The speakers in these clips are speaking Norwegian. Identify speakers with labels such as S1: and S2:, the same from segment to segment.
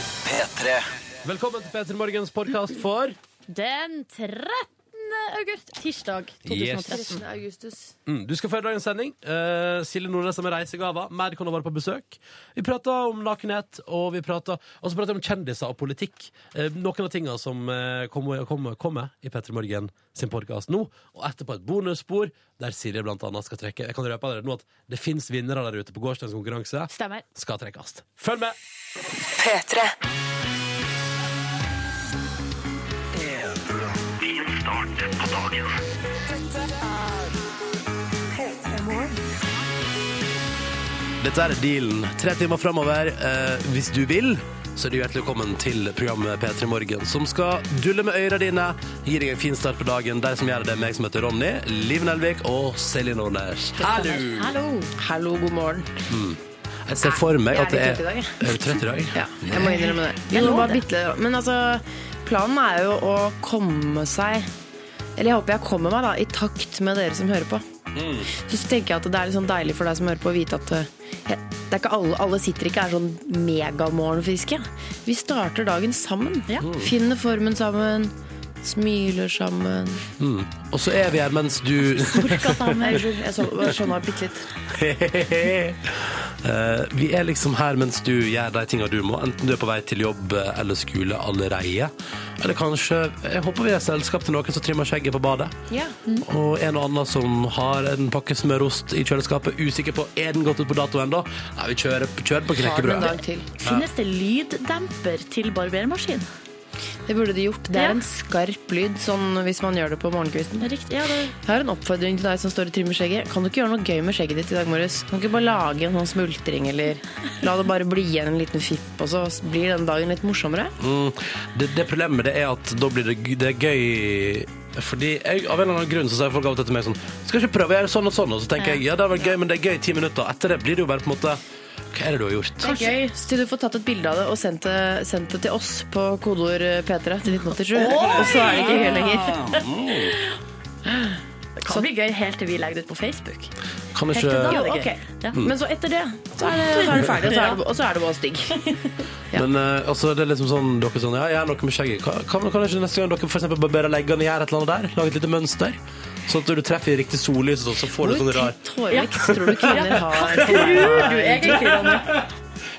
S1: P3.
S2: Velkommen til P3 Morgens podkast for
S3: Den 13. august, tirsdag 2013.
S2: Yes.
S4: Augustus.
S2: mm, Du skal føre dagens sending. Eh, Silje Nordnes er med reisegaver. Madcon har vært på besøk. Vi prata om nakenhet, og vi prata og så prata vi om kjendiser og politikk. Eh, noen av tinga som eh, kommer kommer- kommer i P3 Morgen sin podkast nå, og etterpå et bonusspor der Silje blant annet skal trekke Jeg kan røpe allerede nå at det fins vinnere der ute på gårsdagens konkurranse.
S3: Stemmer.
S2: Skal trekkes. Følg med!
S5: P3.
S2: Dette er dealen. Tre timer framover. Eh, hvis du vil, så er du hjertelig velkommen til programmet P3 Morgen, som skal dulle med øyra dine, gi deg en fin start på dagen. De som gjør det, er meg som heter Ronny, Liv Nelvik og Selje Nordnes. Hallo!
S3: Hallo.
S4: Hallo, god morgen.
S2: Jeg ser for meg
S4: Jeg er
S2: at det
S4: litt
S2: er
S4: trøtt i dag, jeg.
S2: Er du trøtt i dag?
S4: Ja, jeg må innrømme det. Jo,
S3: lov
S4: bare
S3: det.
S4: bitte litt. Men altså, planen er jo å komme seg Eller jeg håper jeg kommer meg da, i takt med dere som hører på.
S3: Mm.
S4: Så tenker jeg at det er litt sånn deilig for deg som hører på, å vite at eh, det er ikke alle, alle sitter ikke er sånn megamorgenfriske. Vi starter dagen sammen. Mm.
S3: Ja.
S4: Finner formen sammen. Smiler sammen.
S2: Og så er vi her mens du
S4: Orka sammen. Nei, Unnskyld, jeg sov- jeg sovna bitte litt.
S2: Eh, vi er liksom her mens du gjør de tinga du må, enten du er på vei til jobb eh, eller skole allereie. Eller kanskje Jeg håper vi er selskap til noen som trimmer skjegget på badet.
S4: Ja.
S2: Og en og annen som har en pakke smørost i kjøleskapet. Usikker på er den gått ut på dato ennå. Nei, vi kjører, kjører på
S4: Har den en
S2: knekkebrød.
S4: dag til.
S3: Finnes det lyddemper til barbermaskin?
S4: Det burde de gjort. Det
S3: Ja.
S4: er en skarp lyd, sånn hvis man gjør det på morgenkvisten.
S3: Det er Riktig. Ja, det
S4: Jeg har en oppfordring til deg som står og trimmer skjegget. Kan du ikke gjøre noe gøy med skjegget ditt i dag morges? Kan du ikke bare lage en sånn smultring, eller la det bare bli igjen en liten fipp, og så blir den dagen litt morsommere?
S2: Mm, det, det problemet med det er at da blir det, g- det er gøy fordi jeg, Av en eller annen grunn så sier folk av og til til meg sånn Skal ikke prøve å gjøre sånn og sånn? Og så tenker jeg ja, det har vært gøy, men det er gøy i ti minutter. Etter det blir det jo bare på en måte Hva er det du har gjort?
S4: Det er gøy. Så Til du får tatt et bilde av det og sendt det, sendt det til oss på kodeord P3 til 1987. Og så er det ikke gøy lenger.
S3: kan bli gøy helt til vi legger det ut på Facebook.
S2: Kan
S3: Helt til
S2: ikke
S3: da er det gøy.
S4: ok.
S3: Ja.
S4: Men så etter det, så er det, så er det ferdig, og så er det, og så er det bare stygg. Ja.
S2: Men eh, altså, det er liksom sånn Dere er sånn Ja, jeg har noe med skjegget. Kan, kan, kan ikke neste gang dere for eksempel barberer leggene, gjøre et eller annet der? Lage et lite mønster? Sånn at når du treffer i riktig sollys, og sånn, så får du sånn
S4: Hvor
S2: rar
S4: tett hårvekst tror du kvinner har?
S3: Tror du egentlig, Ronny?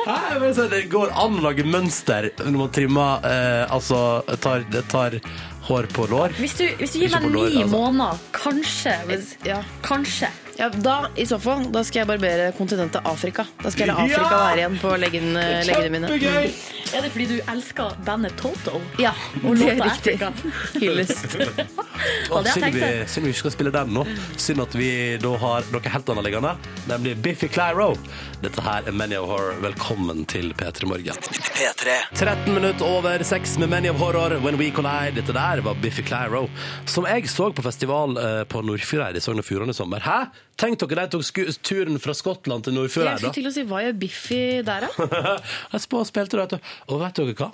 S2: Nei, jeg vil si Det går an å lage mønster når man trimmer eh, Altså tar, tar hår på lår.
S3: Hvis du, hvis du gir
S2: Ikke
S3: meg
S2: på lår,
S3: ni
S2: altså.
S3: måneder, kanskje hvis,
S4: Ja.
S3: Kanskje.
S4: Ja, da, i så fall, da skal jeg barbere kontinentet Afrika. Da skal jeg la Afrika
S2: Ja!
S4: være igjen på leggene, leggene mine.
S2: Kjempegøy!
S3: Er det fordi du elsker bandet Toto?
S4: Ja,
S3: Og
S4: det er
S3: låta
S4: riktig.
S3: Afrika?
S4: Hyllest.
S2: Og
S3: det har jeg
S2: synd vi,
S3: tenkt
S2: synd vi ikke skal spille den nå. Synd at vi da har noe helt annet liggende, nemlig Biffy Clyro. Dette her er Many of Horror. Velkommen til P3 Morgen.
S1: P3.
S2: 13 minutter over 6 med Many of Horror, When We Collide. Dette der var Biffy Clyro, som jeg så på festival eh, på Nordfjordeid i Sogn og Fjordane i sommer. Hæ? Tenk dere, de tok sku- turen fra Skottland til
S4: Jeg skulle
S2: Nordfjordeid, da.
S4: til å si hva gjør Biffy der, da?
S2: Jeg spå, spilte det, vet du. Og vet dere hva?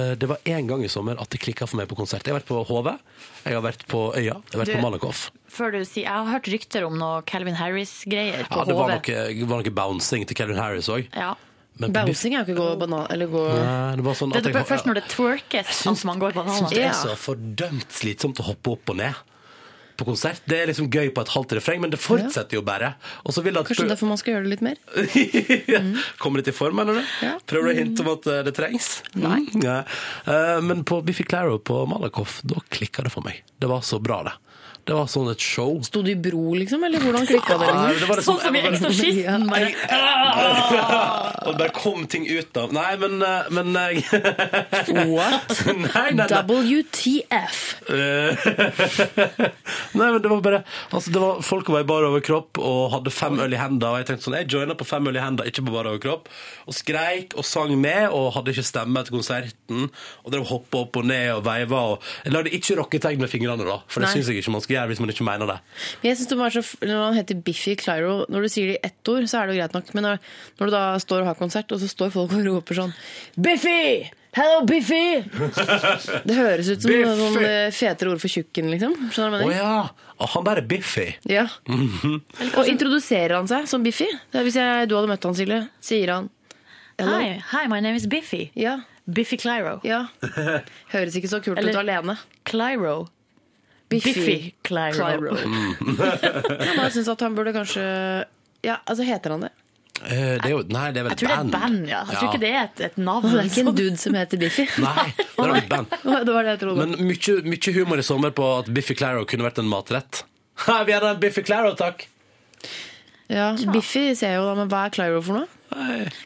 S2: Eh, Det var én gang i sommer at det klikka for meg på konsert. Jeg har vært på HV, jeg har vært på Øya, jeg har vært
S3: Du-
S2: på Malakoff.
S3: Før du sier, Jeg har hørt rykter om noe Calvin Harris-greier
S2: Ja,
S3: på
S2: det var
S3: HV.
S2: noe, var noe bouncing til Calvin Harris òg.
S3: Ja.
S2: Men på Biff-
S4: Bouncing er jo ikke gå banan... Eller gå
S2: Nei, det var sånn
S3: Det
S2: at
S3: er
S2: jeg-
S3: først når det twerkes at man går
S2: Jeg syns
S3: bananer.
S2: det
S4: Ja.
S2: er så fordømt slitsomt å hoppe opp og ned på konsert. Det er liksom gøy på et halvt refreng, men det fortsetter jo bare. Og så vil jeg at
S4: Kanskje derfor man skal gjøre det litt mer?
S3: Mm.
S2: Kommer litt i form, eller?
S4: Ja.
S2: Prøver du å hinte om at eh, det trengs? Nei. Eh, Men på Biffy Claro på Malakoff, da klikka det for meg. Det var så bra, det. Det var sånn et show.
S4: Sto du i bro, liksom? Eller hvordan klikka det?
S2: Ja,
S4: Liksom?
S2: det var liksom-
S3: Sånn som i
S2: jeg var bare-
S3: Eksorsisten. bare
S2: Og det bare kom ting ut av Nei, men, eh, men jeg-
S4: What?
S2: Nei, nei, nei.
S4: WTF?
S2: Eh, Nei, men det var bare altså, det var, Folk var i bar overkropp og hadde fem øl i hendene. Og jeg tenkte sånn, jeg joina på fem øl i hendene, ikke på bar overkropp. Og skreik og sang med og hadde ikke stemme etter konserten. Og drev og hoppa opp og ned og veiva. Og jeg lagde ikke rocketegn med fingrene, da. For det
S4: Nei.
S2: syns jeg ikke man skal gjøre hvis man ikke mener det.
S4: Men Jeg synes det var så, f- Når han heter Biffy Clyro, når du sier det i ett ord, så er det jo greit nok. Men når, når du da står og har konsert, og så står folk og roper sånn Biffy! Hello, Biffy! Det høres ut som
S2: Biffy!
S4: noen sånn, eh, fetere ord for tjukken, liksom. Skjønner du hva
S2: Å
S4: jeg mener?
S2: ja! Og han der er Biffy.
S4: Ja. Mhm. Og introduserer han seg som Biffy? Det er hvis jeg, du hadde møtt han, Silje, sier han Hello.
S3: Hi, hi, my name is Biffy.
S4: Ja.
S3: Biffy Clyro.
S4: Ja. Høres ikke så kult
S3: Eller-
S4: ut alene.
S3: Clyro. Biffy Clyro.
S4: Clyro. Jeg bare syns at han burde kanskje Ja, altså heter han det?
S2: Eh, det er jo, nei, det er vel
S3: Jeg tror det er et band, ja. Jeg tror ikke det er et, et navn.
S4: Det er ikke en dude som heter Biffy.
S2: Nei, det er vel et band.
S4: Det var det jeg trodde.
S2: Men mye, mye humor i sommer på at Biffy Claro kunne vært en matrett.
S6: Ha, vi hadde en Biffy Claro, takk.
S4: ja, Biffy ser jeg jo da, men hva er Clyro for noe?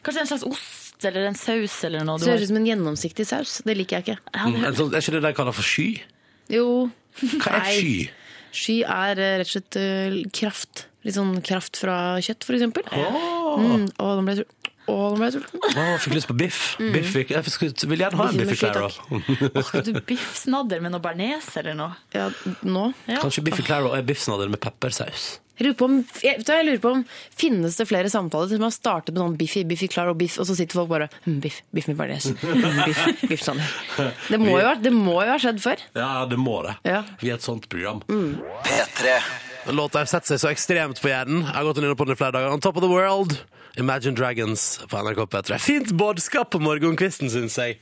S3: Kanskje en slags ost eller en saus eller noe.
S4: Det
S3: Du
S4: ser
S3: har.
S4: ut som en gjennomsiktig saus. Det liker jeg ikke.
S2: En sånn- Er ikke det de kaller for sky?
S4: Jo,
S2: Hva er
S4: Nei.
S2: sky?
S4: sky er eh, rett og slett eh, kraft. Litt sånn kraft fra kjøtt, for eksempel. Mm, å, nå ble jeg sulten. Å, nå ble jeg sulten.
S2: Å, fikk lyst på biff. biff jeg, jeg skulle- vil gjerne ha en
S4: Mm. Biff
S2: Biffy
S4: med sky,
S2: Claro.
S3: Skal du biffsnadder med noe bearnés eller noe?
S4: Ja, nå.
S3: Ja.
S2: Kanskje Biffy Claro er biffsnadder med peppersaus.
S4: Jeg lurer, på om, jeg, vet du hva, jeg lurer på om Finnes det flere samtaler som har startet med noen Biffy, Biffy Klar og Biff, og så sitter folk bare mm, Biff, Biff med bearnés. Mm, Biff, biff sånn. Det må jo ha- det må jo ha skjedd før.
S2: Ja, det må det.
S4: Ja. Mm.
S2: Vi er et sånt program.
S7: P3
S2: Låta har sett seg så ekstremt på hjernen. Jeg har gått inn på den i flere dager. On Top of the World, Imagine Dragons på NRK P3. Fint budskap på morgenkvisten, syns jeg.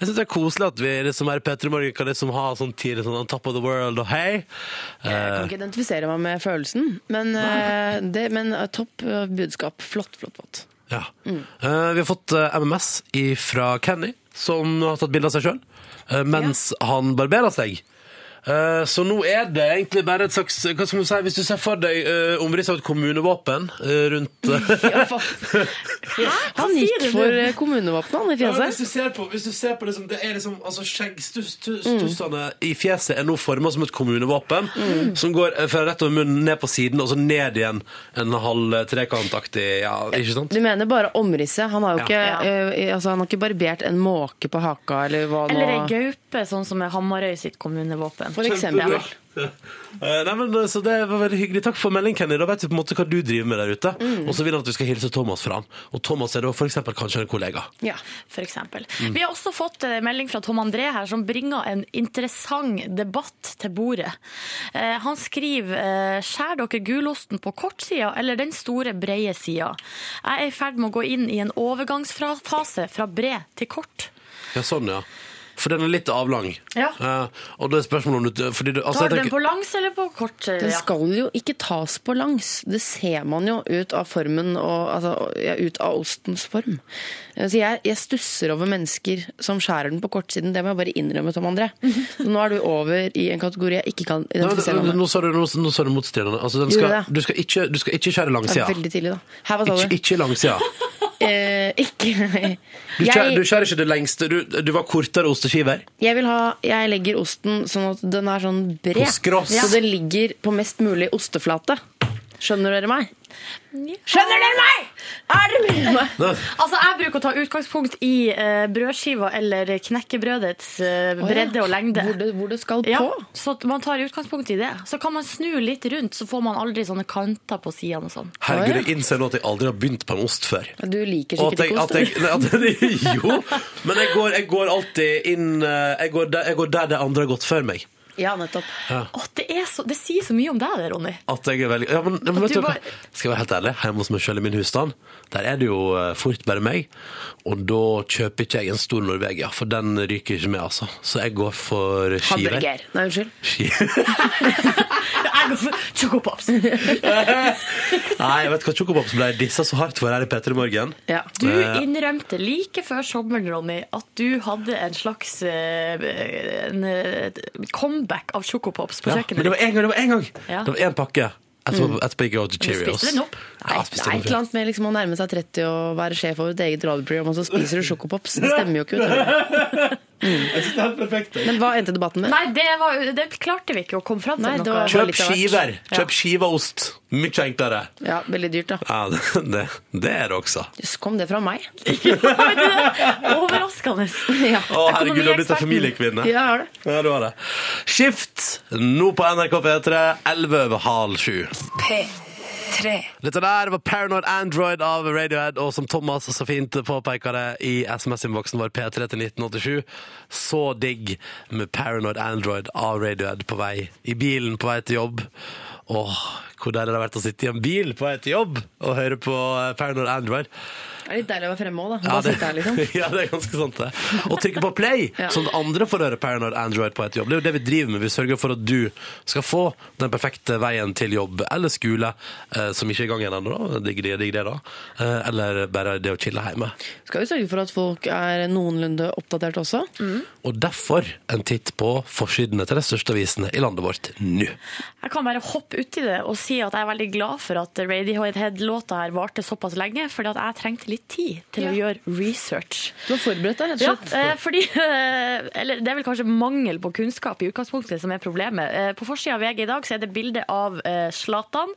S2: Jeg syns det er koselig at vi det som er P3 Morgen, kan liksom ha sånn tid sånn On Top of the World og hei.
S4: Jeg kan ikke identifisere meg med følelsen, men, eh, det, men eh, topp eh, budskap. Flott, flott, flott.
S2: Ja. Eh, vi har fått eh, MMS fra Kenny, som har tatt bilde av seg sjøl mens han barberer seg. Eh, så nå er det egentlig bare et slags eh, Hva skal man si, Hvis du ser for deg uh, omrisset av et kommunevåpen eh, rundt
S4: Han
S3: Ah, sier
S4: gikk
S3: du?
S4: for eh, kommunevåpenet, han i
S2: Ja, hvis
S4: fjeset.
S2: du ser på, hvis du ser på liksom, det er liksom altså, Skjeggstussene i fjeset er nå forma som et kommunevåpen, som går eh, fra rett over munnen ned på siden og så ned igjen en halv eh, trekantaktig ja, Ikke sant?
S4: Du mener bare omrisset. Han har jo ikke,
S3: Ja.
S4: eh, altså, han har ikke barbert en måke på haka, eller hva nå
S3: Eller ei gaupe, sånn som er Hamarøy sitt kommunevåpen.
S4: For eksempel.
S3: Ja.
S2: Eh, Nei, men, eh, så det var veldig hyggelig. Takk for melding, Kenny. Da vet vi på en måte hva du driver med der ute.
S4: Mm.
S2: Og så vil han at du skal hilse Thomas fra han. Og Thomas er da for eksempel kanskje en kollega.
S4: Ja.
S3: for eksempel.
S4: Mm.
S3: Vi har også fått eh, melding fra Tom André her, som bringer en interessant debatt til bordet. Eh, han skriver eh, «Skjær dere gulosten på kortsida eller den store, breie sida? Jeg er i ferd med å gå inn i en overgangsfase fra bred til kort.
S2: Ja, sånn, ja. For den er litt avlang.
S3: Ja.
S2: Eh, og det er spørsmålet om du fordi du, altså, jeg
S3: Tar du den
S2: tenker-
S3: på langs eller på kort? eh,
S4: Den
S3: ja?
S4: skal jo ikke tas på langs. Det ser man jo ut av formen og altså, ja, ut av ostens form. Eh, Så jeg, jeg stusser over mennesker som skjærer den på kortsiden. Det må jeg bare innrømme, Tom André.
S3: Mhm.
S4: Så nå er du over i en kategori jeg ikke kan
S2: Nei, men,
S4: identifisere meg med.
S2: nå sa du, nå, nå sa du motstridende. Altså, den
S4: Gjorde
S2: skal,
S4: det?
S2: du, skal ikke, du skal ikke skjære
S4: Det
S2: langsida.
S4: er veldig tidlig, da. Her, hva sa
S2: Ikke,
S4: du?
S2: ikke langsida.
S4: Eh, ikke
S2: Du skjærer, du
S4: jeg,
S2: skjærer ikke det lengste. Du, du var kortere osteskiver.
S4: jeg vil ha Jeg legger osten sånn at den er sånn bred.
S2: På skross.
S4: Så den ligger på mest mulig osteflate. Skjønner dere meg?
S3: Skjønner dere meg?! Er dere med meg?
S2: Nei.
S3: Altså, jeg bruker å ta utgangspunkt i eh, brødskiva eller knekkebrødets eh, bredde og lengde.
S4: Hvor det, hvor det skal
S3: Ja,
S4: på.
S3: så at man tar utgangspunkt i det. Så kan man snu litt rundt, så får man aldri sånne kanter på sidene og sånn.
S2: Herregud,
S4: Å, ja.
S2: jeg innser nå at jeg aldri har begynt på en ost før.
S4: Du liker
S2: Og at
S4: sikkert
S2: jeg,
S4: ikke
S2: at
S4: ost.
S2: jeg, nei, at jeg, jo, men jeg går, jeg går alltid inn eh, jeg går, der, jeg går der det andre har gått før meg.
S4: du. Ja, nettopp.
S3: Åh, det, er så, det sier så mye om deg, det, Ronny.
S2: At jeg er veldig, ja, men, men vet
S3: du
S2: du, hva?
S3: bare-
S2: Skal jeg være helt ærlig, hjemme hos meg sjøl i min husstand, der er det jo eh, fort bare meg. Og da kjøper ikke jeg en stor Norvegia, for den ryker ikke med, altså. Så jeg går for skiver.
S4: Hamburger. Nei, unnskyld.
S2: Skiver.
S3: Jeg går for chocopops.
S2: Nei, jeg vet hva Chocopops ble dissa så hardt for her i P3 Morgen.
S4: Ja.
S3: Du innrømte like før sommeren, Ronny, at du hadde en slags eh, en, eh, comeback av chocopops på
S2: Ja, men
S3: kjøkkenet.
S2: det var én gang! Det var én gang.
S3: Ja. Mm.
S2: Det var én pakke. Etterpå, etterpå gikk jeg over til
S3: Men
S2: Cheerios.
S3: spiste den opp?
S2: Ja,
S4: Nei,
S2: jeg
S4: det
S2: spiste
S4: er
S2: den
S4: et
S2: opp.
S4: eller annet med liksom å nærme seg 30 og være sjef over et eget radioprogram, og så spiser du sjokopops. Det stemmer jo ikke. Vet du. Mm. Men hva endte debatten med?
S3: Nei, det, var, det klarte vi ikke å komme fram til
S4: Nei, det
S3: noe.
S4: var-
S2: Kjøp
S4: litt av hvert.
S2: skiver!
S3: Ja.
S2: Kjøp skiveost. Mye enklere.
S4: Ja, Veldig dyrt, da.
S2: Ja, det, det, det er det også.
S4: Jøss, kom det fra meg?
S3: Overraskende.
S4: Ja,
S2: Å, herregud, du har blitt en familiekvinne.
S4: jeg har det.
S2: Ja, du har det. Skift nå på NRK P3, 11 over halv sju.
S8: P3.
S2: Dette der var Paranoid Android av Radiohead, og som Thomas så fint påpeker det i SMS-innboksen vår P3 til 1987, så digg med Paranoid Android av Radiohead på vei i bilen på vei til jobb. Åh, hvor deilig det har vært å sitte i en bil på vei til jobb og høre på eh, Paranoid Android.
S4: Det er litt deilig å være fremme òg, da.
S2: Ja
S4: Bare
S2: det,
S4: sitte her, liksom.
S2: ja, det er ganske sant, det. Og trykke på play,
S4: Ja.
S2: sånn at andre får høre Paranoid Android på et jobb. Det er jo det vi driver med. Vi sørger for at du skal få den perfekte veien til jobb eller skole, eh, som ikke er i gang igjen ennå, da. Digg det, digg det, da. Eh, eller bare det å chille hjemme.
S4: Skal jo sørge for at folk er noenlunde oppdatert også.
S3: Mm.
S2: Og derfor en titt på forsidene til de største avisene i landet vårt nå.
S3: Jeg kan bare hoppe uti det og si at jeg er veldig glad for at Radiohead-låta her varte såpass lenge, fordi at jeg trengte litt tid til å gjøre research.
S4: Du har forberedt deg, rett
S3: Ja,
S4: og slett.
S3: eh, fordi eh, Eller det er vel kanskje mangel på kunnskap i utgangspunktet som er problemet. Eh, På forsida av VG i dag så er det bilde av eh, Zlatan.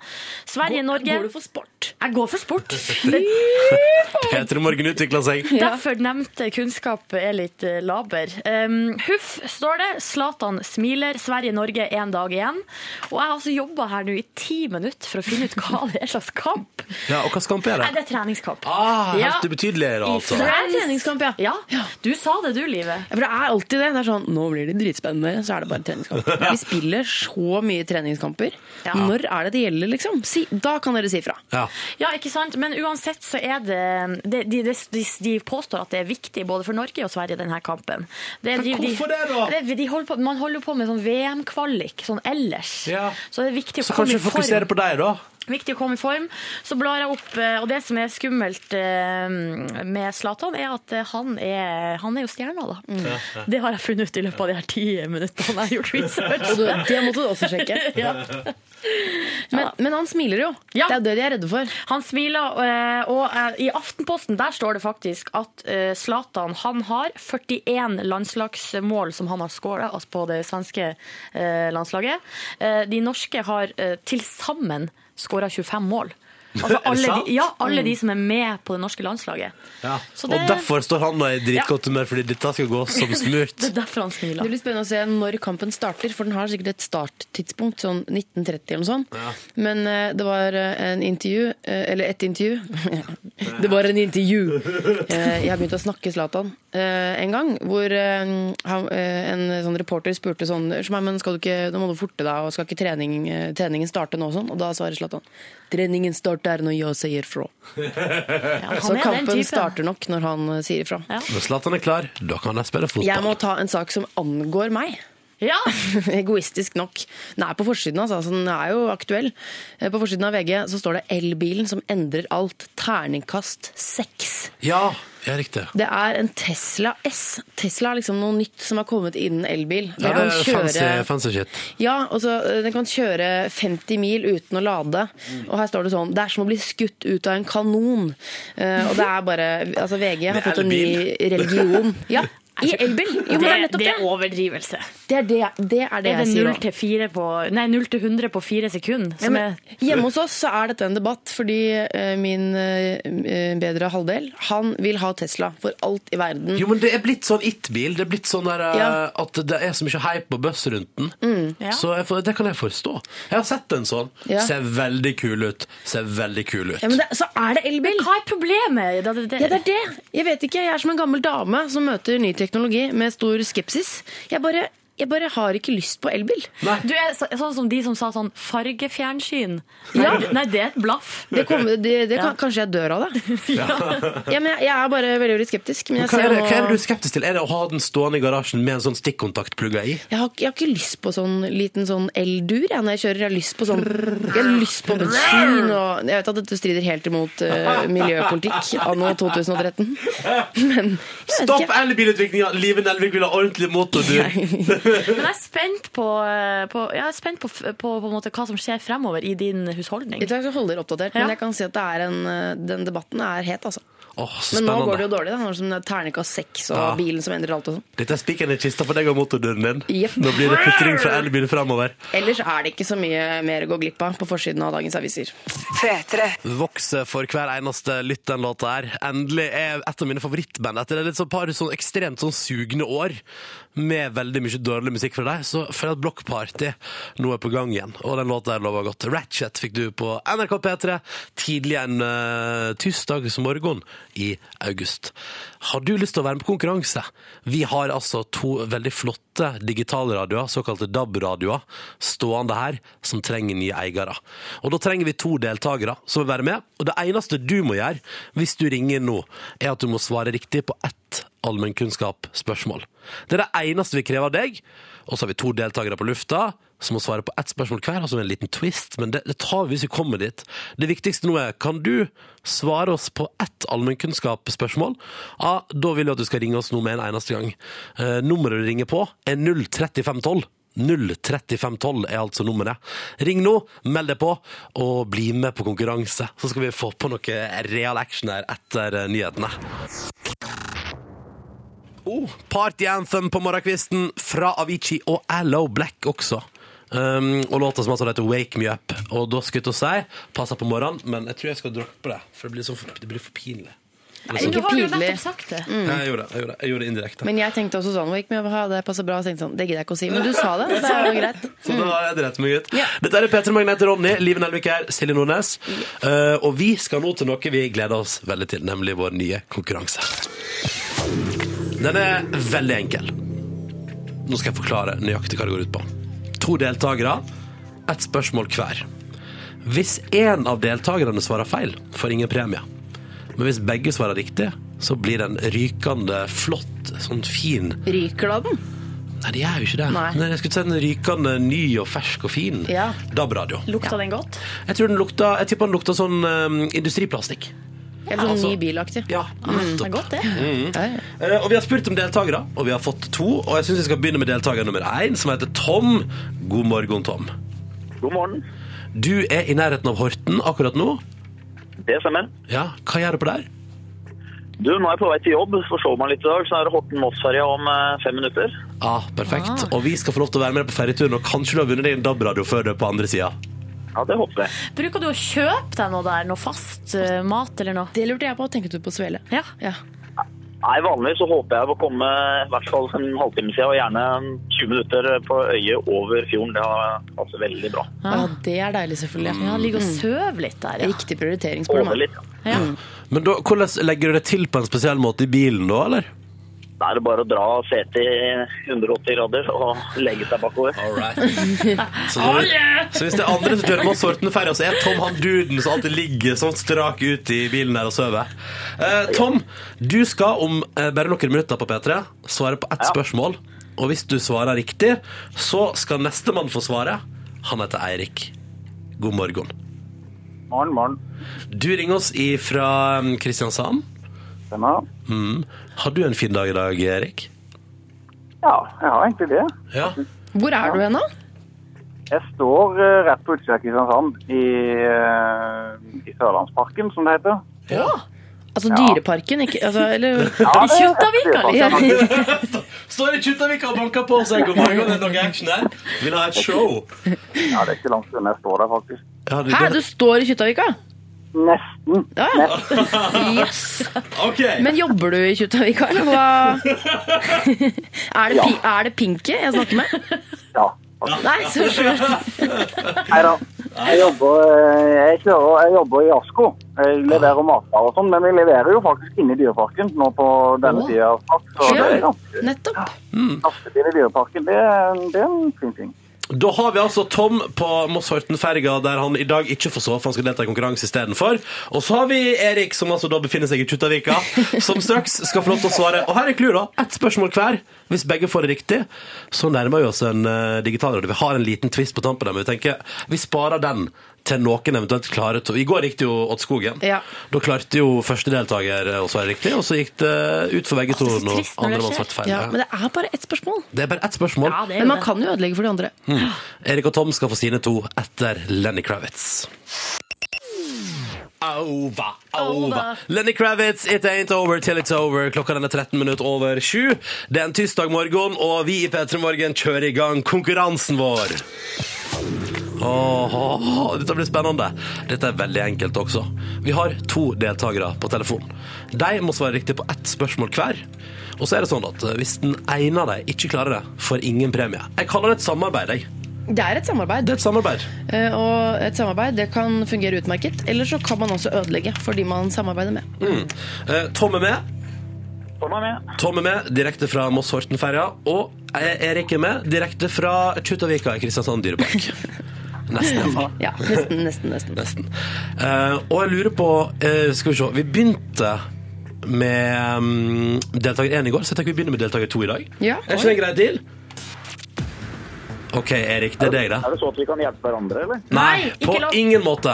S3: Sverige-Norge.
S4: Går du for sport?
S3: Jeg går for sport.
S2: Peter Morgen utvikler seg.
S3: Derfor nevnte kunnskap er litt eh, laber. Um, Huff står det. Zlatan smiler. Sverige-Norge én dag igjen. Og jeg har altså jobba her nå i ti minutter for å finne ut hva det er slags kamp.
S2: Ja, og hva skamp er
S3: Nei,
S2: det?
S3: det er treningskamp.
S2: Ah,
S3: Ja.
S2: helt ubetydelig, da, altså.
S4: Det er en treningskamp, ja.
S3: Ja, du sa det du, Livet.
S4: Ja, For det er alltid det. Det er sånn, Nå blir det dritspennende, så er det bare treningskamp. Vi spiller så mye treningskamper.
S3: Ja.
S4: Når er det det gjelder, liksom? Si, da kan dere si fra.
S2: Ja.
S3: Ja, ikke sant? Men uansett så er det de, de, de, de påstår at det er viktig både for Norge og Sverige, denne kampen. Det,
S2: Men hvorfor det da?
S3: det- de holder på, man holder jo på med sånn VM-kvalik sånn ellers.
S2: Ja.
S3: Så det er viktig å
S2: Så
S3: komme
S2: kanskje
S3: i
S2: vi fokuserer
S3: form.
S2: på deg, da.
S3: Viktig å komme i form. Så blar jeg opp, eh, og det som er skummelt eh, med Zlatan, er at eh, han er, han er jo stjerna, da. Det har jeg funnet ut i løpet av de her ti minuttene jeg har gjort
S4: Og du,
S3: research.
S4: det måtte du også sjekke.
S3: ja.
S4: Men, men han smiler jo.
S3: Ja.
S4: Det er jo det de er redde for.
S3: Han smiler, eh, og eh, i Aftenposten der står det faktisk at eh, Zlatan han har 41 landslagsmål som han har skåra altså på det svenske eh, landslaget. Eh, De norske har eh, til sammen skåra 25 mål.
S2: Er
S3: Altså
S2: det
S3: alle,
S2: sant? Mm.
S3: de, ja, alle de som er med på det norske landslaget. Så det-
S2: Og derfor står han da i dritgodt humør, fordi dette skal gå som smurt.
S3: Det er derfor han
S4: Det
S3: smiler.
S4: blir spennende å se når kampen starter, for den har sikkert et starttidspunkt, sånn 1930 eller noe sånt. Men eh, det var eh, en intervju, eh, eller et intervju Det var en intervju! Eh, jeg har begynt å snakke Zlatan eh, en gang, hvor eh, han, eh, en sånn reporter spurte sånn «Shmei, men skal du ikke, Nå må du forte deg, og skal ikke trening, eh, treningen starte nå? og Sånn. Og da svarer Zlatan treningen starter når jeg sier fra.
S3: Ja, han
S4: Så
S3: er den
S4: sånn kampen
S3: typen.
S4: starter nok når han eh, sier ifra.
S3: Ja.
S2: Når Zlatan er klar, da kan de spille fotball.
S4: Jeg må ta en sak som angår meg.
S3: Ja.
S4: Egoistisk nok. Den er på forsiden, altså. så Den er jo aktuell. Eh, På forsiden av VG så står det 'Elbilen som endrer alt'. Terningkast seks.
S2: Ja, ja, riktig.
S4: Det er en Tesla S. Tesla er liksom noe nytt som har kommet innen elbil. Den
S2: Ja, det
S4: kan
S2: er fancy,
S4: kjøre-
S2: fancy shit.
S4: ja, og så eh, Den kan kjøre 50 mil uten å lade.
S2: Mm.
S4: Og her står det sånn Det er som å bli skutt ut av en kanon. Eh, og det er bare Altså, VG har
S2: Med
S4: fått en ny religion. Ja, i elbil. Jo, men det er
S3: Det,
S4: nettopp
S3: det
S4: det.
S3: er overdrivelse.
S4: Det er det, det, er det
S3: Er det
S4: jeg sier
S3: 0
S4: òg.
S3: til, fire på, nei, 0 til 100 på fire sekunder?
S4: Ja,
S3: Som
S4: men
S3: er,
S4: hjemme hos oss så er dette en debatt, fordi eh, min eh, bedre halvdel han vil ha Tesla for alt i verden.
S2: Jo, men det er blitt sånn it-bil. Det er blitt sånn der, eh,
S4: Mm. Ja. Mm,
S2: at det er så mye hype og buzz rundt den.
S3: Ja.
S2: Så jeg, får- det kan jeg forstå. Jeg har sett en sånn.
S4: Ja.
S2: Ser veldig kul ut. Ser veldig kul ut.
S4: Ja, men det, så er det elbil!
S3: hva er problemet? Da, det, det,
S4: Ja, det er det! Jeg vet ikke, jeg er som en gammel dame som møter ny teknologi med stor skepsis. Jeg bare, jeg bare har ikke lyst på elbil.
S2: Nei.
S3: Du er så, sånn som de som sa sånn fargefjernsyn. Nei,
S4: Ja.
S3: d- nei det er et blaff.
S4: Det kommer- det, det
S3: Ja.
S4: kan, Kanskje jeg dør av det. Ja, men jeg, jeg er bare veldig, veldig skeptisk. Men jeg,
S2: Hva er,
S4: ser
S2: det,
S4: nå-
S2: hva er det du er skeptisk til? Er det å ha den stående i garasjen med en sånn stikkontakt plugga i?
S4: jeg, har, jeg har ikke lyst på sånn liten sånn eldur jeg, når jeg kjører. Jeg har lyst på sånn Jeg har lyst på bensin og Jeg vet at dette strider helt imot eh, miljøpolitikk anno 2013, men jeg vet
S2: Stopp
S4: ikke.
S2: elbilutviklinga! Live Nelvik vil ha ordentlig motor, du!
S3: Men jeg er spent på, eh, på, jeg er spent på, f- på, på en måte, hva som skjer fremover i din husholdning.
S4: Jeg tror jeg skal holde dere oppdatert,
S3: Ja.
S4: men jeg kan si at det er en, eh, den debatten er het, altså.
S2: Åh, så
S4: Men nå
S2: spennende.
S4: går det jo dårlig, da. Nå er det som den terningkast seks og
S2: Ja.
S4: bilen som endrer alt og sånn.
S2: Dette er spikeren i kista for deg og motordøren din.
S4: Jepp.
S2: Nå blir det putring fra elbil fremover.
S4: Ellers er det ikke så mye mer å gå glipp av på forsiden av dagens aviser.
S8: P3.
S2: Vokse for hver eneste lytt den låta her. Endelig er et av mine favorittband etter et sånn par sånn ekstremt sånn sugne år med veldig mye dårlig musikk fra deg, så føler jeg at Block Party nå er på gang igjen. Og den låta her lover godt. Ratchet fikk du på NRK P3 tidlig en uh, tirsdags morgen eh, i august. Har du lyst til å være med på konkurranse? Vi har altså to veldig flotte digitale radioer, såkalte DAB-radioer, stående her, som trenger nye eiere. Og da trenger vi to deltakere som vil være med. Og det eneste du må gjøre hvis du ringer nå, er at du må svare riktig på ett allmennkunnskap-spørsmål. Det er det eneste vi krever av deg. Og så har vi to deltakere på lufta som må svare på ett spørsmål hver. Altså en liten twist, men det, det tar vi hvis vi kommer dit. Det viktigste nå er kan du svare oss på ett allmennkunnskapsspørsmål. Ja, da vil jeg at du skal ringe oss nå med en eneste gang. Eh, nummeret du ringer på, er 03512. 03512 er altså nummeret. Ring nå, meld deg på, og bli med på konkurranse. Så skal vi få på noe real action her etter eh, nyhetene. Oh, Party Anthem på morgenkvisten fra Avicii og Allo Black også. Um, og låta som altså heter Wake Me Up. Og da skulle jeg til å si passer på morgenen, men jeg tror jeg skal droppe det. For det blir, så, for- det blir for pinlig.
S3: Men du
S4: Ikke
S3: har jo
S4: pinlig.
S3: nettopp sagt det.
S2: Jeg gjorde det jeg gjorde det, jeg gjorde det indirekte.
S4: Men jeg tenkte også sånn Wake me up, ha, det passer bra. Jeg tenkte sånn, Det gidder jeg ikke å si. Men du sa det. så Det er jo greit.
S2: Så da har jeg drept meg ut. Dette er Peter Magne heter Ronny, Liv Nelvik her, Silje Nordnes. Uh, og vi skal nå til noe vi gleder oss veldig til, nemlig vår nye konkurranse. Den er veldig enkel. Nå skal jeg forklare nøyaktig hva det går ut på. To deltakere, ett spørsmål hver. Hvis én av deltakerne svarer feil, får ingen premie. Men hvis begge svarer riktig, så blir det en rykende flott, sånn fin
S4: Ryker da den?
S2: Nei, det gjør jo ikke det.
S4: Nei.
S2: Nei, jeg skulle si den rykende ny og fersk og fin
S4: Ja.
S2: DAB-radio.
S3: Lukta den godt?
S2: Jeg tror den lukta, jeg tipper den lukta sånn eh, industriplastikk.
S4: Eller sånn
S2: altså-
S4: ny bilaktig.
S2: Ja,
S3: Det
S2: nettopp.
S3: er godt, det.
S4: Ja, ja.
S2: Eh, og vi har spurt om deltakere, og vi har fått to. Og jeg syns vi skal begynne med deltaker nummer én, som heter Tom. God morgen, Tom.
S7: God morgen.
S2: Du er i nærheten av Horten akkurat nå.
S7: Det stemmer.
S2: Ja, Hva gjør du på der?
S7: Du, nå er jeg på vei til jobb. Forsov meg litt i dag, så er det Horten-Moss-ferja om eh, fem minutter.
S2: Ah, perfekt. Og vi skal få lov til å være med på ferjeturen, og kanskje du har vunnet deg en DAB-radio før du er på andre sida.
S7: Ja, det håper jeg.
S3: Bruker du å kjøpe deg noe der? Noe fast eh, mat eller noe?
S4: Det lurte jeg på. Tenkte du på svele?
S3: Ja.
S4: Ja.
S7: Nei, vanligvis så håper jeg på å komme i hvert fall en halvtime siden, og gjerne 20 minutter eh, på øyet over fjorden. Det har- passer veldig bra.
S4: ja, det er deilig, selvfølgelig.
S3: ja ligger og sover litt der, ja.
S4: Riktig
S7: Over
S4: prioriteringsproblem.
S7: litt.
S3: ja.
S2: Men da, hvordan legger du det til på en spesiell måte i bilen da, eller?
S7: Da er det bare å dra setet i 180 grader og legge seg bakover.
S2: All right. så, når, så hvis det er andre som kjører Moss Horten-ferja, så er Tom han duden som alltid ligger sånn strak ut i bilen der og sover. Eh, Tom, du skal om eh, bare noen minutter på P3 svare på ett
S7: Ja.
S2: spørsmål. Og hvis du svarer riktig, så skal nestemann få svaret. Han heter Eirik. God morgen.
S7: Morgen, morgen.
S2: Du ringer oss ifra eh, Kristiansand. Mm.
S7: Stemmer.
S2: Har du en fin dag i dag, Erik?
S7: Ja, jeg har egentlig det.
S2: Ja.
S4: Hvor er du hen, da?
S7: Jeg står eh, rett på utsida av Kristiansand, i, eh, i Sørlandsparken, som det heter.
S2: ja.
S4: Altså Dyreparken, ikke altså, Eller liksom.
S7: Ja,
S3: det- Kjuttaviga, det
S4: ja.
S2: Står i Kjuttavik og banker på og sier god morgen. Er det noe action der? Vil ha et show?
S7: Ja, det er ikke langt unna jeg står der, faktisk.
S2: Ja, du,
S4: Hæ, du står i Kjuttaviga?
S7: Nesten.
S4: Ja, ja. Yes.
S2: Ok,
S4: Men jobber du i Kjuttaviga, eller hva? Er det, pi er det Pinky jeg snakker med?
S7: Ja.
S4: Nei, så skjønt.
S7: Nei da. Jeg jobber, eh, jeg, kjører, jeg jobber i Asko. Jeg leverer matvarer og sånn, men vi leverer jo faktisk inne i Dyreparken nå på denne
S4: Å.
S7: tida. av snart, Så det er ganske
S4: Nettopp.
S7: lastebil i Dyreparken. Det, er- det er en fin ting.
S2: Da har vi altså Tom på Moss Horten-ferga, der han i dag ikke får sove, for han skal delta i konkurranse istedenfor. Og så har vi Erik, som altså da befinner seg i Kjuttaviga, som straks skal få lov til å svare. Og her er clouet, da. Ett spørsmål hver. Hvis begge får det riktig, så nærmer vi oss en eh, digital radio. Vi har en liten twist på tampen der, men vi tenker vi sparer den til noen eventuelt klarer to. I går gikk det jo Odd Skogen.
S4: Ja.
S2: Da klarte jo første deltaker eh, å svare riktig, og så gikk det eh, ut for begge to
S3: så
S2: når
S3: trist når det
S2: andre mann
S3: skjer.
S2: svarte feil.
S4: Ja, men det er bare ett spørsmål.
S2: Det er bare ett spørsmål.
S3: ja, det er
S4: Men
S3: jo
S4: man
S3: det.
S4: kan jo ødelegge for de andre.
S2: Mm. Erik og Tom skal få sine to etter Lenny Kravitz. Over, over.
S3: Over.
S2: Lenny Kravitz, It Ain't Over Till It's Over. Klokka den er 13 minutter over sju. Det er en tirsdag morgen, og vi i P3 Morgen kjører i gang konkurransen vår. Åh, dette blir spennende. Dette er veldig enkelt også. Vi har to deltakere på telefon. De må svare riktig på ett spørsmål hver. Og så er det sånn at hvis den ene av dem ikke klarer det, får ingen premie. Jeg kaller det et samarbeid, jeg.
S4: Det er et samarbeid.
S2: Det er et samarbeid.
S4: Eh, Og et samarbeid det kan fungere utmerket. Eller så kan man også ødelegge for de man samarbeider med.
S2: Eh, Tom er med.
S7: Kom med.
S2: Tom er med direkte fra Moss Horten-ferja. Og E- Erik er med direkte fra Kjuttaviga i Kristiansand dyrepark. Nesten, iallfall.
S4: Ja, nesten, nesten, nesten.
S2: Nesten. Eh, og jeg lurer på eh, Skal vi se. Vi begynte med mm, deltaker 1 i går, så jeg tenker vi begynner med deltaker 2 i dag.
S4: Ja.
S2: Er ikke det en grei deal? OK, Erik. Det er deg, det.
S7: Er det så at vi kan hjelpe hverandre, eller?
S2: Nei,
S3: Nei, ikke
S2: på
S3: lov.
S2: ingen måte.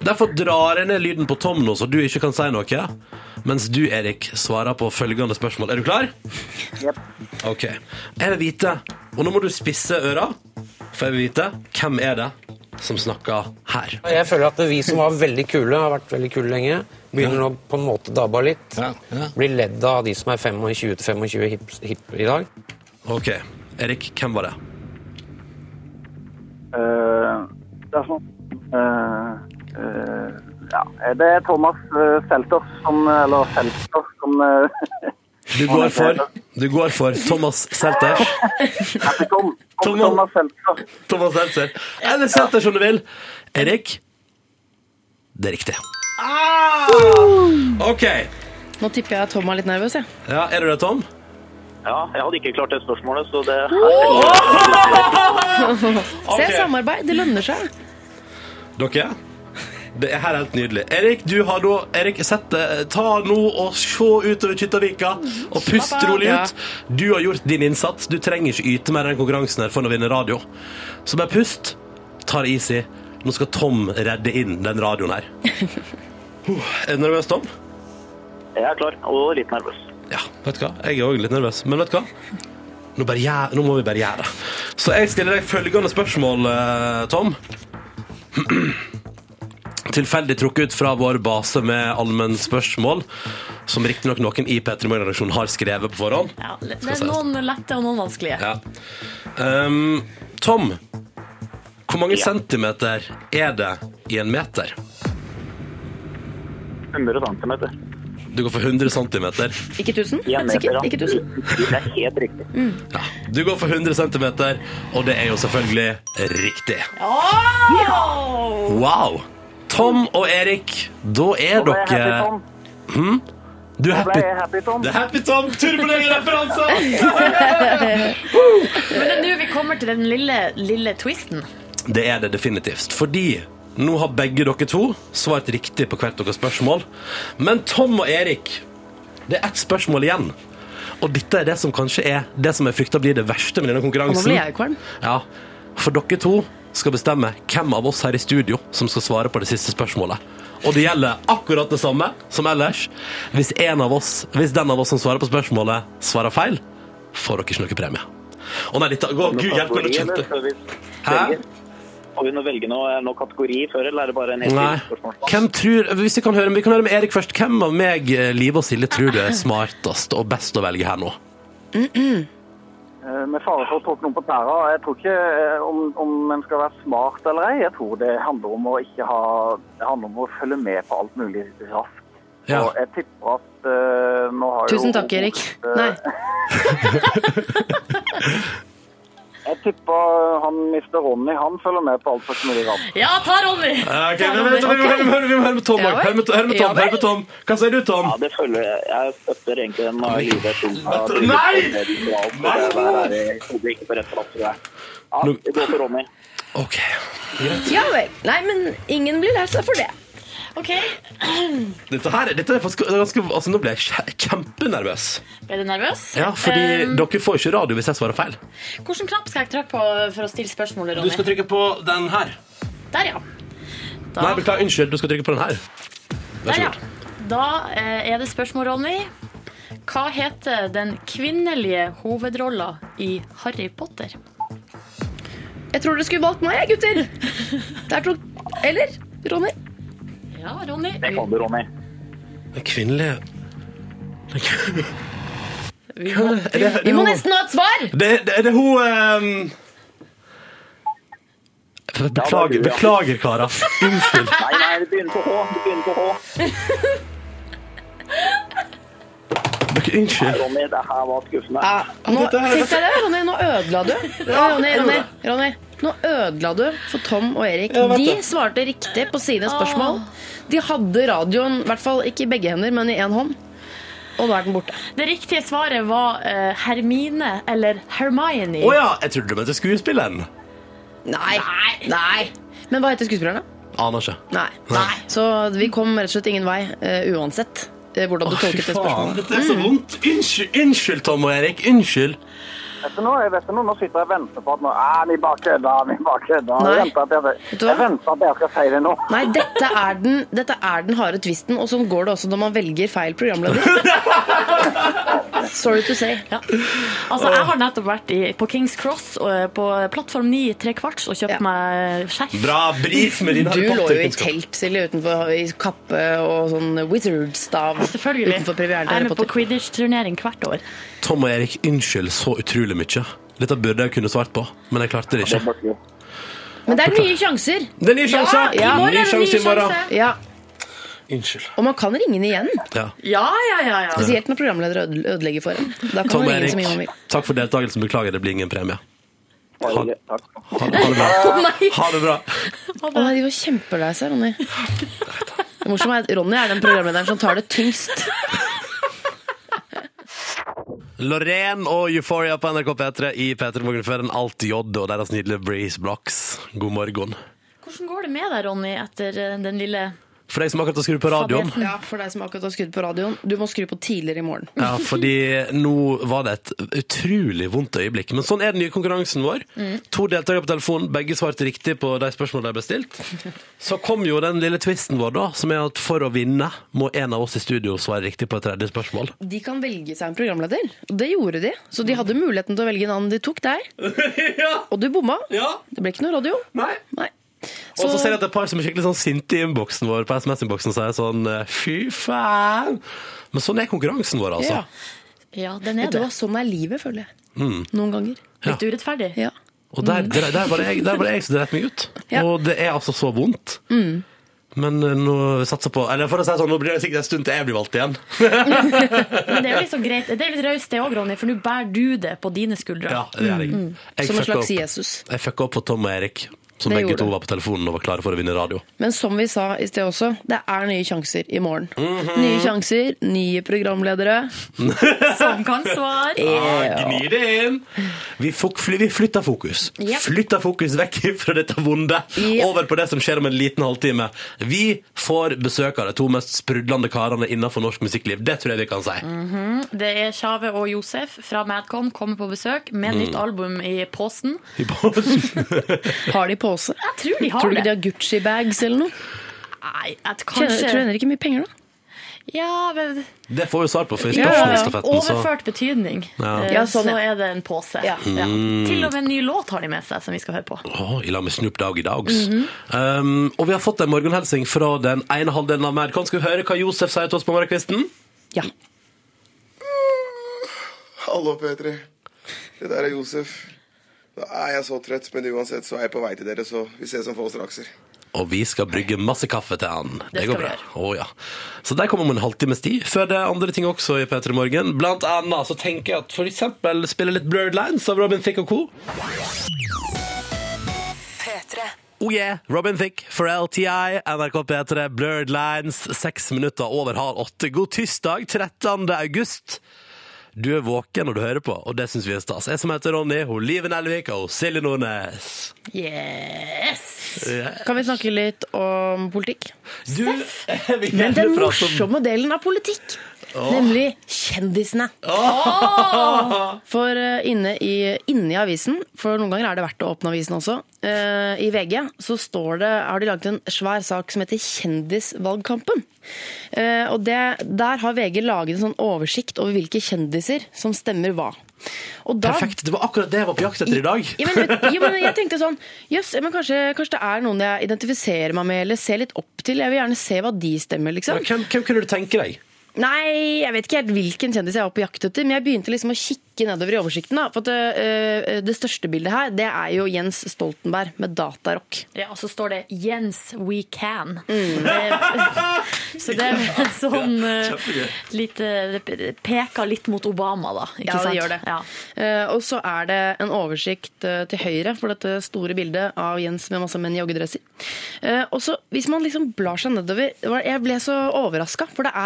S2: Derfor drar jeg ned lyden på Tom nå, så du ikke kan si noe. Mens du, Erik, svarer på følgende spørsmål. Er du klar?
S7: Jepp.
S2: OK. Jeg vil vite, og nå må du spisse øra, for jeg vil vite hvem er det som snakker her.
S9: Jeg føler at vi som var veldig kule, har vært veldig kule lenge, begynner nå på en måte å dabbe av litt.
S2: Ja, ja.
S9: Blir ledd av de som er 25-25 hip, hip i dag.
S2: OK. Erik, hvem var det?
S7: Eh, det er sånn. Eh, eh, ja. Det er Thomas uh, Selters som Eller Selters som eh,
S2: Du går for, du går for Thomas Selters.
S7: heter Tom. Tom.
S2: Thomas.
S7: Thomas Seltzer.
S2: Thomas Seltzer. Eller Selters, om du vil. Erik, det er riktig. OK.
S4: Nå tipper jeg at Tom er litt nervøs, jeg.
S2: Ja, er du det, Tom?
S7: Ja, jeg hadde ikke klart det spørsmålet, så det
S4: Se, samarbeid, det lønner seg.
S2: Dere? Det er her helt nydelig. Erik, du har da Erik, sett det. Ta nå og se utover Kyttavika og pust
S4: Slapp av.
S2: rolig
S4: Ja.
S2: ut. Du har gjort din innsats. Du trenger ikke yte mer i den konkurransen her for å vinne radio. Så bare pust. Ta det easy. Nå skal Tom redde inn den radioen her. Huh, Er du nervøs, Tom?
S7: Jeg er klar, og litt nervøs.
S2: Ja, vet du hva? Jeg er òg litt nervøs, men vet du hva? Nå, bare gjør, nå må vi bare gjøre det. Så jeg stiller deg følgende spørsmål, eh, Tom. Tilfeldig trukket ut fra vår base med allmennspørsmål, som riktignok noen i P3 Morgen-redaksjonen har skrevet på forhånd.
S3: Ja, det det er noen lette og noen vanskelige.
S2: Ja. Ehm, Tom, hvor mange centimeter er det i en meter?
S7: 100 centimeter.
S2: Du går for 100 centimeter.
S4: Ikke 1000?
S7: I en meter,
S4: Sikkert,
S7: ja.
S4: ikke 1000.
S7: Det er helt riktig.
S2: Ja. Du går for 100 centimeter, og det er jo selvfølgelig riktig.
S3: Åh!
S2: Wow! Tom og Erik, da er
S7: Nå ble jeg
S2: dere
S7: happy, Tom.
S2: Du er
S7: Nå
S2: happy.
S7: ble jeg happy, Tom.
S2: Det er Happy Tom! Turbolegg-referanse!
S3: Men det er nå vi kommer til den lille, lille twisten.
S2: Det er det definitivt. Fordi nå har begge dere to svart riktig på hvert deres spørsmål. Men Tom og Erik, det er ett spørsmål igjen. Og dette er det som kanskje er det som jeg frykter blir det verste med denne
S4: Og
S2: konkurransen.
S4: nå blir jeg kvalm.
S2: Ja, for dere to skal bestemme hvem av oss her i studio som skal svare på det siste spørsmålet. Og det gjelder akkurat det samme som ellers. Hvis, en av oss, hvis den av oss som svarer på spørsmålet, svarer feil, får dere ikke noe premie. Å nei, dette, å, gud hjelpe meg, nå
S7: Kategori,
S2: kjente
S7: eller? Så hvis-
S2: Hæ?
S7: velger. Må vi nå velge noe, noe kategori før, eller er det bare en helt
S2: Nei.
S7: ny spørsmål?
S2: Hvem tror, hvis vi, kan høre, vi kan høre med Erik først. Hvem av meg, eh, Live og Silje, tror du er smartest og best å velge her nå?
S7: Eh, Med fare for å tråkke noen på tæra, jeg tror ikke eh, om, om en skal være smart eller ei. Jeg tror det handler om å ikke ha Det handler om å følge med på alt mulig raskt.
S2: Ja.
S7: Og jeg tipper at eh, nå har jo
S4: Tusen takk, Erik. Nei.
S7: Jeg tipper han mister Ronny. Han følger med på alt slags mulig raskt.
S3: Ja, ta Ronny!
S2: Ok,
S3: Ta
S2: men
S3: Ronny.
S2: vent, Vi må høre- vi må høre- vi må høre med Tom
S4: Ja
S2: òg.
S4: vel.
S2: Hør med hør med
S4: Ja
S2: Tom, hør med Tom. Hva sier du, Tom?
S7: Ja, det følger jeg. Jeg støtter egentlig den eh, av livet til
S2: Nei!
S7: Nei! Jeg trodde ikke på rett plass. tror jeg. Ja,
S2: Nå-
S7: vi går for Ronny.
S2: Ok.
S4: Ja vel. Nei, men ingen blir lært seg for det.
S3: Ok,
S2: Dette her, dette er faktisk ganske, altså Nå ble jeg kje- kjempenervøs.
S3: Ble du nervøs?
S2: Ja, fordi
S3: Um,
S2: dere får ikke radio hvis jeg svarer feil.
S3: Hvilken knapp skal jeg trykke på for å stille spørsmålet,
S2: Du
S3: Ronny?
S2: skal trykke på den her.
S3: Der, ja. Da,
S2: Nei, beklager, unnskyld. Du skal trykke på den her. Vær
S3: der,
S2: så
S3: ja.
S2: god.
S3: da eh, er det spørsmål, Ronny. Hva heter den kvinnelige hovedrolla i Harry Potter?
S4: Jeg tror dere skulle valgt meg, jeg, gutter. Der tok Eller? Ronny?
S3: Ja, Ronny.
S7: Det kan du, Ronny.
S2: Den kvinnelige
S3: Vi må-
S2: Er det,
S4: Vi må nesten ha et svar!
S2: det, det, er det hun ehm, Beklager,
S7: du, ja.
S2: beklager, karer. Unnskyld.
S7: Nei, nei, det begynner på H. Det begynner på H.
S2: Dere, unnskyld.
S7: Ronny, det her var skuffende.
S4: Ja, nå, tenkte jeg det, Ronny. Nå ødela du. Ronny, Ronny, Ronny. Nå ødela du for Tom og Erik.
S9: vet
S4: De
S9: det.
S4: svarte riktig på sine spørsmål. De hadde radioen, i hvert fall ikke i begge hender, men i én hånd. Og nå er den borte.
S3: Det riktige svaret var eh, Hermine eller Hermione.
S2: Å ja, jeg trodde du mente skuespilleren.
S4: Nei. Nei. Men hva heter skuespillerne?
S2: Aner ikke.
S4: Nei. Nei. Så vi kom rett og slett ingen vei, eh, uansett eh, hvordan du tolket det spørsmålet. Mm.
S2: dette er så vondt. Unnskyld, unnskyld Tom og Erik. Unnskyld.
S7: Vet du noe, jeg vet du noe, nå sitter jeg og venter på at nå, ah, vi bare kødder, vi bare kødder. Jeg
S4: Nei.
S7: venter at jeg,
S4: Vet du hva?
S7: jeg venter at jeg skal si det nå.
S4: Nei, dette er den, dette er den harde tvisten, og sånn går det også når man velger feil programleder. Sorry to say.
S3: Ja. Altså, jeg har nettopp vært i, på Kings Cross eh, på plattform 9 tre kvarts og kjøpt
S4: Ja.
S3: meg eh, skjerf.
S2: Bra brief med din
S4: Du
S2: Harry
S4: lå jo i
S2: Potter-kunnskap.
S4: telt, Silje, utenfor i kappe og sånn wizard-stav.
S3: Selvfølgelig.
S4: Utenfor
S3: jeg
S4: premieren til
S3: er
S4: Harry
S3: med på
S4: Potter.
S3: Quidditch-turnering hvert år.
S2: Tom og Erik, unnskyld så utrolig mye. Dette burde jeg kunne svart på, men jeg klarte det ikke.
S4: Men det er nye sjanser!
S2: Det er ny sjanse!
S4: Ja, i morgen
S2: ny sjanse i morgen.
S4: Ja,
S2: Unnskyld.
S4: Og man kan ringe den igjen.
S2: Ja.
S3: Ja, ja, ja, ja.
S4: Spesielt når programledere øde- ødelegger for en. Da kan
S2: Tom
S4: man
S2: og
S4: ringe så mye man
S2: Erik,
S4: vil.
S2: takk for deltakelsen. Beklager, det blir ingen premie.
S7: Takk. Takk.
S2: Ha, ha det bra.
S3: Nei,
S2: Ha det bra.
S4: Å, nei, de var kjempelei seg, Ronny. Det morsomme er at Ronny er den programlederen som tar det tyngst.
S2: Lorraine og Euphoria på NRK P3 i P3 Morgen før en alt J og deres nydelige Breeze Blocks. God morgen.
S3: Hvordan går det med deg, Ronny, etter eh, den lille
S2: For deg som akkurat har skrudd på radioen.
S3: fadesen?
S4: Ja, for deg som akkurat har skrudd på radioen, du må skru på tidligere i morgen.
S2: Ja, fordi nå var det et utrolig vondt øyeblikk. Men sånn er den nye konkurransen vår. To deltakere på telefonen, begge svarte riktig på de spørsmålene de ble stilt. Så kom jo den lille twisten vår, da, som er at for å vinne må en av oss i studio svare riktig på et tredje spørsmål.
S4: De kan velge seg en programleder, og det gjorde de. Så de hadde muligheten til å velge en annen. De tok deg, og du bomma. Det ble ikke noe radio.
S2: Nei.
S4: Nei.
S2: Og så
S4: Så-
S2: ser jeg at det er et par som er skikkelig sånn sinte i innboksen vår på SMS-innboksen og sier sånn fy faen. Men sånn er konkurransen vår, altså.
S4: Ja.
S3: Ja, den er
S4: Vet du
S3: det.
S4: hva, sånn er livet, føler jeg.
S2: Hmm.
S4: Noen ganger.
S2: Ja.
S3: Litt urettferdig.
S4: Ja.
S2: Og der, der, der, var det jeg, der var det jeg som dreit meg ut.
S4: Mm. Ja. Mm.
S2: Og det er altså så vondt. Men eh, nå satser jeg på Eller for å si det sånn, nå blir det sikkert en stund til jeg blir valgt igjen.
S3: Men det er jo litt sånn greit. Det er jo litt raust det òg, Ronny, for nå bærer du det på dine skuldre.
S2: Ja, det er jeg. Jeg
S4: Mm. Som en
S2: fucka
S4: slags
S2: opp-
S4: Jesus.
S2: Jeg fucka opp for Tom og Erik, som
S4: Det
S2: begge
S4: gjorde
S2: to
S4: du.
S2: var på telefonen og var klare for å vinne radio.
S4: Men som vi sa i sted også, det er nye sjanser i morgen.
S2: Mhm.
S4: Nye sjanser, nye programledere.
S3: Som kan svare.
S2: Ja, gni det Ah, inn! Vi, fok- fly- vi flytta fokus.
S4: Ja.
S2: Flytta fokus vekk fra dette vonde
S4: Ja.
S2: over på det som skjer om en liten halvtime. Vi får besøk av de to mest sprudlende karene innenfor norsk musikkliv. Det tror jeg vi kan si.
S4: Mm.
S3: Det er Tjave og Josef fra Madcon kommer på besøk med
S2: Mm.
S3: nytt album i posen.
S2: I pausen.
S4: Har de pose?
S3: Jeg tror de
S4: Tror du
S3: har
S4: ikke de
S3: det.
S4: har Gucci-bags eller noe?
S3: Nei, at
S4: Tjener, tror du
S3: kanskje
S4: Henrik ikke mye penger, da?
S3: Ja, men
S2: Det får vi svar på for i
S4: Ja, ja, ja.
S2: spørsmålsstafetten. så-
S3: Overført betydning.
S2: Ja. Mm.
S3: Eh,
S4: Ja, sånn,
S3: Så
S4: ja.
S3: er det en pose.
S4: Ja.
S3: Ja.
S2: Hmm.
S3: Til og med en ny låt har de med seg, som vi skal høre på.
S2: Å, I lag med Snoop Dogg i dags. um, og vi har fått en morgenhelsing fra den ene halvdelen av Madcon. Skal vi høre hva Josef sier til oss på morgenkvisten?
S4: Ja.
S10: Hallo, P3. Det der er Josef. Nå er jeg så trøtt, men uansett så er jeg på vei til dere, så vi ses om få strakser.
S2: Og vi skal brygge masse kaffe til han. Det,
S3: skal
S2: går
S3: vi
S2: bra.
S3: gjøre.
S2: Å, ja. Så der kommer vi om en halvtimes tid. Før det er andre ting også i P3 Morgen. Blant annet så tenker jeg at for eksempel spille litt Blurred Lines av Robin Thicke og co.
S8: P3.
S2: Oh yeah, Robin Thicke, Pharrell TI, NRK P3, Blurred Lines, seks minutter over halv åtte. God tirsdag, 13. august. Du er våken når du hører på, og det syns vi er stas. Jeg som heter Ronny, hun Live Nelvik og hun Silje Nordnes.
S3: Yes!
S4: Kan vi snakke litt om politikk?
S2: Du, jeg vil
S4: Men
S2: gjerne
S4: den
S2: prate om
S4: morsomme delen av politikk, nemlig kjendisene. For eh, inne i, inne i avisen, for noen ganger er det verdt å åpne avisen også, eh, i VG så står det, har de laget en svær sak som heter Kjendisvalgkampen. Eh, og det, der har VG laget en sånn oversikt over hvilke kjendiser som stemmer hva. Og da,
S2: Perfekt. Det var akkurat det jeg var på jakt etter i dag.
S4: Ja, men, vet- ja, men jeg tenkte sånn Jøss, men kanskje, kanskje det er noen jeg identifiserer meg med eller ser litt opp til. Jeg vil gjerne se hva de stemmer, liksom.
S2: Hvem, hvem kunne du tenke deg?
S4: Nei, jeg vet ikke helt hvilken kjendis jeg var på jakt etter, men jeg begynte liksom å kikke ikke nedover i oversikten. Da, for at, eh, det største bildet her det er jo Jens Stoltenberg med datarock.
S3: Ja, og så står det 'Jens, we can'.
S4: Mm.
S3: Det, så det er en sånn eh, lite Det peker litt mot Obama, da. Ikke
S4: Ja, det
S3: sant?
S4: gjør det.
S3: Ja.
S4: Eh, og så er det en oversikt eh, til høyre for dette store bildet av Jens med masse menn i joggedresser. Eh, og så hvis man liksom blar seg nedover det var- Jeg ble så overraska, for det er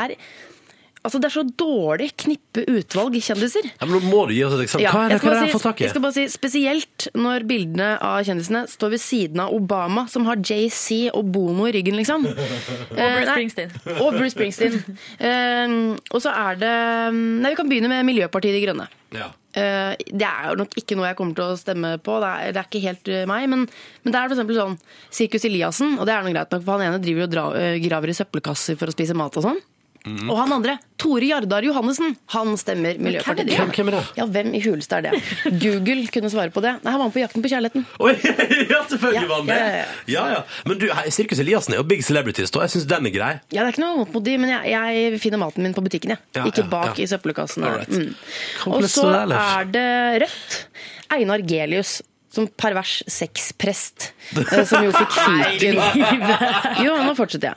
S4: Altså, Det er så dårlig knippe utvalg kjendiser.
S2: Ja, men nå må du gi oss et eksempel.
S4: Ja,
S2: liksom. Hva er det
S4: jeg
S2: hva
S4: skal
S2: er det
S4: bare
S2: jeg har
S4: si-
S2: fått tak i?
S4: Jeg skal bare si, spesielt når bildene av kjendisene står ved siden av Obama, som har JC og Bono i ryggen, liksom. Og Bruce
S3: Springsteen.
S4: Og Bruce Springsteen. Eh, og så er det mm, Nei, vi kan begynne med Miljøpartiet De Grønne.
S2: Ja.
S4: Eh, det er jo nok ikke noe jeg kommer til å stemme på, det er, det er ikke helt eh, meg. Men, men det er for eksempel sånn Sirkus Eliassen, og det er noe greit nok, for han ene driver og dra, eh, graver i søppelkasser for å spise mat og sånn. Og han andre, Tore Jardar Johannessen, han stemmer Miljøpartiet De
S2: det?
S4: Grønne.
S2: Mhm. Hvem- hvem er det?
S4: Ja, hvem i huleste er det? Google kunne svare på det. Nei, han var med på Jakten på kjærligheten.
S2: Oi, ja, selvfølgelig
S4: Ja,
S2: var han det!
S4: ja, ja,
S2: Ja, ja. Men du, hei, Sirkus Eliassen er jo big celebrities, da. Jeg syns den er grei.
S4: Ja, det er ikke noe vondt mot de, men jeg, jeg finner maten min på butikken, jeg.
S2: Ja,
S4: ikke
S2: ja,
S4: bak
S2: ja.
S4: i søppelkassene.
S2: Alright.
S4: Mm.
S2: Hvordan
S4: Og
S2: ble det
S4: så
S2: så ellers?
S4: er det Rødt. Einar Gelius. Som pervers sexprest, eh, som jo fikk fyken. Jo, nå fortsetter jeg.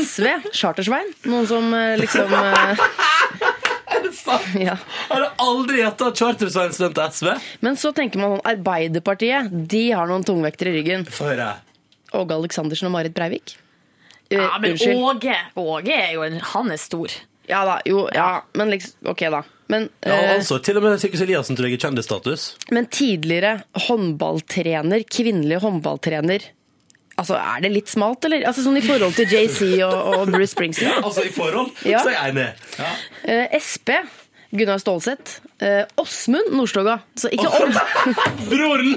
S4: SV, Chartersvein. Noen som eh, liksom eh, ja.
S2: Har du aldri gjetta at Chartersveien stemte SV?
S4: Men så tenker man sånn Arbeiderpartiet, de har noen tungvektere i ryggen.
S2: Få høre.
S4: Åge Aleksandersen og Marit Breivik. Eh,
S3: Ja, men
S4: unnskyld.
S3: Åge, Åge er jo en Han er stor.
S4: Ja da, jo, ja, men liksom Ok, da. Men,
S2: Ja,
S4: eh,
S2: altså, til og med Sirkus Eliassen tror jeg er kjendisstatus.
S4: men tidligere håndballtrener, kvinnelig håndballtrener Altså, Er det litt smalt, eller? Altså, Sånn i forhold til JC og, og Bruce Springsteen.
S2: Altså, i forhold,
S4: Ja.
S2: så er jeg enig. Ja.
S4: Eh, SP, Gunnar Stålseth. Eh, Åsmund Nordstoga. Så ikke Odd.
S2: Broren!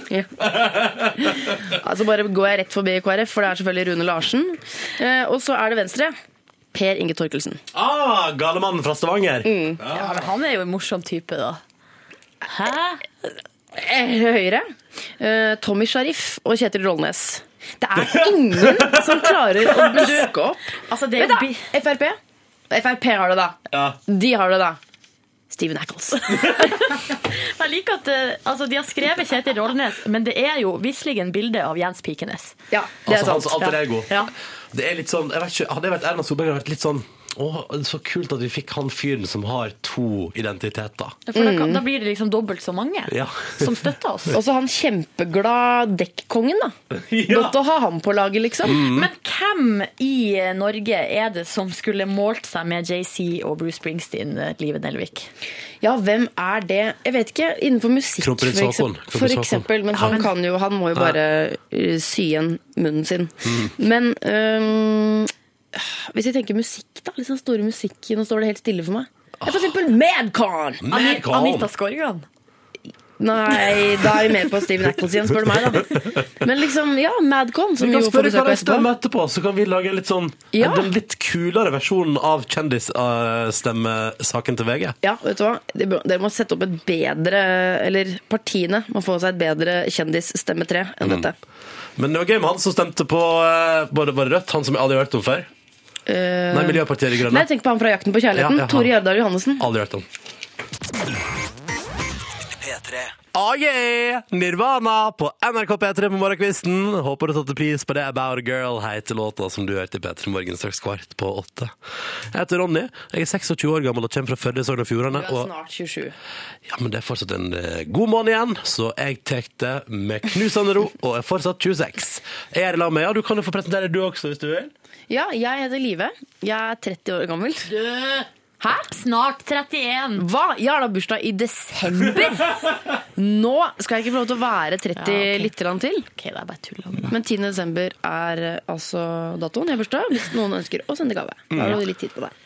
S4: Altså, bare går jeg rett forbi KrF, for det er selvfølgelig Rune Larsen. Eh, og så er det Venstre. Per Inge Torkelsen.
S2: Ah, Galemannen fra
S4: Mm.
S2: Stavanger.
S3: Ja, men Han er jo en morsom type, da. Hæ?
S4: Eh, Høyre. Eh, Tommy Sharif og Kjetil Rollnes. Det er ingen som klarer å dukke opp.
S3: Altså, det er jo
S4: Vent, da!
S3: bi...
S4: Frp. Frp har det, da.
S2: Ja.
S4: De har det, da. Steven Ackles.
S3: Jeg liker at eh, altså, de har skrevet Kjetil Rollnes, men det er jo visselig en bilde av Jens Pikenes.
S4: Ja, det er
S2: Altså,
S4: sant.
S2: hans alter
S4: Ja.
S2: ego.
S3: Ja.
S2: Det er litt sånn, jeg vet ikke, Hadde jeg vært Erna Solberg, hadde jeg vært litt sånn Å, så kult at vi fikk han fyren som har to identiteter.
S3: For da, kan, da blir det liksom dobbelt så mange
S2: Ja.
S3: som støtter oss.
S4: Og så han kjempeglad dekkongen, da. Godt å ha ham på laget, liksom.
S2: Mm.
S3: Men hvem i eh, Norge er det som skulle målt seg med JC og Bruce Springsteen, eh, Live Nelvik?
S4: Ja, hvem er det? Jeg vet ikke. Innenfor musikk, for
S2: Kronprins Haakon.
S4: eksempel.
S2: Kronprins
S4: For
S2: Haakon.
S4: eksempel men han, kan jo, han må jo bare uh, sy igjen munnen sin.
S2: Mm.
S4: Men øhm, hvis jeg tenker musikk, da. Liksom store musikk, nå står det helt stille for meg. Jeg får simpel Madcon!
S3: Ani-
S2: Madcon!
S3: Anita Skorgan?
S4: Nei, da er vi mer på Steven Ackles igjen, spør du meg, da. Men liksom, ja, Madcon, som
S2: Vi
S4: jo
S2: kan
S4: får
S2: spørre
S4: besøk
S2: hva
S4: av
S2: de
S4: etterpå.
S2: stemmer etterpå, så kan vi lage en litt sånn
S4: Ja.
S2: Den litt kulere versjonen av kjendisstemmesaken til VG.
S4: Ja, vet du hva? De bør- Dere må sette opp et bedre Eller partiene må få seg et bedre kjendisstemmetre enn
S2: Mm.
S4: dette.
S2: Men det var gøy med han som stemte på eh, bare, bare Rødt, han som jeg aldri har hørt om før.
S4: Eh,
S2: Nei, Miljøpartiet De
S4: Nei,
S2: Grønne.
S4: jeg tenker på han fra 'Jakten på kjærligheten'.
S2: Ja, ja,
S4: Tore
S2: han.
S4: Jardar Johannessen.
S2: Aldri hørt om. Ah, yeah! Nirvana på NRK P3 på morgenkvisten. Håper du satte pris på det. About a Girl heter låta som du hørte i P3 Morgen straks kvart på åtte. Jeg heter Ronny. Jeg er 26 år gammel og kommer fra Førde i Sogn og Fjordane.
S4: Du er
S2: og-
S4: snart 27.
S2: Ja, men det er fortsatt en eh, god måned igjen, så jeg tar det med knusende ro og er fortsatt 26. Jeg er i lag med Ja, du kan jo få presentere deg du også, hvis du vil.
S4: Ja, jeg heter Live. Jeg er 30 år gammel.
S3: Hæ? Snart 31.
S4: Hva? Jeg har da bursdag i desember! Nå skal jeg ikke få lov til å være 30
S3: Ja, ok.
S4: litt grann til.
S3: Ok, det er bare tull om det.
S4: Men 10. desember er eh, altså datoen jeg har bursdag, hvis noen ønsker å sende gave. Da har du litt tid på deg.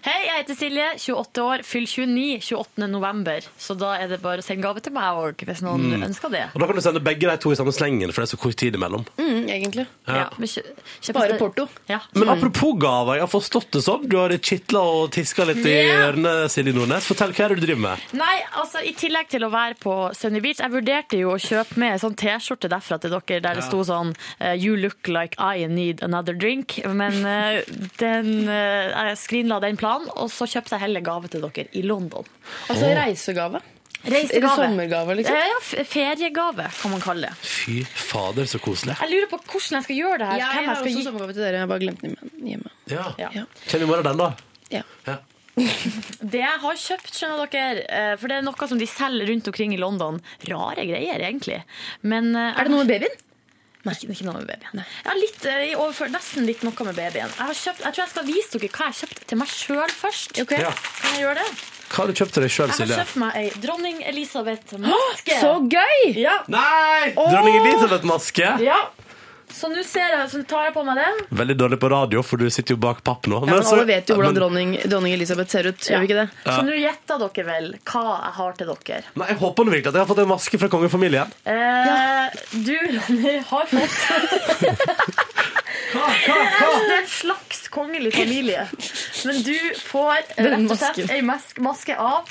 S3: Hei, jeg heter Silje, 28 år, fyll 29 28. november. Så da er det bare å sende gave til meg og hvis noen ønsker det.
S2: Og da kan du sende begge de to i samme slengen, for det er så kort tid imellom.
S4: Mm, egentlig.
S3: Ja, men kjø, kjøp-
S4: Bare porto.
S3: Ja.
S4: Mm.
S2: Men apropos gaver, jeg har forstått det sånn. Du har kitla og tiska litt i
S3: Ja.
S2: ørene, Silje Nordnes. Fortell, hva er det du driver med?
S3: Nei, altså i tillegg til å være på Sunny Beach, jeg vurderte jo å kjøpe med en sånn T-skjorte derfra til dere, der det sto sånn eh, You look like I need another drink. Men eh, den, eh, jeg skrinla den planen, og så kjøpte jeg heller gave til dere i London.
S4: Altså reisegave. Er det
S3: Reisegave.
S4: sommergave,
S3: Eh,
S4: liksom?
S3: Ja, f- feriegave, kan man kalle det.
S2: Fy fader, så koselig.
S3: Jeg lurer på hvordan jeg skal gjøre det her.
S4: Ja, jeg
S3: hvem jeg
S4: har
S3: skal
S4: også
S3: gi.
S4: sommergave til dere. Jeg har bare glemt den hjemme- hjemme.
S2: Ja.
S3: Ja.
S4: Ja.
S2: Kjenn i morgen den, da.
S4: Ja.
S2: Ja.
S3: Det jeg har kjøpt, skjønner dere, eh, for det er noe som de selger rundt omkring i London. Rare greier, egentlig. Men eh,
S4: Er det noe med babyen?
S3: Nei. Ikke, ikke noe med babyen. Ja, litt, eh, i overfor, nesten litt noe med babyen. Jeg, har kjøpt, jeg tror jeg skal vise dere hva jeg kjøpte til meg sjøl først.
S2: Ja.
S3: Kan jeg gjøre det?
S2: Hva har du kjøpt til deg sjøl,
S3: Jeg har
S2: Silje?
S3: kjøpt meg ei dronning Elisabeth-maske.
S4: Så gøy!
S3: Ja.
S2: Nei! Dronning Elisabeth-maske.
S3: ja. Så nå ser jeg, så tar jeg på meg den.
S2: Veldig dårlig på radio, for du sitter jo bak papp nå.
S4: Ja, men
S2: så-
S4: alle vet jo hvordan
S2: altså, Men-
S4: dronning, dronning Elisabeth ser ut. Gjør vi ikke det?
S3: Så nå gjetter dere vel hva jeg har til dere.
S2: Nei, Jeg håper nå virkelig at jeg har fått en maske fra kongefamilien.
S3: Eh, Du, Ronny, har fått Det er altså en slags kongelig familie. Men du får eh,
S4: Den
S3: rett og slett
S4: masken.
S3: ei mask, maske av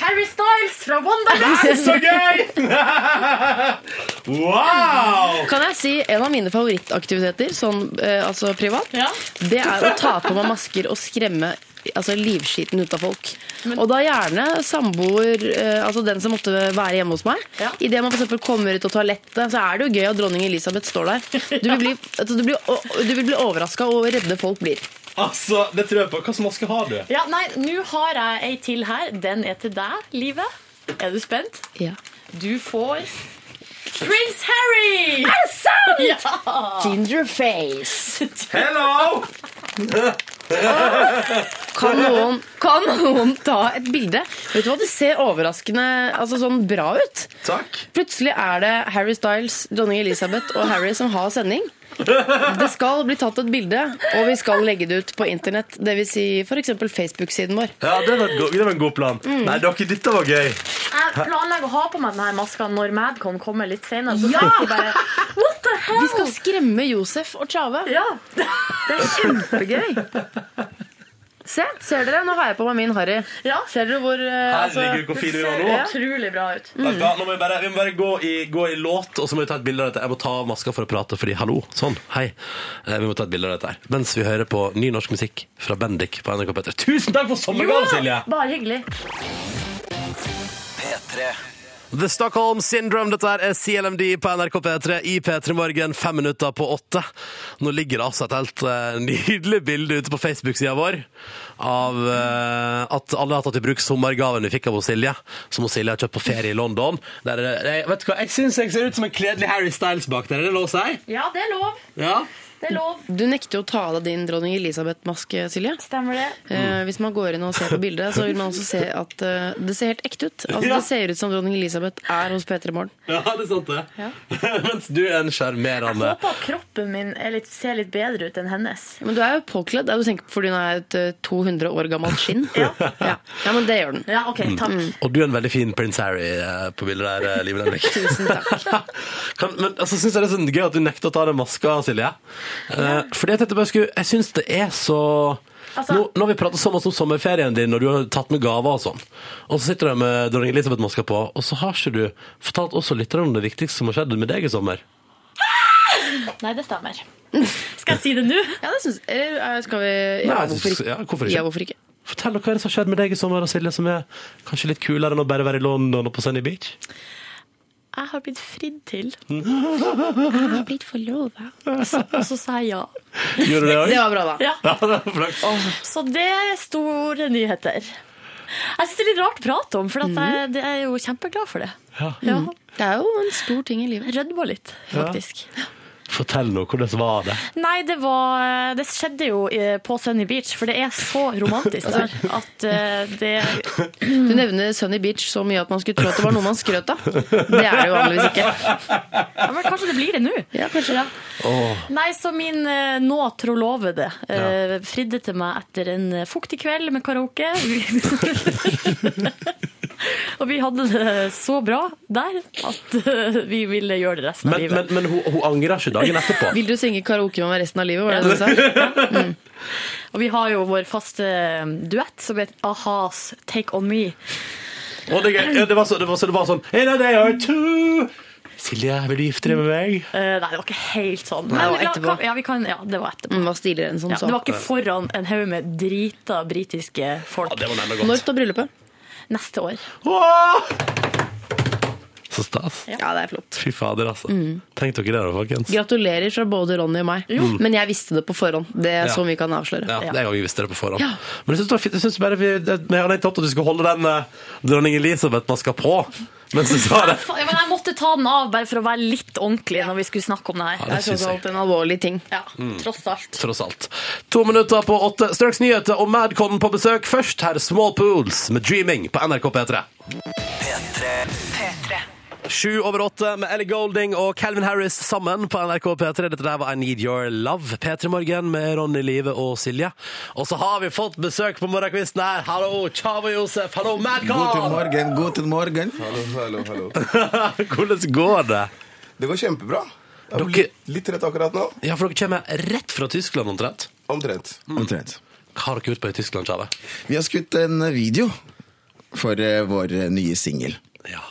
S3: Harry Styles fra Wonderland!
S2: Så gøy! wow!
S4: Kan jeg si En av mine favorittaktiviteter, sånn eh, altså privat,
S3: Ja.
S4: det er å ta på meg masker og skremme altså livskiten ut av folk. og da gjerne samboer, eh, altså den som måtte være hjemme hos meg.
S3: Ja.
S4: I Idet man for eksempel kommer ut av toalettet, så er det jo gøy at dronning Elisabeth står der. Du vil bli, altså, du blir, å- du vil bli overraska over hvor redde folk blir.
S2: Altså, det tror jeg på. Hva slags maske har du?
S3: Ja, nei, nå har jeg ei til her. Den er til deg, Live. Er du spent?
S4: Ja.
S3: Du får Prince Harry! Er det sant?! Ja.
S4: Gingerface.
S2: Hello!
S4: Kan noen, kan noen ta et bilde? Vet du hva, Det ser overraskende altså, sånn bra ut.
S2: Takk.
S4: Plutselig er det Harry Styles, dronning Elisabeth og Harry som har sending. Det skal bli tatt et bilde, og vi skal legge det ut på internett. Dvs. Si f.eks. Facebook-siden vår.
S2: Ja, det var, et go- det var en god plan.
S4: Mm.
S2: Nei, dere, dette var gøy.
S3: Jeg planlegger å ha på meg denne maska når Madcon kommer litt senere. Så ja! bare, What the hell?
S4: Vi skal skremme Josef og Tjave.
S3: ja.
S4: Det er kjempegøy. Se, ser dere? Nå har jeg på meg min Harry.
S3: ja.
S4: Ser dere hvor eh, altså,
S2: Herregud, hvor fin du er nå.
S4: Ja.
S3: Utrolig bra ut.
S2: Vent da, nå må vi bare, vi må bare gå, i, gå i låt, og så må vi ta et bilde av dette. Jeg må ta av maska for å prate, fordi hallo, sånn, hei. Eh, Vi må ta et bilde av dette her. Mens vi hører på ny norsk musikk fra Bendik på NRK P3. Tusen takk for sommergaven, Silje!
S3: Bare hyggelig.
S7: P3.
S2: The Stockholm Syndrome, dette her er CLMD på NRK P3 i P3 Morgen, fem minutter på åtte. Nå ligger det altså et helt eh, nydelig bilde ute på Facebook-sida vår av eh, at alle har tatt i bruk sommergaven vi fikk av hos Silje, som hos Silje har kjøpt på ferie i London. Der er det, jeg, vet du hva, jeg syns jeg ser ut som en kledelig Harry Styles bak der, er det lov å si?
S3: Ja, det er lov.
S2: Ja.
S3: Det er lov.
S4: Du nekter jo å ta av deg din dronning Elisabeth-maske, Silje.
S3: Stemmer det?
S2: Mm.
S4: Eh, hvis man går inn og ser på bildet, så vil man også se at eh, det ser helt ekte ut. Altså,
S2: Ja.
S4: Det ser ut som dronning Elisabeth er hos P3 Morgen.
S2: Ja, det er sant, det. Mens du er en sjarmerende
S3: Håper at kroppen min er litt, ser litt bedre ut enn hennes.
S4: Men du er jo påkledd. Er du tenkt fordi hun er et eh, 200 år gammelt skinn?
S3: Ja.
S4: Ja. ja, men det gjør den.
S3: Ja,
S2: Mm.
S3: OK. Takk.
S2: Og du er en veldig fin prins Harry eh, på bildet der, eh, Liv Nelvik.
S4: Tusen takk.
S2: kan, men altså, synes jeg det er sånn gøy at du nekter å ta den maska, Silje. Eh, fordi jeg tenkte bare skulle Jeg syns det er så
S3: Altså-
S2: nå, nå har vi pratet så masse om sommerferien din, og du har tatt med gaver og sånn. Og så sitter du der med dronning Elisabeth-maska på, og så har ikke du fortalt også lytterne om det viktigste som har skjedd med deg i sommer.
S3: Nei, det stemmer. Skal jeg si det nå?
S4: Ja, det syns Eller eh, skal vi Ja,
S2: Nei,
S4: hvorfor ikke?
S2: ja, hvorfor ikke?
S4: Ja, hvorfor ikke?
S2: Fortell hva er det som har skjedd med deg i sommer, og Silje, som er kanskje litt kulere enn å bare være i London og på Sunny Beach?
S3: Jeg har blitt fridd til. Jeg har blitt forlova. Og så og så sa jeg ja.
S2: Gjorde du det òg?
S4: Det var bra, da.
S3: Ja.
S2: Ja, det var flaks.
S3: Så det er store nyheter. Mm. Jeg syns det er litt rart prat om, for at jeg, det er jo kjempeglad for det. Ja.
S4: Det er jo en stor ting i livet.
S3: Jeg rødma litt, faktisk.
S2: Fortell nå, hvordan var det?
S3: Nei, det var Det skjedde jo eh, på Sunny Beach, for det er så romantisk der at eh, det
S4: Du nevner Sunny Beach så mye at man skulle tro at det var noe man skrøt av. Det er det jo vanligvis ikke.
S3: ja, men Kanskje det blir det nå.
S4: Ja, kanskje.
S3: Ja. Nei, så min eh, nå trolovede eh, fridde til meg etter en eh, fuktig kveld med karaoke. Og vi hadde det så bra der at eh, vi ville gjøre det resten av
S2: Men,
S3: livet.
S2: men, men hun, hun angrer ikke dagen etterpå.
S4: Vil du synge karaoke med meg resten av livet? Var det det du sa?
S3: Og vi har jo vår faste eh, duett som heter Ahas Take On Me. Eh,
S2: Og det, ja, det, var så, det, var så, det var sånn In a day or two Silje, vil du gifte deg med meg?
S3: Eh, nei, det var ikke helt sånn.
S4: det var
S3: Men vi kan-
S4: etterpå.
S3: Ja, vi kan, ja, det var etterpå.
S4: Den var Mm, stiligere enn som
S3: Ja,
S4: så.
S3: det var ikke foran en haug med drita britiske folk.
S2: Ja, det var nærmere godt
S4: Når står bryllupet?
S3: neste år.
S2: Åh! Så stas.
S4: Ja, det er flott.
S2: Fy fader, altså. Tenk dere det, da, folkens.
S4: Gratulerer fra både Ronny og meg. Men jeg visste det på forhånd. Det er sånn vi kan avsløre.
S2: Ja,
S3: Ja.
S2: det er jo visste det på forhånd.
S4: Ja.
S2: Men jeg synes det var fint. Jeg synes bare vi, det, vi hadde tatt at du skulle holde den eh, dronning Elisabeth-maska på. Mens du sa det.
S3: Fa- Ja, men jeg måtte ta den av bare for å være litt ordentlig når vi skulle snakke om det her.
S2: Ja,
S4: Det
S2: det
S4: er
S2: synes
S4: sånn
S2: jeg.
S4: alt en alvorlig ting.
S3: Ja, tross alt.
S2: Tross alt. To minutter på åtte. Straks nyheter og Madcon på besøk. Først her Small Pools med 'Dreaming' på NRK P3.
S8: P3.
S2: Sju over åtte med Ellie Golding og Calvin Harris sammen på NRK P3. Dette der var I Need Your Love. P3 Morgen med Ronny Live og Silje. Og så har vi fått besøk på morgenkvisten her. Hallo, Chavo Josef. Hallo,
S11: Guten
S2: Madcon!
S11: morgen, guten morgen.
S10: Hallo, hallo, hallo.
S2: Hvordan går det?
S10: Det går kjempebra. Jeg
S2: Dere-
S10: er litt, litt trett akkurat nå.
S2: Ja, for dere kommer rett fra Tyskland omtrent.
S10: Omtrent.
S11: Mm. Omtrent.
S2: Hva har dere gjort på i Tyskland, Kjave?
S11: Vi har skutt en
S10: eh,
S11: video for eh, vår eh, nye singel.
S2: Ja.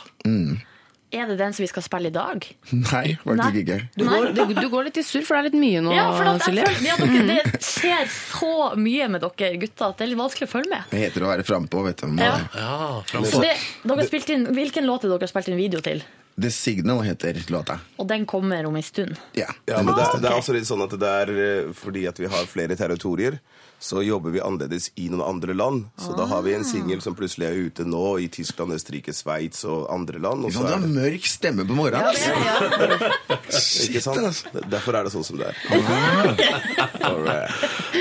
S3: Er det den som vi skal spille i dag?
S11: Nei, faktisk ikke.
S4: Du, går- du, du går litt i surr, for det er litt mye nå,
S3: Ja, for at jeg
S4: Silje.
S3: føler, ja, dere, det skjer så mye med dere gutter at det er litt vanskelig å følge med.
S11: Det heter å være frampå, vet du.
S3: Ja.
S10: eh,
S2: Ja,
S3: Så
S2: framfor.
S3: det, dere har spilt inn, hvilken låt er det dere har spilt inn video til?
S11: The Signal heter låta.
S3: Og den kommer om en stund.
S11: Ja.
S10: Ja, men det er, det er også litt sånn at det er eh, fordi at vi har flere territorier, så jobber vi annerledes i noen andre land. Så da har vi en singel som plutselig er ute nå i Tyskland, Østerrike, Sveits og andre land. Og
S11: Fy
S10: så
S11: faen, Du
S10: er
S11: har
S10: det,
S11: mørk stemme på morgenen. altså.
S10: ikke sant? Derfor er det sånn som det er. Alright.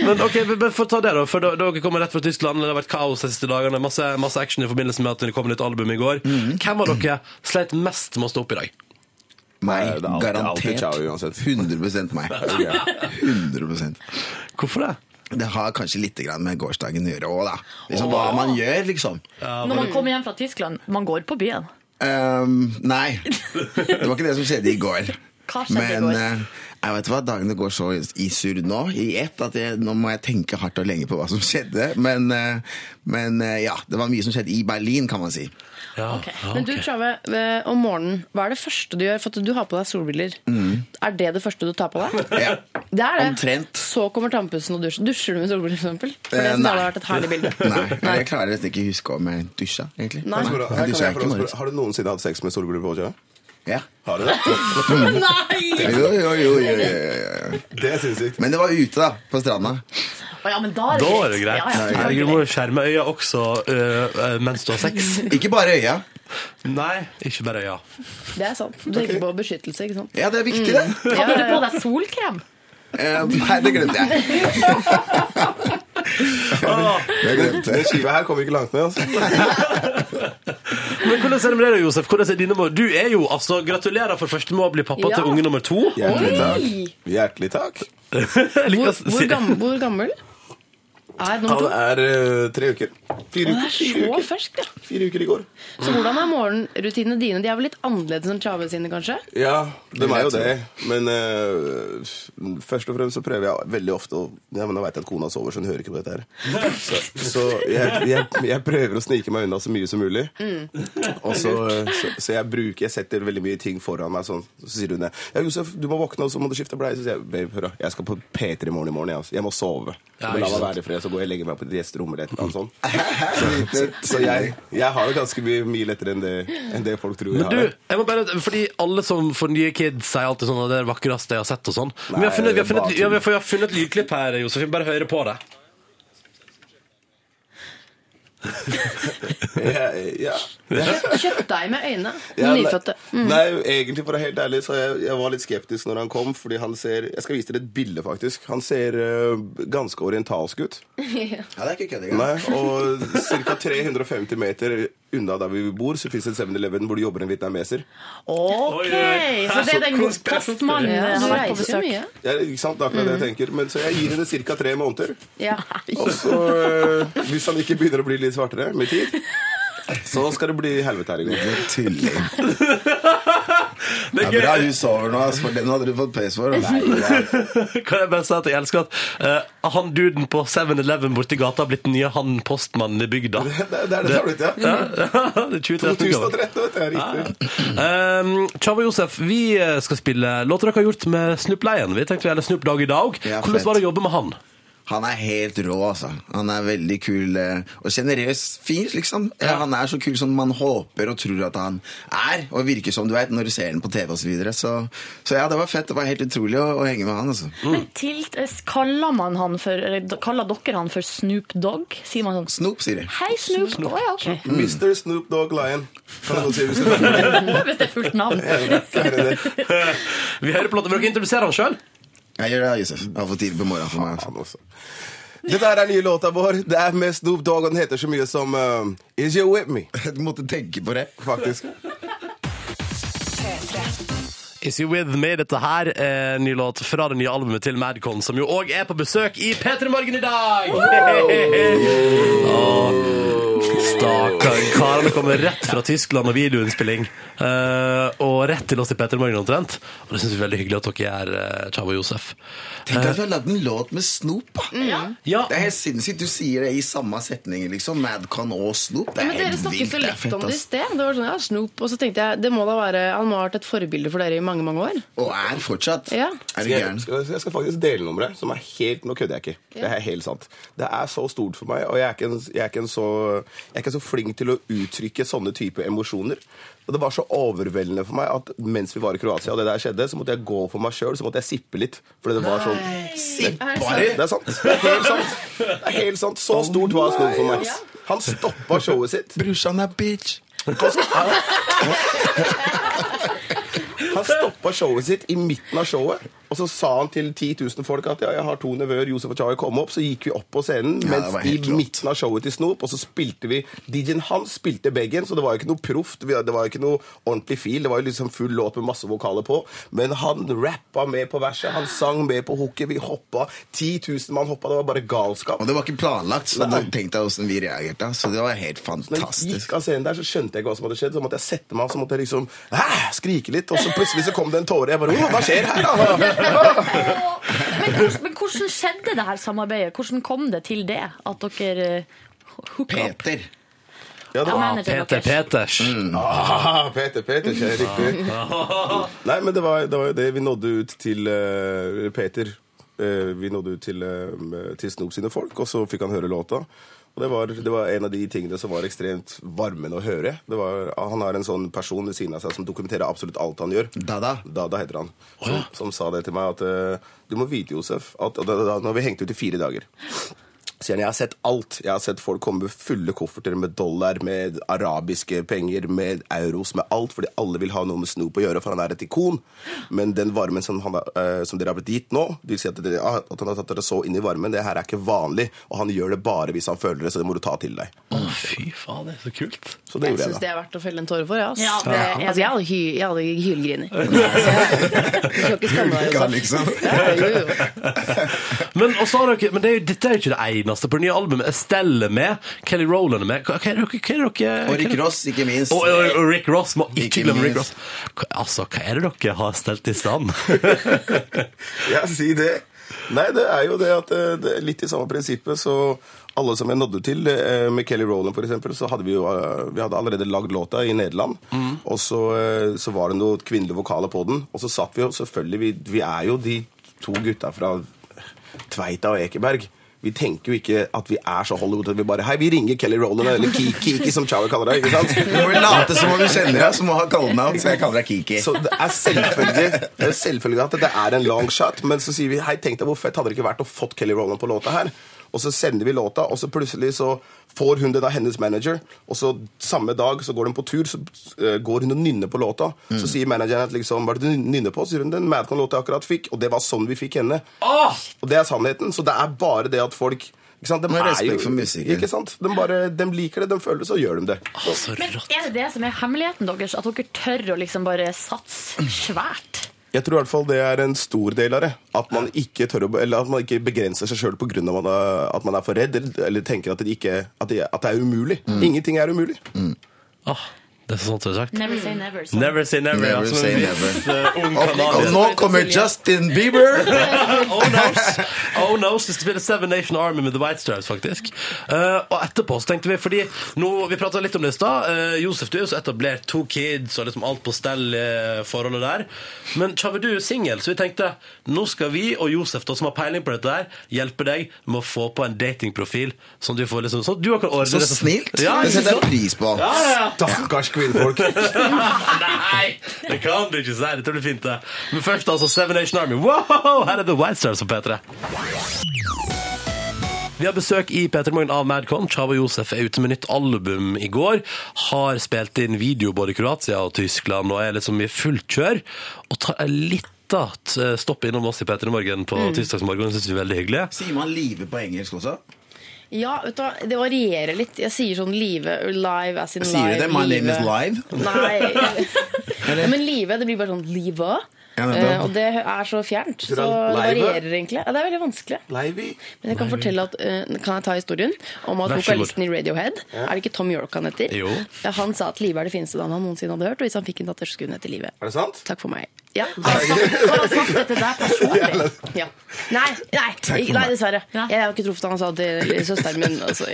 S2: Men ok, men- men for å ta det da, for da- dere kommer rett fra Tyskland, det har vært kaos de siste dagene, masse, masse action i forbindelse med at det kom nytt album i går. Hvem av dere sleit mest med å stå opp i dag?
S11: Meg,
S10: Det er alltid- alltid
S11: garantert.
S10: ciao uansett.
S11: 100 meg. 100
S2: Hvorfor det?
S11: Det har kanskje litt grann med gårsdagen å gjøre òg, da. Liksom, hva man gjør, liksom.
S3: Når man kommer hjem fra Tyskland, man går på byen.
S11: Ehm, nei, det var ikke det som skjedde i går.
S3: Hva skjedde i
S11: Men,
S3: går?
S11: eh, jeg vet hva, dagene går så i surr nå, i ett, at jeg, nå må jeg tenke hardt og lenge på hva som skjedde. Men, eh, men eh, ja, det var mye som skjedde i Berlin, kan man si.
S2: Ja,
S3: Ok.
S2: ja,
S4: Men du,
S2: ok.
S4: Tjave, eh, om morgenen, hva er det første du gjør? For at du har på deg solbriller. Er det det første du tar på deg?
S11: Ja.
S4: Det er det.
S11: Omtrent.
S4: Så kommer tannpussen og dusjer. Dusjer du med solbriller, for eksempel? For det
S11: Eh,
S4: synes jeg
S11: nei.
S4: hadde vært et herlig bilde.
S11: Nei, jeg klarer nesten ikke huske om jeg dusja, egentlig.
S4: Nei.
S10: Her kan
S11: jeg
S10: jeg
S11: dusja
S10: få
S11: ikke i
S10: lov å spørre,
S11: morges.
S10: Har du noensinne hatt sex med solbriller på? Kjø?
S11: Ja.
S10: Har du det?
S3: Nei!
S11: Jo, jo, jo, jo, jo, jo, jo.
S10: Det er sinnssykt.
S11: Men det var ute, da, på stranda.
S3: Å ja, men da er det
S2: Da
S3: greit.
S2: er det greit.
S3: Ja, ja,
S2: Herregud, du
S3: selvfølgelig.
S2: må jo skjerme øya også øh, øh, mens du har sex.
S11: Ikke bare øya.
S2: Nei, ikke bare øya.
S4: Det er sant. Du tenker på beskyttelse, ikke sant?
S11: Ja, det er viktig, det.
S3: Hadde du på deg solkrem?
S11: Eh, Nei, det glemte jeg. Det glemte
S10: Den
S11: jeg.
S10: skiva her kommer ikke langt med. Altså.
S2: Men hvordan er det med deg, da, Josef? Hvordan er dine mål? Du er jo, altså, gratulerer for første med å bli pappa
S4: Ja.
S2: til unge nummer to.
S10: Hjertelig takk. Hjertelig takk.
S2: Jeg liker å
S4: Hvor,
S2: si-
S4: hvor, gammel, hvor gammel er nummer
S10: Han
S4: to?
S10: er eh, tre uker. Fire
S4: Å, det
S10: uker,
S4: er
S10: fire
S4: så
S10: uker.
S4: ferskt, ja.
S10: Fire uker i går.
S4: Så hvordan er morgenrutinene dine? De er vel litt annerledes enn Tjave sine, kanskje?
S10: Ja, de er jo
S11: Jeg tror
S10: det. Men eh, først og fremst så prøver jeg veldig ofte å ja, men Nå veit jeg at kona sover, så hun hører ikke på dette her. Så, så jeg, jeg, jeg prøver å snike meg unna så mye som mulig.
S2: Mm.
S10: Og så, så, så jeg bruker Jeg setter veldig mye ting foran meg sånn. Så sier hun det. Ja, Josef, du må våkne, og så må du skifte bleie. Så sier jeg babe, hør, da, jeg skal på P3 i morgen i morgen. Jeg, altså. jeg må sove.
S2: Ja,
S10: Så la
S2: ikke
S10: meg
S2: sant.
S10: være i fred, så går jeg og legger meg på et gjesterom eller et eller annet sånt.
S11: Så,
S10: Så jeg, jeg har det ganske mye, mye lettere enn det, enn det folk tror jeg
S2: Men
S10: har. det.
S2: du, jeg må bare, fordi alle som får nye kids sier alltid sånn at det er det vakreste jeg har sett og sånn. Men vi har funnet, vi har funnet, ja, vi har, vi har funnet et lydklipp her, Josefin. Bare høre på det.
S10: Jeg, ja.
S4: Kjøttdeig med øyne.
S10: Ja, nei-
S4: Nyfødte.
S10: Nei, egentlig for å være helt ærlig Så jeg, jeg var litt skeptisk når han kom Fordi han ser, jeg skal vise dere et bilde faktisk Han ser eh, ganske orientalsk ut
S11: Ja, det er ikke kødd engang.
S10: Nei, Og ca. 350 meter unna der vi bor Så finnes det 7-Eleven hvor det jobber en vietnameser
S3: Ok, så det er den postmannen
S4: Ja,
S3: jeg
S4: du
S3: har vært på
S4: reiser jo
S3: besøk.
S4: mye.
S10: ja, Ikke sant, det er akkurat det jeg tenker Men så jeg gir henne ca. 3 måneder
S4: Ja.
S10: Og så, eh, hvis han ikke begynner å bli litt svartere med tid Så skal det bli helvete her i går
S11: Du tuller.
S2: Det
S11: Det
S2: er
S11: er bra
S2: gøy.
S11: hun sover nå, ass, for den hadde du fått pes for. Nei, ja.
S2: Kan jeg bare si at jeg elsker at eh, han duden på 7-Eleven borti gata har blitt den nye han postmannen i bygda.
S10: Det, det er det det har blitt, ja
S2: Ja, det er 2013 gammel.
S10: 2013, vet du, det er riktig
S2: Um, Chavo Josef, vi eh, skal spille låter dere har gjort med Snoop Lion. Vi tenkte vi heller Snoop Dag i dag.
S11: Ja,
S2: Hvordan
S11: fett.
S2: var det å jobbe med han?
S11: Han er helt rå, altså. Han er veldig kul eh, og sjenerøs fyr, liksom. Eh, Han er så kul som man håper og tror at han er, og virker som du vet når du ser den på TV osv. Så, videre. så Så ja, det var fett. Det var helt utrolig å, å henge med han, altså.
S3: Men til, eh, kaller man han for Eller d- kaller dere han for Snoop Dogg? Sier man sånn
S11: Snoop, sier de.
S3: Hei, Snoop. Å ja, ok.
S2: Mm.
S10: Mr. Snoop Dogg Lion. Kan jeg godt si hvis du vil.
S3: Hvis det er fullt navn.
S10: Hva er det?
S2: Vi hører plata, vil dere introdusere han sjøl?
S11: Jeg gjør det, Josef. Det var for tidlig på morgenen for meg.
S10: Faen
S11: Altså.
S10: også. Det der er nye låta vår. Det er med Snoop Dogg, og den heter så mye som eh, Is You With Me,
S11: Jeg måtte tenke på det.
S10: faktisk.
S2: Is You With Me, dette her er en ny låt fra det nye albumet til Madcon, som jo òg er på besøk i P3 Morgen i dag! Åh, Stakkar. Karene kommer rett fra Tyskland og videoinnspilling. eh, og rett til oss i P3 Morgen omtrent. Og det syns vi er veldig hyggelig at dere gjør, eh, Chavo og Josef.
S11: Tenk at vi har lagd en låt med Snoop. da.
S2: Ja,
S11: Det er helt sinnssykt. Du sier det i samme setning, liksom. Madcon og Snoop. Det er
S4: Men dere
S11: helt
S4: snakket
S11: vilt.
S4: så
S11: Det er
S4: lett
S11: fett,
S4: om det i
S11: ass.
S4: sted. Det var sånn, ja, Snoop. Og så tenkte jeg, det må da være Han må ha vært et forbilde for dere i mange, mange år.
S11: Og er fortsatt.
S4: Ja.
S11: Er du
S10: Jeg
S11: gæren?
S10: skal, jeg skal faktisk dele nummeret, som er helt Nå kødder jeg ikke. Det er helt sant. Det er så stort for meg, og jeg er ikke, en, jeg er ikke, en så, jeg er ikke så flink til å uttrykke sånne type emosjoner. Og det var så overveldende for meg at mens vi var i Kroatia, og det der skjedde, så måtte jeg gå for meg sjøl, så måtte jeg sippe litt. Fordi det var sånn
S11: Bare
S10: Det er sant. Det er helt sant. Det er helt sant. Så stort var Snoop for meg. Han stoppa showet sitt.
S11: Brorsan er bitch.
S10: Han stoppa showet sitt i midten av showet, og så sa han til 10 000 folk at ja, jeg har to nevøer, Josef og Chai, kom opp. Så gikk vi opp på scenen,
S11: Ja, det
S10: mens
S11: var
S10: i
S11: helt rått.
S10: midten av showet til Snoop, og så spilte vi DJ-en hans spilte begge, så det var jo ikke noe proft, vi- det var jo ikke noe ordentlig fil, det var jo liksom full låt med masse vokaler på, men han rappa med på verset, han sang med på hooket, vi hoppa, 10 000 mann hoppa, det var bare galskap.
S11: Og det var ikke planlagt, så
S10: Nei.
S11: da tenkte jeg hvordan vi reagerte. Så det var helt
S10: Når jeg gikk
S11: fantastisk.
S10: av scenen der, så skjønte jeg ikke hva som hadde skjedd. Så måtte jeg sette meg av, så måtte jeg liksom «Æ!» skrike litt. Og så plutselig så kom det en tåre. Jeg bare «Å, Hva skjer her, da?
S3: Men, hvordan- men hvordan skjedde det her samarbeidet? Hvordan kom det til det? At dere eh, hooka opp?
S11: Peter.
S10: Ja, det
S3: Ja,
S10: var,
S3: men-
S2: Peter Peters.
S10: ah, Peter, Peter, ikke riktig. Nei, men det var, det var jo det vi nådde ut til eh, Peter. Eh, vi nådde ut til, eh, til Snoop sine folk, og så fikk han høre låta. Og det var, det var en av de tingene som var ekstremt varmende å høre. Det var, han har en sånn person ved siden av seg som dokumenterer absolutt alt han gjør.
S11: Dada.
S10: Dada heter han. Som, som sa det til meg at eh, du må vite, Josef, at og da, da, når vi hengte ut i fire dager Sier han, jeg har sett alt. Jeg har sett folk komme med fulle kofferter med dollar, med arabiske penger, med euros, med alt, fordi alle vil ha noe med Snoop å gjøre, for han er et ikon. Men den varmen som, han, har- eh, som dere har blitt gitt nå, de sier at, dere, ah, at han har tatt dere så inn i varmen, det her er ikke vanlig, og han gjør det bare hvis han føler det, så det må du ta til deg.
S2: Å, fy faen, det er så kult.
S10: Så det
S4: Jeg
S10: gjorde
S4: syns
S10: jeg, da.
S4: det er verdt å felle en tåre for, ja. ass.
S3: Ja, det er det.
S4: altså, jeg hadde, hy jeg hadde hylgriner. Du skal ikke skamme deg.
S11: Ulrika,
S4: Josef.
S11: liksom.
S4: Ja, jo, jo.
S2: Men, og så har dere, men det er jo, dette er jo ikke det eneste på det nye albumet. Estelle er med, Kelly Rowland er med. Hva, hva er dere, hva er dere
S11: Og Rick Ross, ikke minst.
S2: Og, og, og Rick Ross. Må ikke
S11: Ikke
S2: glemme Rick Ross.
S11: minst.
S2: Hva, altså, hva er det dere har stelt i stand?
S10: Ja, si det. Nei, det er jo det at eh, det er litt i samme prinsippet, så alle som jeg nådde til, eh, med Kelly Rowland for eksempel, så hadde vi jo eh, vi hadde allerede lagd låta i Nederland, og så, eh, så var det noe kvinnelige vokaler på den, og så satt vi jo selvfølgelig, vi, vi er jo de to gutta fra Tveita og Ekeberg, vi tenker jo ikke at vi er så Hollywood at vi bare, hei, vi ringer Kelly Rowland, eller Ki- Kiki som Chau kaller deg, ikke sant?
S11: Du må jo late som om du kjenner deg, så må ha kallenavn. Så jeg kaller deg Kiki.
S10: Så det er selvfølgelig, det er selvfølgelig at det er en long shot, men så sier vi hei, tenk deg hvor fett hadde det ikke vært å fått Kelly Rowland på låta her. Og så sender vi låta, og så plutselig så får hun den av hennes manager. Og så samme dag så går hun på tur, så eh, går hun og nynner på låta.
S11: Mm.
S10: Så sier manageren at liksom, hva er det du nynner på? Så sier hun den Madcon-låta jeg akkurat fikk, og det var sånn vi fikk henne. Og det er sannheten. Så det er bare det at folk ikke sant? De
S11: Med
S10: er
S11: respekt
S10: jo-
S11: for musikken.
S10: Ikke sant? De, bare, de liker det, de føler det, så gjør de det.
S2: Altså,
S3: Men
S2: rått.
S3: er det det som er hemmeligheten deres? At dere tør å liksom bare satse svært?
S10: Jeg tror i hvert fall det er en stor del av det. At man ikke, tør å, eller at man ikke begrenser seg sjøl pga. at man er Mm. for redd, eller, eller tenker at det, ikke, at, det, at det er umulig. Ingenting er umulig.
S2: Ah, Det er så sant som det er sagt.
S3: Never say never. sa han.
S2: Never say never.
S11: Never
S2: altså,
S11: say
S2: en
S11: never.
S2: viss, eh, ung
S11: Og, og
S2: kanadier.
S11: nå kommer Justin Bieber!
S2: Oh noes. Oh noes. De spiller Seven Nation Army med The White Stripes, faktisk. Eh, og etterpå så tenkte vi, fordi nå, vi prata litt om det i stad. eh, Josef, du er jo så etablert, to kids og liksom alt på stell i forholdet der. Men Tjave, du er jo singel, så vi tenkte nå skal vi og Josef, da, som har peiling på dette der, hjelpe deg med å få på en datingprofil. Sånn at du får liksom Sånn at du kan ordne
S11: Så
S2: det.
S11: snilt!
S2: Ja,
S11: Det setter jeg pris på.
S10: Stakkars kvinnfolk.
S2: Nei, det kan du ikke si. Dette blir fint, det. Men først altså Seven Nation Army. Wow, her er The White Stars på P3. Vi har besøk i P3 Morgen av Madcon. Chava Josef er ute med nytt album i går. Har spilt inn video både i Kroatia og Tyskland og er liksom i fullt kjør. Og tar en lita t- stopp innom oss i P3 Morgen på tirsdagsmorgen. Det syns vi er veldig hyggelig.
S11: Sier man live på engelsk også?
S4: Ja, vet du hva, det varierer litt. Jeg sier sånn live, or live as in
S11: Sier
S4: live.
S11: du det? My name is
S4: live.
S11: live.
S4: Nei. Men live, det blir bare sånn live.
S11: Ja, nettopp.
S4: Eh, og det er så fjernt. Så
S10: det
S4: det
S10: er live?
S4: varierer egentlig. Ja, det er veldig vanskelig.
S10: Leivi.
S4: Men jeg kan fortelle at eh, Kan jeg ta historien om at
S2: Vær så god.
S4: vokalisten i Radiohead Er det ikke Tom York han heter?
S2: Jo.
S4: Ja, Han sa at live er det fineste navnet han noensinne hadde hørt, og hvis han fikk en datter, så skulle hun hete Live.
S10: Er det sant?
S4: Takk for meg. Ja. sånn.
S3: Har han sagt det til deg personlig?
S4: ja. Nei, nei, ikke- nei, dessverre.
S3: Ja.
S4: Jeg har ikke truffet han han sa til søsteren min. Altså,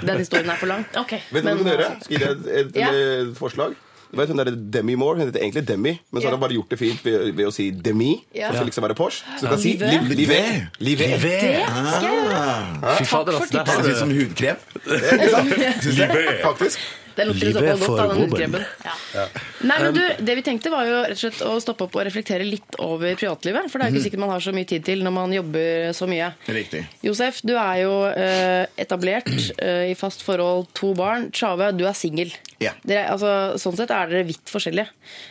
S4: den historien er for lang.
S3: Ok.
S10: Vet du hva du kan gjøre? Skal jeg gi deg et, et,
S4: Ja.
S10: et forslag? Du vet hun der Demi Moore? Hun heter egentlig Demi, men så har
S4: Ja.
S10: hun bare gjort det fint ved, ved å si Demi.
S4: Ja.
S10: Ja. Skal liksom være Porsche. Så du kan si
S4: Livet.
S10: Liv- Live. Live.
S2: Live!
S4: Skal jeg gjøre?
S11: Ah.
S2: Fy fader,
S4: for
S2: altså. der
S4: tipset.
S2: har du-
S11: Det ser ut som hudkrem.
S10: Syns jeg, Faktisk.
S4: Det lukter
S2: Livet er
S4: såpass godt av den
S2: for Um, boben.
S4: hudkremen. Nei, men du, Det vi tenkte, var jo rett og slett å stoppe opp og reflektere litt over privatlivet. For det er
S2: Mhm.
S4: ikke sikkert man har så mye tid til når man jobber så mye.
S11: Riktig.
S4: Josef, du er jo eh, etablert eh, i fast forhold, to barn. Tjave, du er singel.
S11: Ja.
S4: Dere er- Altså, sånn sett er dere vidt forskjellige.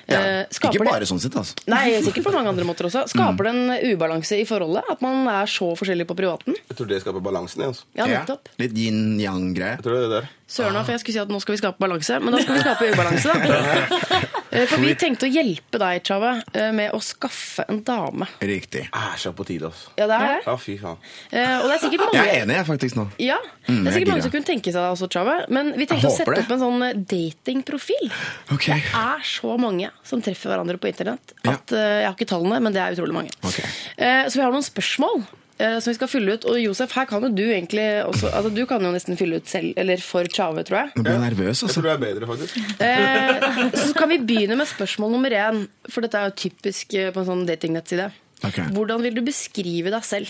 S11: Ja.
S4: Eh, skaper
S11: Ikke
S4: det-
S11: bare sånn sett, altså.
S4: Nei, sikkert på mange andre måter også. Skaper det en ubalanse i forholdet at man er så forskjellig på privaten?
S10: Jeg tror det skaper balansen. jeg, Altså.
S4: Ja, nettopp.
S11: Litt yin-yang-greie.
S10: Jeg tror det er det der.
S4: Søren òg, for jeg skulle si at nå skal vi skape balanse, men da skal vi skape ubalanse, da. Eh, For vi tenkte å hjelpe deg, Tjave, eh, med å skaffe en dame.
S11: Riktig.
S10: Æsj, på tide, altså.
S4: Ja, det er det.
S10: Ja, fy faen.
S4: Eh, Og det er sikkert mange
S11: Jeg er enig, jeg, faktisk, nå.
S4: ja,
S11: Mm,
S4: det er
S11: jeg
S4: sikkert
S11: gidder.
S4: mange som kunne tenke seg det også, Tjave. Men vi tenkte
S11: Jeg
S4: å
S11: håper
S4: sette
S11: det.
S4: opp en sånn eh, datingprofil.
S11: Ok.
S4: Det er så mange som treffer hverandre på internett
S11: Ja.
S4: at eh, jeg har ikke tallene, men det er utrolig mange.
S11: Ok.
S4: Eh, så vi har noen spørsmål eh, som vi skal fylle ut. Og Josef, her kan jo du egentlig også altså, Du kan jo nesten fylle ut selv, eller for Tjave, tror jeg.
S11: Nå blir jeg nervøs,
S10: Jeg
S11: altså.
S10: tror det er bedre, faktisk.
S4: Eh, så kan vi begynne med spørsmål nummer én, for dette er jo typisk eh, på en sånn datingnettside.
S11: Ok.
S4: Hvordan vil du beskrive deg selv?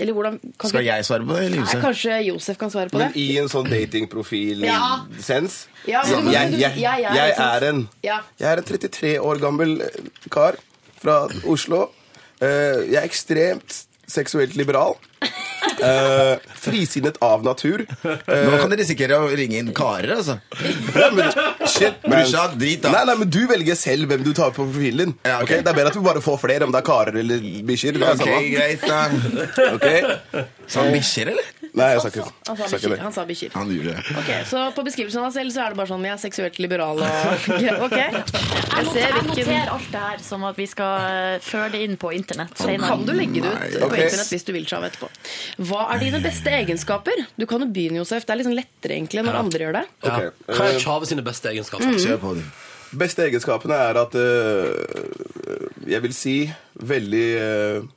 S4: Eller hvordan kan
S11: Skal
S4: vi-
S11: jeg svare på det, eller
S4: Nei,
S11: Josef?
S4: Kanskje Josef kan svare på
S10: Men
S4: det?
S10: i en sånn
S4: Ja.
S10: datingprofil-sens
S4: Ja, men du-
S10: jeg,
S4: du-
S10: jeg,
S4: ja, ja,
S10: jeg
S4: ikke sant?
S10: er en
S4: Ja.
S10: Jeg er en 33 år gammel eh, kar fra Oslo. Eh, Jeg er ekstremt seksuelt liberal. Eh, frisinnet av natur. Eh,
S11: Nå kan de risikere å ringe inn karer, altså.
S10: nei, men, shit, man.
S11: Brorsan, drit, da.
S10: Nei, nei, men du velger selv hvem du tar på profilen din.
S11: Ja, ok.
S10: Ok, Det er bedre at vi bare får flere, om det er karer eller bikkjer. det er
S11: Ok,
S10: samme.
S11: greit, da.
S10: Ok?
S11: Sa han bikkjer, eller?
S10: Nei, jeg sa ikke
S4: Han sa
S10: sa ikke
S4: bikkjer.
S10: det.
S4: Han sa bikkjer.
S11: Han gjorde det.
S4: Ok, Så på beskrivelsen av deg selv så er det bare sånn jeg er seksuelt liberal og Ok. Jeg
S3: Jeg noter-
S4: ser
S3: jeg
S4: hvilken
S3: noterer alt det her som at vi skal eh, føre det inn på internett senere.
S4: kan du legge det ut på
S10: ok.
S4: internett hvis du vil, Tjave, etterpå. Hva er dine beste egenskaper? Du kan jo begynne, Josef. Det er litt sånn lettere egentlig når andre gjør det.
S2: Ja.
S10: Ok,
S2: Hva er Tjave sine beste egenskaper?
S11: Kjør på, du.
S10: Beste egenskapene er at øh, Jeg vil si veldig øh,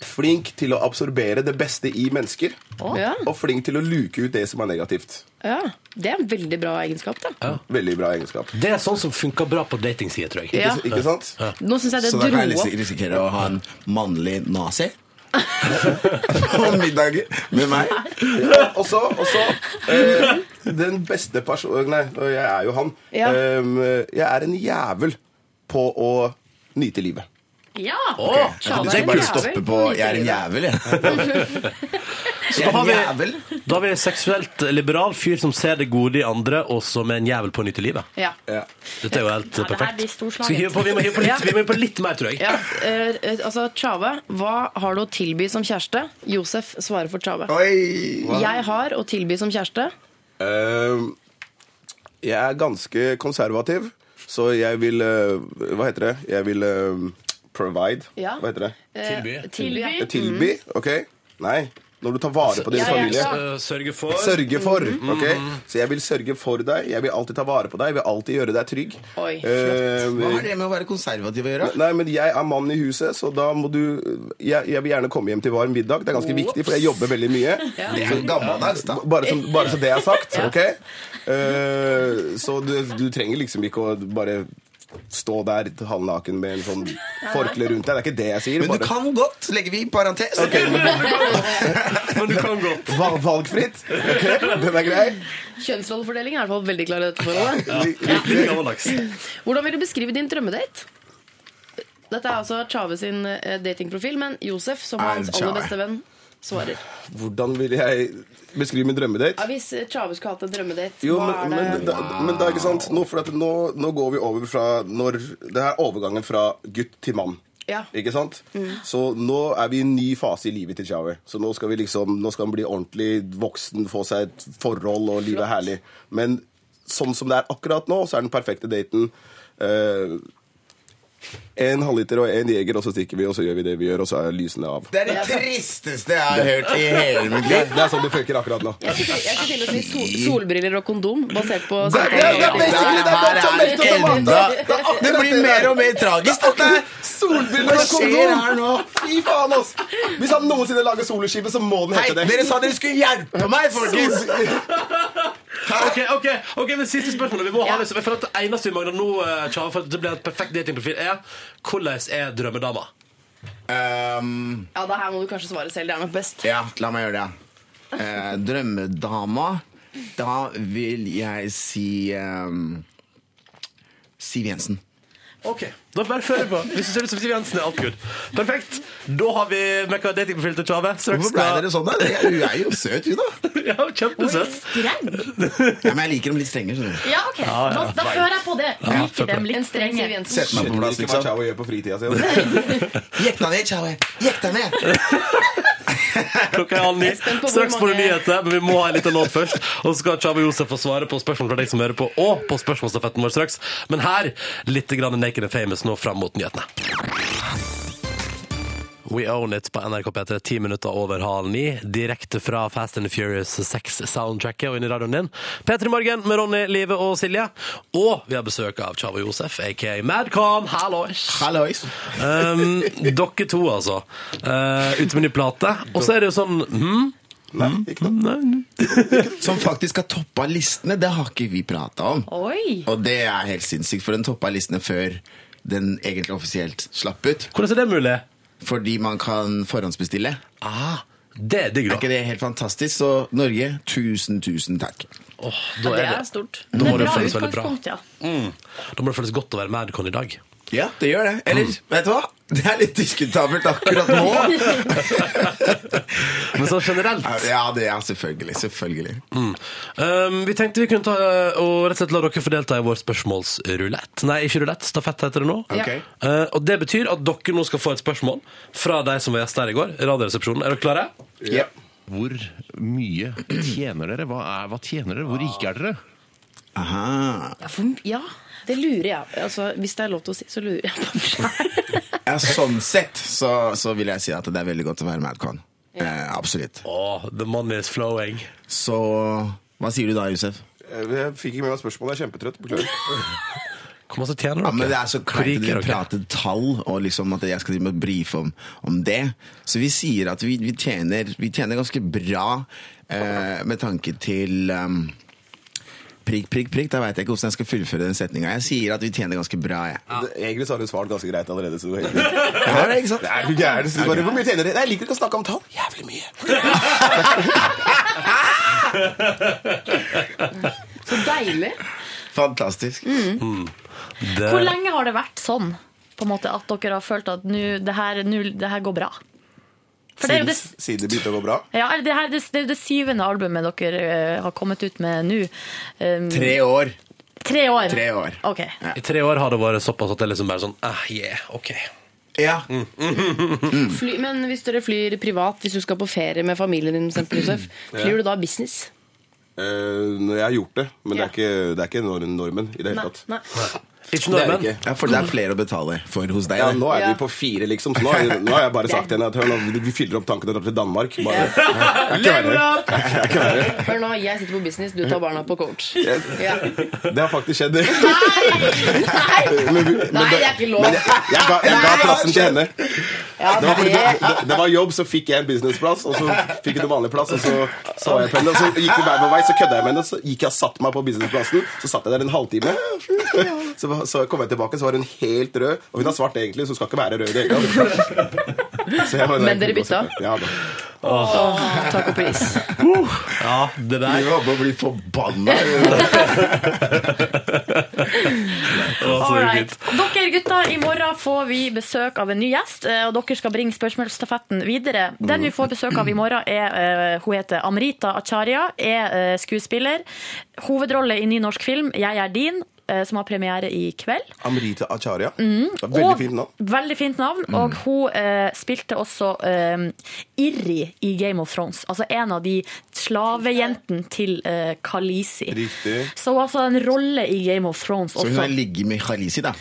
S10: flink til å absorbere det beste i mennesker.
S4: Ja,
S10: Og flink til å luke ut det som er negativt.
S4: ja. Det er en veldig bra egenskap, da.
S10: Veldig bra egenskap.
S2: Det er sånn som funker bra på datingsider, tror jeg.
S4: Ja.
S10: Ikke, ikke sant?
S4: Nå syns jeg det
S11: Så da kan jeg liksom-
S4: dro
S11: risik-
S4: opp.
S11: risikere å ha en mannlig nazi. På middag med meg.
S10: Ja, og så og så, øh, Den beste personen Nei, og jeg er jo han.
S4: Ja.
S10: Øhm, jeg er en jævel på å nyte livet.
S3: Ja!
S2: Åh,
S11: Jeg
S4: er
S11: tenkte
S4: en
S11: bare å
S4: jævel.
S11: stoppe på 'jeg er en jævel', jeg.
S2: Så da har
S11: En jævel?
S2: vi, da har vi en seksuelt liberal fyr som ser det gode i andre, og som er en jævel på nytt i livet.
S4: Ja.
S10: Ja.
S2: Dette er jo helt
S3: Ja, det her
S2: perfekt.
S3: blir storslaget.
S2: Skal vi hive på, vi må hive på litt, vi må hive på litt mer, tror jeg.
S4: Ja, eh, eh, altså Tjave, hva har du å tilby som kjæreste? Josef svarer for Tjave.
S11: Oi!
S4: Jeg har å tilby som kjæreste.
S10: Ehm, jeg er ganske konservativ, så jeg vil eh, Hva heter det? Jeg vil eh, provide.
S4: Ja.
S10: Hva heter det?
S4: eh,
S2: Tilby.
S4: tilby.
S10: Tilby? Ok? Nei. Når du tar vare på din
S3: Mm-hmm. ja, Mm-hmm.
S10: familie.
S3: ja.
S2: Eh, Sørge for
S10: Sørge for. ok? Så jeg vil sørge for deg, jeg vil alltid ta vare på deg, jeg vil alltid gjøre deg trygg.
S4: Oi,
S11: Hva
S10: Eh,
S11: har det med å være konservativ å gjøre?
S10: Nei, men jeg er mann i huset, så da må du Jeg, jeg vil gjerne komme hjem til varm middag. Det er ganske viktig, for jeg jobber veldig mye.
S11: Det er jo gammeldags, da.
S10: B- Bare, som, bare så det er sagt, ok? Eh, så du, du trenger liksom ikke å bare stå der halvnaken med en sånn forkle rundt deg. Det er ikke det jeg sier.
S11: Men du
S10: bare-
S11: kan godt, legger vi i parentes.
S2: Men du kan godt.
S10: Val- Valgfritt. ok? Den er grei.
S4: Kjønnsrollefordeling er i hvert fall veldig klar i dette forholdet.
S2: Litt gammeldags.
S4: Hvordan vil du beskrive din drømmedate? Dette er altså Tjave sin eh, datingprofil, men Josef, som
S11: Er
S4: hans
S11: Tjave.
S4: aller beste venn, svarer.
S10: Hvordan vil jeg beskrive min drømmedate?
S4: Ja, hvis eh, Tjave skulle hatt en drømmedate,
S10: Jo,
S4: hva
S10: men,
S4: er
S10: men,
S4: det?
S10: da, men det er ikke sant nå, for at nå, nå går vi over fra når, Det er overgangen fra gutt til mann.
S4: Ja. Mm.
S10: Ikke sant? Så nå er vi i en ny fase i livet til Chawi. Så nå skal, vi liksom, nå skal han bli ordentlig voksen, få seg et forhold, og livet er herlig. Men sånn som det er akkurat nå, så er den perfekte daten eh, en halvliter og en jeger, og så stikker vi, og så gjør vi det vi gjør, og så er lysene av.
S11: Det er det tristeste jeg har hørt i hele mitt
S10: Det,
S11: liv.
S10: det er sånn det funker akkurat nå.
S4: Jeg skulle til- jeg skulle til å si sol, solbriller og kondom, basert på
S11: Det
S4: samtalen vi hadde.
S11: blir mer og mer tragisk, dette.
S10: Solbriller
S11: Hva
S10: og
S11: skjer her
S10: kondom!
S11: nå?
S10: Fy faen, ass! Hvis han noensinne lager soloskive, så må den
S11: Hei,
S10: hete det.
S11: dere sa dere skulle hjelpe meg, folkens.
S2: Ok, ok, ok, men Siste spørsmålet. Vi må ha det, så jeg føler at det eneste vi mangler nå, eh, Tjave, for at det blir et perfekt datingprofil, er hvordan er drømmedama?
S11: Ehm,
S4: Ja, det her må du kanskje svare selv. Det er nok best.
S11: ja, la meg gjøre det. Eh, drømmedama. Da vil jeg si ehm, Siv Jensen.
S2: Ok, Da bare fører vi på. Hvis du ser ut som Siv Jensen, er alt good. Perfekt. Da har vi mekka datingprofil til Tjave. Straks
S11: Hvorfor ble
S2: skal-
S11: dere sånn, da? Dere- Hun er jo søt, hun, da.
S2: Ja, kjempesøt.
S3: Streng?
S11: Ja, men jeg liker dem litt strengere. skjønner du.
S3: Ja, OK. Da, da fører jeg på det. Liker dem litt
S4: Streng Siv
S3: strenge.
S4: Jensen.
S11: Sett meg på
S10: Skjønner
S11: plass,
S10: altså ikke sånn? hva
S11: liksom.
S10: Chau gjør på fritida si.
S11: Jekk deg ned, Tjaue. Jekk deg ned.
S2: Klokka er halv ni.
S4: spent på hvor
S2: Straks får du
S4: mange-
S2: nyheter, men vi må ha en liten låt først. Og så skal Tjave Josef få svare på spørsmål fra deg som hører på, og på spørsmålsstafetten vår straks. Men her litt grann Naked and Famous nå fram mot nyhetene. We Own It på NRK P3, ti minutter over halv ni. Direkte fra Fast and the Furious 6-soundtracket og inn i radioen din. P3 Morgen med Ronny, Live og Silje. Og vi har besøk av Tjave Josef, aka Madcon. Hallois!
S11: Hallois.
S2: Um, dere to, altså. Eh, ute med ny plate. Og så er det jo sånn hmm,
S10: Nei, ikke noe.
S11: Som faktisk har toppa listene. Det har ikke vi prata om.
S3: Oi!
S11: Og det er helt sinnssykt, for den toppa listene før den egentlig offisielt slapp ut.
S2: Hvordan er det mulig?
S11: Fordi man kan forhåndsbestille.
S2: Ah, det er digg,
S11: Er
S2: da.
S11: ikke det helt fantastisk? Så Norge, tusen, tusen takk.
S2: Åh, da,
S4: Det
S2: er
S4: er
S2: det.
S4: stort.
S2: da
S3: Det
S2: må
S3: er
S2: det
S3: bra
S2: føles veldig bra.
S3: utgangspunkt, ja.
S2: Da må det føles godt å være Madcon i dag.
S11: Ja, det gjør det. Eller, vet du hva? Det er litt diskutabelt akkurat nå.
S2: Men sånn generelt
S11: Ja, det er selvfølgelig. Selvfølgelig.
S2: mm. um, Vi tenkte vi kunne ta eh, og rett og slett la dere få delta i vår spørsmålsrulett. Nei, ikke rulett. Stafett heter det nå.
S11: Ok.
S2: Eh, og det betyr at dere nå skal få et spørsmål fra de som var gjester her i går. Radioresepsjonen. Er dere klare?
S11: Ja.
S12: Hvor mye tjener dere? Hva, er, hva tjener dere? Hvor rike er dere?
S11: Aha.
S4: Ja, for, ja, det lurer jeg. Altså, hvis det er lov til å si, så lurer jeg på meg selv.
S11: Ja, sånn sett så, så vil jeg si at det er veldig godt å være Madcon. Eh, absolutt.
S2: Åh, the money is flowing.
S11: Så hva sier du da, Josef?
S10: Jeg fikk ikke med meg spørsmålet. Jeg er kjempetrøtt. Beklager.
S2: Hvor mye tjener dere?
S11: Ja, men det er så
S2: Hvor
S11: kleint at
S2: rike er
S11: dere
S2: dere?
S11: prater tall, og liksom at jeg skal drive med å brife om, om det. Så vi sier at vi, vi, tjener, vi tjener ganske bra eh, med tanke til um, prikk, prikk, prikk. Da veit jeg ikke hvordan jeg skal fullføre den setninga. Jeg sier at vi tjener ganske bra, jeg.
S10: Det- Egentlig så har du svart ganske greit allerede. Så du er egentlig-
S11: Ja, det er ikke sant?
S10: Nei, er du gæren? Så du bare, Hvor mye tjener dere? Nei, Jeg liker ikke å snakke om tall. Jævlig mye.
S4: Så deilig.
S11: Fantastisk.
S2: Det-
S11: Eh,
S3: Hvor lenge har det vært sånn? På en måte At dere har følt at nå, det, her, nå, det her går bra? For det er jo
S10: Siden,
S3: det,
S10: siden det begynte å gå bra.
S3: ja, eller det, her, det, det, er jo det syvende albumet dere eh, har kommet ut med nå. Um,
S11: Tre år.
S3: tre år.
S11: Tre år.
S3: Ok.
S2: I tre år har det vært såpass at det liksom bare sånn ah, yeah, ok.
S11: Ja.
S4: Fly, men hvis dere flyr privat, hvis du skal på ferie med familien din, for eksempel, Josef, flyr du da business?
S10: Eh, når jeg har gjort det, men det er ikke, det er ikke nor- normen i det hele
S4: Nei.
S10: tatt.
S4: Nei.
S9: Ikke
S11: det er
S9: nordmenn?
S11: det ikke. Ja, for det er flere å betale for hos deg.
S10: Ja,
S11: eller?
S10: nå er
S4: Ja.
S10: vi på fire, liksom. Så nå, er, nå har jeg bare sagt til henne at hør, nå, vi fyller opp tankene og drar til Danmark. Bare, jeg er ikke verre. Jeg er ikke verre.
S4: Hør nå, jeg sitter på business, du tar barna på coach. Ja.
S10: Det har faktisk skjedd.
S4: Nei!
S10: Men, vi-
S4: Nei, det er ikke lov.
S10: men jeg, jeg, ga, jeg ga
S4: Nei,
S10: plassen til henne.
S4: Ja,
S10: Det var, fordi det,
S4: det,
S10: det, det var jobb, så fikk jeg en businessplass, og så fikk hun en vanlig plass, og så sa jeg på henne, og så gikk vi hver vår vei, så kødda jeg med henne, så gikk jeg og satte meg på businessplassen, så satt jeg der en halvtime, så, så kom jeg tilbake, så var hun helt rød, og hun er svart egentlig, så hun skal ikke være rød i det hele tatt. Så jeg var-
S4: Men dere bytta?
S10: Ja da.
S4: Åh, takk og pris.
S9: Ja, det der.
S11: Jeg håper å bli forbanna.
S3: Alright. Dere gutter, i morgen får vi besøk av en ny gjest, eh, og dere skal bringe spørsmålsstafetten videre. Den vi får besøk av i morgen, er eh, Hun heter Amrita Acharya, er eh, skuespiller. Hovedrolle i ny norsk film 'Jeg er din', eh, som har premiere i kveld.
S10: Amrita Acharya.
S4: Mm.
S10: Det var Veldig
S3: Og-
S10: fint navn. Mm.
S3: Veldig fint navn. Og hun eh, spilte også eh, Irri i Game of Thrones. Altså en av de slavejentene til eh, Khaleesi.
S10: Riktig.
S3: Så hun har altså en rolle i Game of Thrones
S11: Så
S3: også.
S11: hun har ligget med Khalisi, da.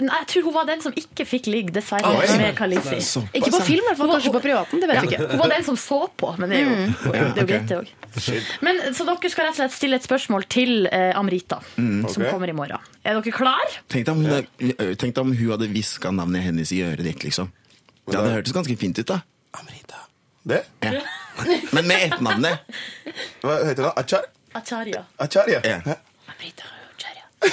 S3: Nei, jeg tror hun var den som ikke fikk ligge, dessverre,
S11: Oi.
S3: med Khaleesi.
S11: Såpass,
S4: Ikke på
S11: ja.
S4: film, i hvert fall. Kanskje på privaten. Det vet vi ikke.
S3: Hun var den som så på, men det er jo, det er jo
S11: ok.
S3: greit, det òg. Men Så dere skal rett og slett stille et spørsmål til eh, Amrita, som
S10: Mm. Ok.
S3: kommer i morgen. Er dere klar?
S11: Tenk deg om hun, hadde- tenk deg om hun hadde hviska navnet hennes i øret ditt, liksom. Det hadde hørtes ganske fint ut, da.
S10: Amrita. Det?
S11: Ja. Men med etternavnet.
S10: Hva heter det? Achar?
S3: Acharya.
S10: Acharya?
S11: Ja.
S10: Hæ?
S3: Amrita Acharya.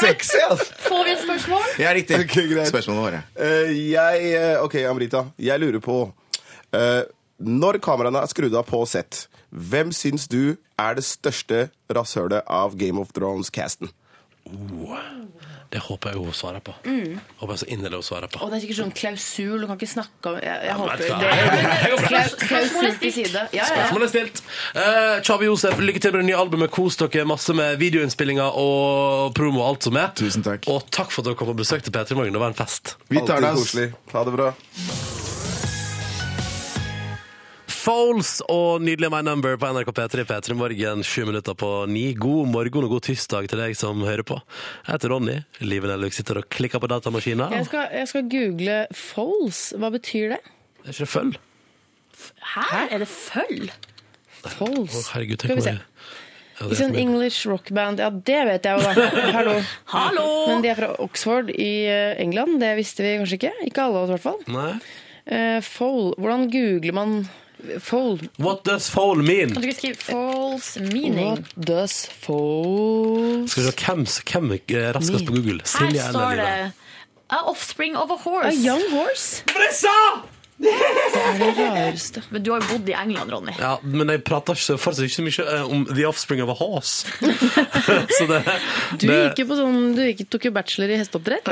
S11: Sexy, altså!
S3: Får vi et spørsmål?
S11: Ja, riktig.
S10: Ok, greit.
S11: Spørsmålet våre.
S10: Eh, jeg eh, Ok, Amrita. Jeg lurer på eh, Når kameraene er skrudd av på sett, hvem syns du er det største rasshølet av Game of Thrones-casten?
S2: Det håper jeg hun svarer på. Håper jeg så inderlig hun svarer på.
S4: Og det er sikkert sånn klausul, du kan ikke snakke om Jeg, jeg håper
S2: vet du hva?
S4: det er klaus- klausul
S3: Spørsmålet
S4: til side. Ja, ja, ja.
S2: Spørsmålet er stilt. Eh, Chavi Josef, lykke til med det nye albumet. Kos dere masse med videoinnspillinger og promo og alt som er.
S11: Tusen takk.
S2: Og takk for at dere kom på besøk til P3 Morgen. Det var en fest.
S11: Vi tar det,
S10: Alltid
S11: ass.
S10: koselig. Ha det bra.
S2: Foles og nydelig My Number på NRK P3 P3 Morgen, sju minutter på ni. God morgen og god tirsdag til deg som hører på. Jeg heter Ronny. Liven Elvik sitter og klikker på datamaskina.
S4: Jeg,
S2: Er
S4: skal, jeg skal google foals. Hva betyr det?
S2: ikke det føll?
S3: Her er det føll.
S4: Foals.
S2: Herregud,
S4: Skal
S2: tenk
S4: vi
S2: på
S4: se.
S2: det. Ja, det
S4: Ikke
S2: er
S4: sånn
S2: for mye.
S4: English rock band. Ja, det vet jeg jo, da. Hallo.
S3: Hallo!
S4: Men de er fra Oxford i eh, England. Det visste vi kanskje ikke. Ikke alle av oss, i hvert fall.
S2: Nei.
S4: Eh, foal. Hvordan googler man foal?
S2: What does foul mean?
S3: Kan du ikke skrive 'false meaning'?
S4: What does foal
S2: Skal du se hvem, hvem er raskest på Google?
S3: Her
S2: Silje eller
S3: står
S2: Live?
S3: det 'A offspring of a
S4: A
S3: horse'.
S4: young horse? Det er det rareste.
S3: Men du har jo bodd i England, Ronny.
S2: Ja, men jeg prater ikke så- fortsatt ikke så mye eh, om The Offspring of a Horse. så det,
S4: Du,
S2: det
S4: gikk jo på sånn, du gikk, tok jo bachelor i hesteoppdrett.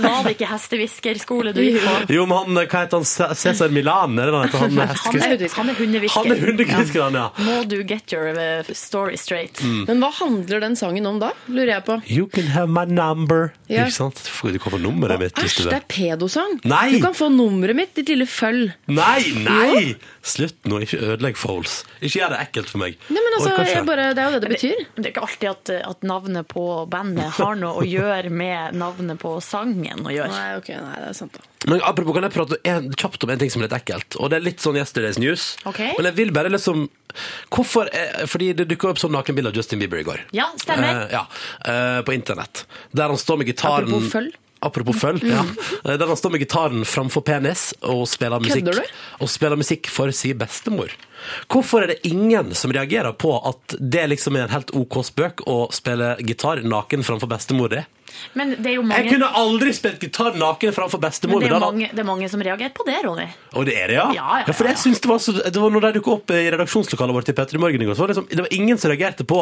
S3: Var det ikke hestehviskerskole du gikk på?
S2: Jo, men han, eh, hva heter han? Ce- Cæsar Milan? Er det han heter? Han er
S3: Han
S2: hestekvisker.
S3: er, han er hundehvisker.
S2: Han er hundekvisker, han, ja.
S3: Må du get your eh, story straight?
S2: Mm.
S4: Men hva handler den sangen om da? Lurer jeg på.
S2: You can have my number.
S4: Ja.
S2: Ikke sant? Får du hva for nummeret mitt? hvis
S4: Æsj,
S2: du
S4: det
S2: vil.
S4: er pedosang!
S2: Nei!
S4: Du kan få nummeret mitt, ditt lille føll.
S2: Nei, nei! Slutt nå, ikke ødelegg Foles. Ikke gjør det ekkelt for meg.
S4: Nei, men altså,
S2: Orker ikke.
S4: jeg bare, Det er jo det det betyr.
S3: Det er ikke alltid at, uh, at navnet på bandet har noe å gjøre med navnet på sangen å gjøre.
S4: Nei, ok, nei, det er sant da.
S2: Men apropos, kan jeg prate en, kjapt om en ting som er litt ekkelt? Og det er litt sånn Yesterday's News.
S3: Ok.
S2: Men jeg vil bare liksom Hvorfor eh, Fordi det dukka opp sånn nakenbilde av Justin Bieber i går.
S3: Ja, stemmer.
S2: Eh, ja, eh, på internett. Der han står med gitaren
S4: Apropos føll.
S2: Apropos føll, ja. Eh, Der han står med gitaren framfor penis og spiller musikk.
S4: Kødder du?
S2: Og spiller musikk for sin bestemor. Hvorfor er det ingen som reagerer på at det liksom er en helt OK spøk å spille gitar naken framfor bestemor di?
S3: Men det er jo
S2: Jeg
S3: mange,
S2: kunne aldri spilt gitar naken framfor bestemor mi!
S3: men det er
S2: Da hadde-
S3: mange, det er mange som reagerer på det, Ronny.
S2: og det er det, ja?
S3: Ja, ja, ja,
S2: for jeg
S3: ja.
S2: synes det, var så, det var når de dukket opp i redaksjonslokalet vårt i Petter i morgen i går, så var det, liksom, det var ingen som reagerte på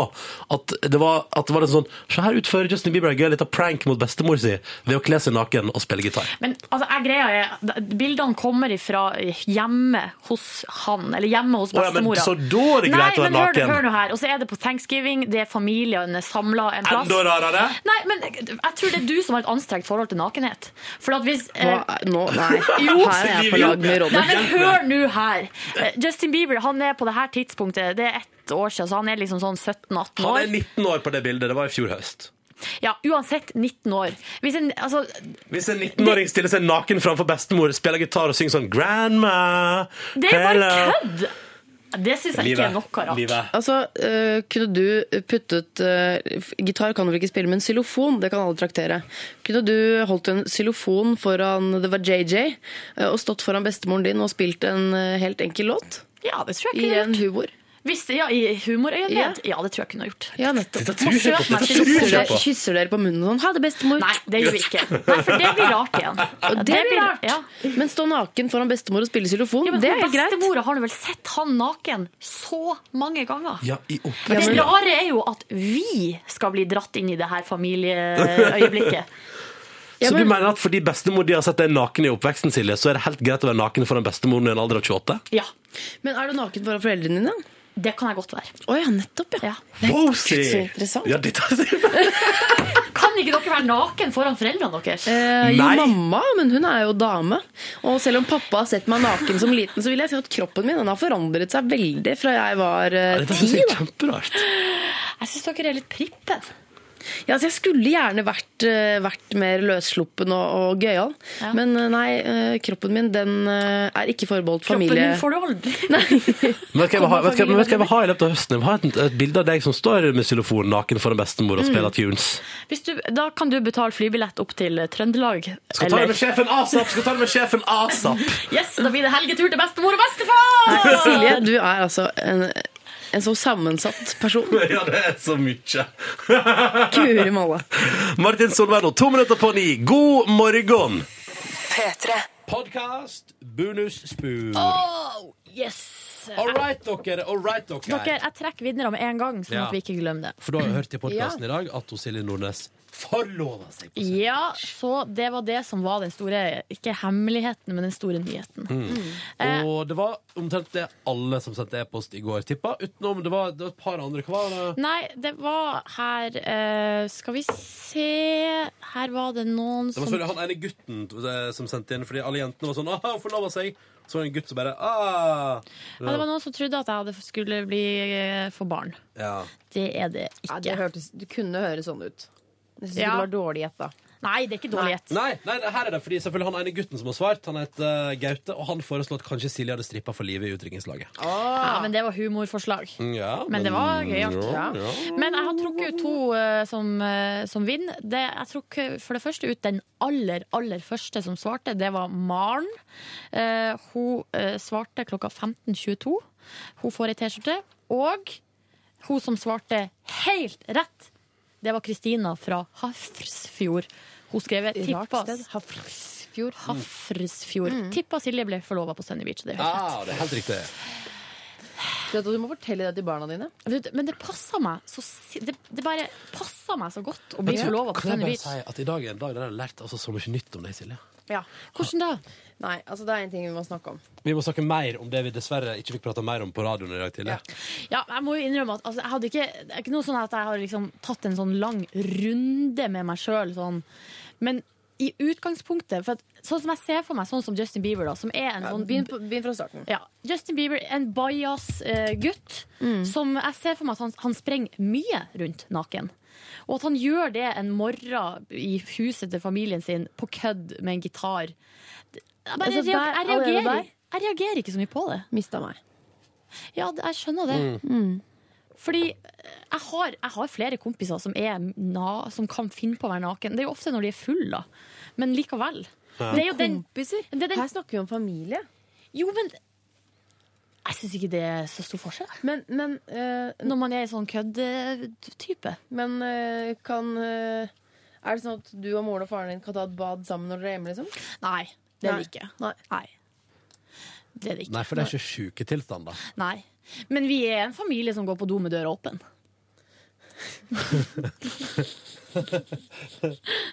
S2: at det var, at det var liksom sånn Se her utfører Justin Bieber en gøy liten prank mot bestemor si ved å kle seg naken og spille gitar.
S3: Men altså, jeg greia er, bildene kommer ifra hjemme hos han, eller hjemme hos
S2: Å ja, men
S3: bestemora.
S2: så da er det greit å være
S3: Nei, men hør,
S2: naken.
S3: hør nå her. Og så er det på thanksgiving, det er familien samla en plass.
S2: Enda rarere!
S3: Nei, men jeg tror det er du som har et anstrengt forhold til nakenhet. For at hvis
S4: Hva,
S3: eh,
S4: er- nå, nei,
S3: Jo,
S4: her er jeg på lag med
S3: Nei,
S4: Ronny.
S3: men hør nå her. Eh, Justin Bieber han er på det her tidspunktet Det er ett år siden, så han er liksom sånn 17-18
S2: Han er
S3: år.
S2: 19 år på det bildet, det var i fjor høst.
S3: Ja, uansett 19 år. Hvis en, altså,
S2: Hvis en 19-åring stiller seg naken framfor bestemor, spiller gitar og synger sånn 'Grandma',
S3: det er bare
S2: hello».
S3: kødd! Det syns jeg ikke er noe rart.
S4: Altså, øh, kunne du puttet øh, f- Gitar kan du vel ikke spille, men xylofon, det kan alle traktere. Kunne du holdt en xylofon foran Det var JJ, øh, og stått foran bestemoren din og spilt en øh, helt enkel låt?
S3: Ja, det tror jeg
S4: I
S3: kunne
S4: ren humor.
S3: Hvis, ja, I humorøyne? Ja. det tror jeg kunne ha gjort.
S4: Ja, nettopp.
S3: Dette tror jeg ikke på, dette tror jeg ikke på.
S4: Kysser dere på munnen og sånn? Ha det, bestemor.
S3: Nei, det gjør vi ikke. Nei, for det blir rart igjen.
S4: Og det, blir rart.
S3: Ja.
S4: Men stå naken foran bestemor og spille xylofon,
S3: Men
S4: det er greit.
S3: Bestemora har du vel sett han naken så mange ganger.
S2: Ja, i
S3: Det
S2: oppveksten.
S3: rare er jo at vi skal bli dratt inn i det her familieøyeblikket.
S2: Så du mener at fordi bestemor de har sett deg naken i oppveksten, Silje, så er det helt greit å være naken foran bestemoren i en alder av 28?
S3: Ja.
S4: Men er du naken foran foreldrene dine?
S3: Det kan jeg godt være.
S4: Å ja, nettopp, ja.
S2: Wow,
S4: så interessant.
S2: Ja, dette er
S3: Kan ikke dere være naken foran foreldrene deres?
S4: Eh, jo,
S2: Nei.
S4: mamma, men hun er jo dame. Og selv om pappa har sett meg naken som liten, så vil jeg si at kroppen min den har forandret seg veldig fra jeg var eh,
S2: Dette
S4: ti.
S2: synes jeg er
S4: da.
S2: kjemperart.
S3: Jeg syns dere er litt prippen.
S4: Ja, altså, jeg skulle gjerne vært, eh, vært mer løssluppen og, og gøyal,
S3: Ja.
S4: men eh, nei, eh, kroppen min den eh, er ikke forbeholdt
S3: Kroppen
S4: familie.
S3: din får du aldri.
S2: Men Vet du hva jeg vil ha- vet du hva- men vet du hva jeg vil ha i løpet av høsten? Jeg vil ha et, et bilde av deg som står med xylofon naken foran bestemor og spiller tunes.
S3: Hvis du, da kan du betale flybillett opp til Trøndelag.
S2: Skal ta det
S3: eller-
S2: med sjefen ASAP! Skal ta det med sjefen ASAP!
S3: Yes, da blir det helgetur til bestemor og bestefar!
S4: Silje, du er altså en, en så sammensatt person.
S2: Ja, det er så mye.
S4: Guri malla.
S2: Martin Solveig nå, to minutter på ni. God morgen!
S13: P3.
S2: Podkast bonusspor.
S3: Oh, yes!
S2: All right, dere. All right, dere.
S3: Dere, jeg trekker vinnere med en gang, sånn
S2: Ja.
S3: at vi ikke glemmer det.
S2: For da har jeg hørt i podkasten i dag at hun Silje Nordnes forlova seg.
S3: Ja, så det var det som var den store, ikke hemmeligheten, men den store nyheten.
S2: Mm.
S3: Eh,
S2: Og det var omtrent det alle som sendte e-post i går, tippa. Utenom det var, det var et par andre. Hva var det?
S3: Nei, det var her eh, Skal vi se Her var det noen
S2: Det var
S3: som
S2: selvfølgelig han ene gutten eh, som sendte inn, fordi alle jentene var sånn ah, 'Hun forlova seg'. Så var det en gutt som bare ah.
S3: Ja, det var noen som trodde at jeg hadde skulle bli eh, få barn.
S2: Ja.
S3: Det er det ikke.
S4: du kunne høres sånn ut. Jeg syns
S3: Ja.
S4: ikke det var dårlig gjetta.
S3: Nei, det er ikke dårlig gjett.
S2: Nei, nei, det- her er det fordi selvfølgelig han ene gutten som har svart, han heter eh, Gaute, og han foreslo at kanskje Silje hadde strippa for livet i utdrikningslaget.
S3: Ja, men det var humorforslag.
S2: Ja,
S3: Men det var gøyalt.
S2: Mm, Ja, ja.
S3: Men jeg har trukket ut to eh, som, eh, som vinner. Det, jeg trakk eh, for det første ut den aller, aller første som svarte. Det var Maren. Eh, hun eh, svarte klokka 15.22. Hun får ei T-skjorte. Og hun som svarte helt rett, det var Kristina fra Hafrsfjord. Hun skrev tippa,
S4: Hafrsfjord.
S3: Hafrsfjord. tippa Silje ble forlova på Sunny Beach. Det er helt rett.
S2: Ah, det er helt riktig.
S4: Du må fortelle det til barna dine.
S3: Vet du, Men det passa meg så si- det, det bare passa meg så godt å bli forlova på
S2: Kan jeg
S3: Sunny
S2: bare
S3: Beach.
S2: si at i dag er en dag der jeg har lært altså, så mye nytt om deg, Silje?
S3: Hvordan da?
S4: Nei, altså det er en ting vi må snakke om.
S2: Vi må snakke mer om det vi dessverre ikke fikk prata mer om på radioen i dag tidlig.
S3: Ja, jeg må jo innrømme at altså, jeg hadde ikke, Det er ikke noe sånn at jeg har liksom tatt en sånn lang runde med meg sjøl. Sånn. Men i utgangspunktet for at, Sånn som jeg ser for meg sånn som Justin Bieber, da, som er en sånn
S4: Begynn, på, begynn fra starten.
S3: ja, Justin Bieber, en bajas eh, gutt,
S4: Mm.
S3: som jeg ser for meg at han, han sprenger mye rundt naken. Og at han gjør det en morgen i huset til familien sin på kødd med en gitar. Det- Jeg, bare,
S4: Altså,
S3: reager-
S4: der-
S3: jeg,
S4: allerede
S3: reagerer,
S4: der?
S3: jeg reagerer ikke så mye på det.
S4: Mista meg.
S3: Ja, det- jeg skjønner det.
S4: Mm.
S3: Fordi eh, jeg har, jeg har flere kompiser som, er na, som kan finne på å være naken. Det er jo ofte når de er full, da. Men likevel. Det er jo den,
S4: Kompiser.
S3: det er den
S4: Her snakker vi om familie.
S3: Jo, men jeg syns ikke det er så stor forskjell.
S4: Men, men, eh,
S3: Når man er i sånn kødd-type.
S4: men eh, kan eh, Er det sånn at du og moren og faren din kan ta et bad sammen når dere er hjemme? liksom?
S3: Nei, det er
S4: Nei.
S3: det ikke.
S4: Nei.
S3: Nei. Det er det ikke.
S2: Nei, for det er ikke sjuke tilstander.
S3: Nei. Men vi er en familie som går på do med døra åpen.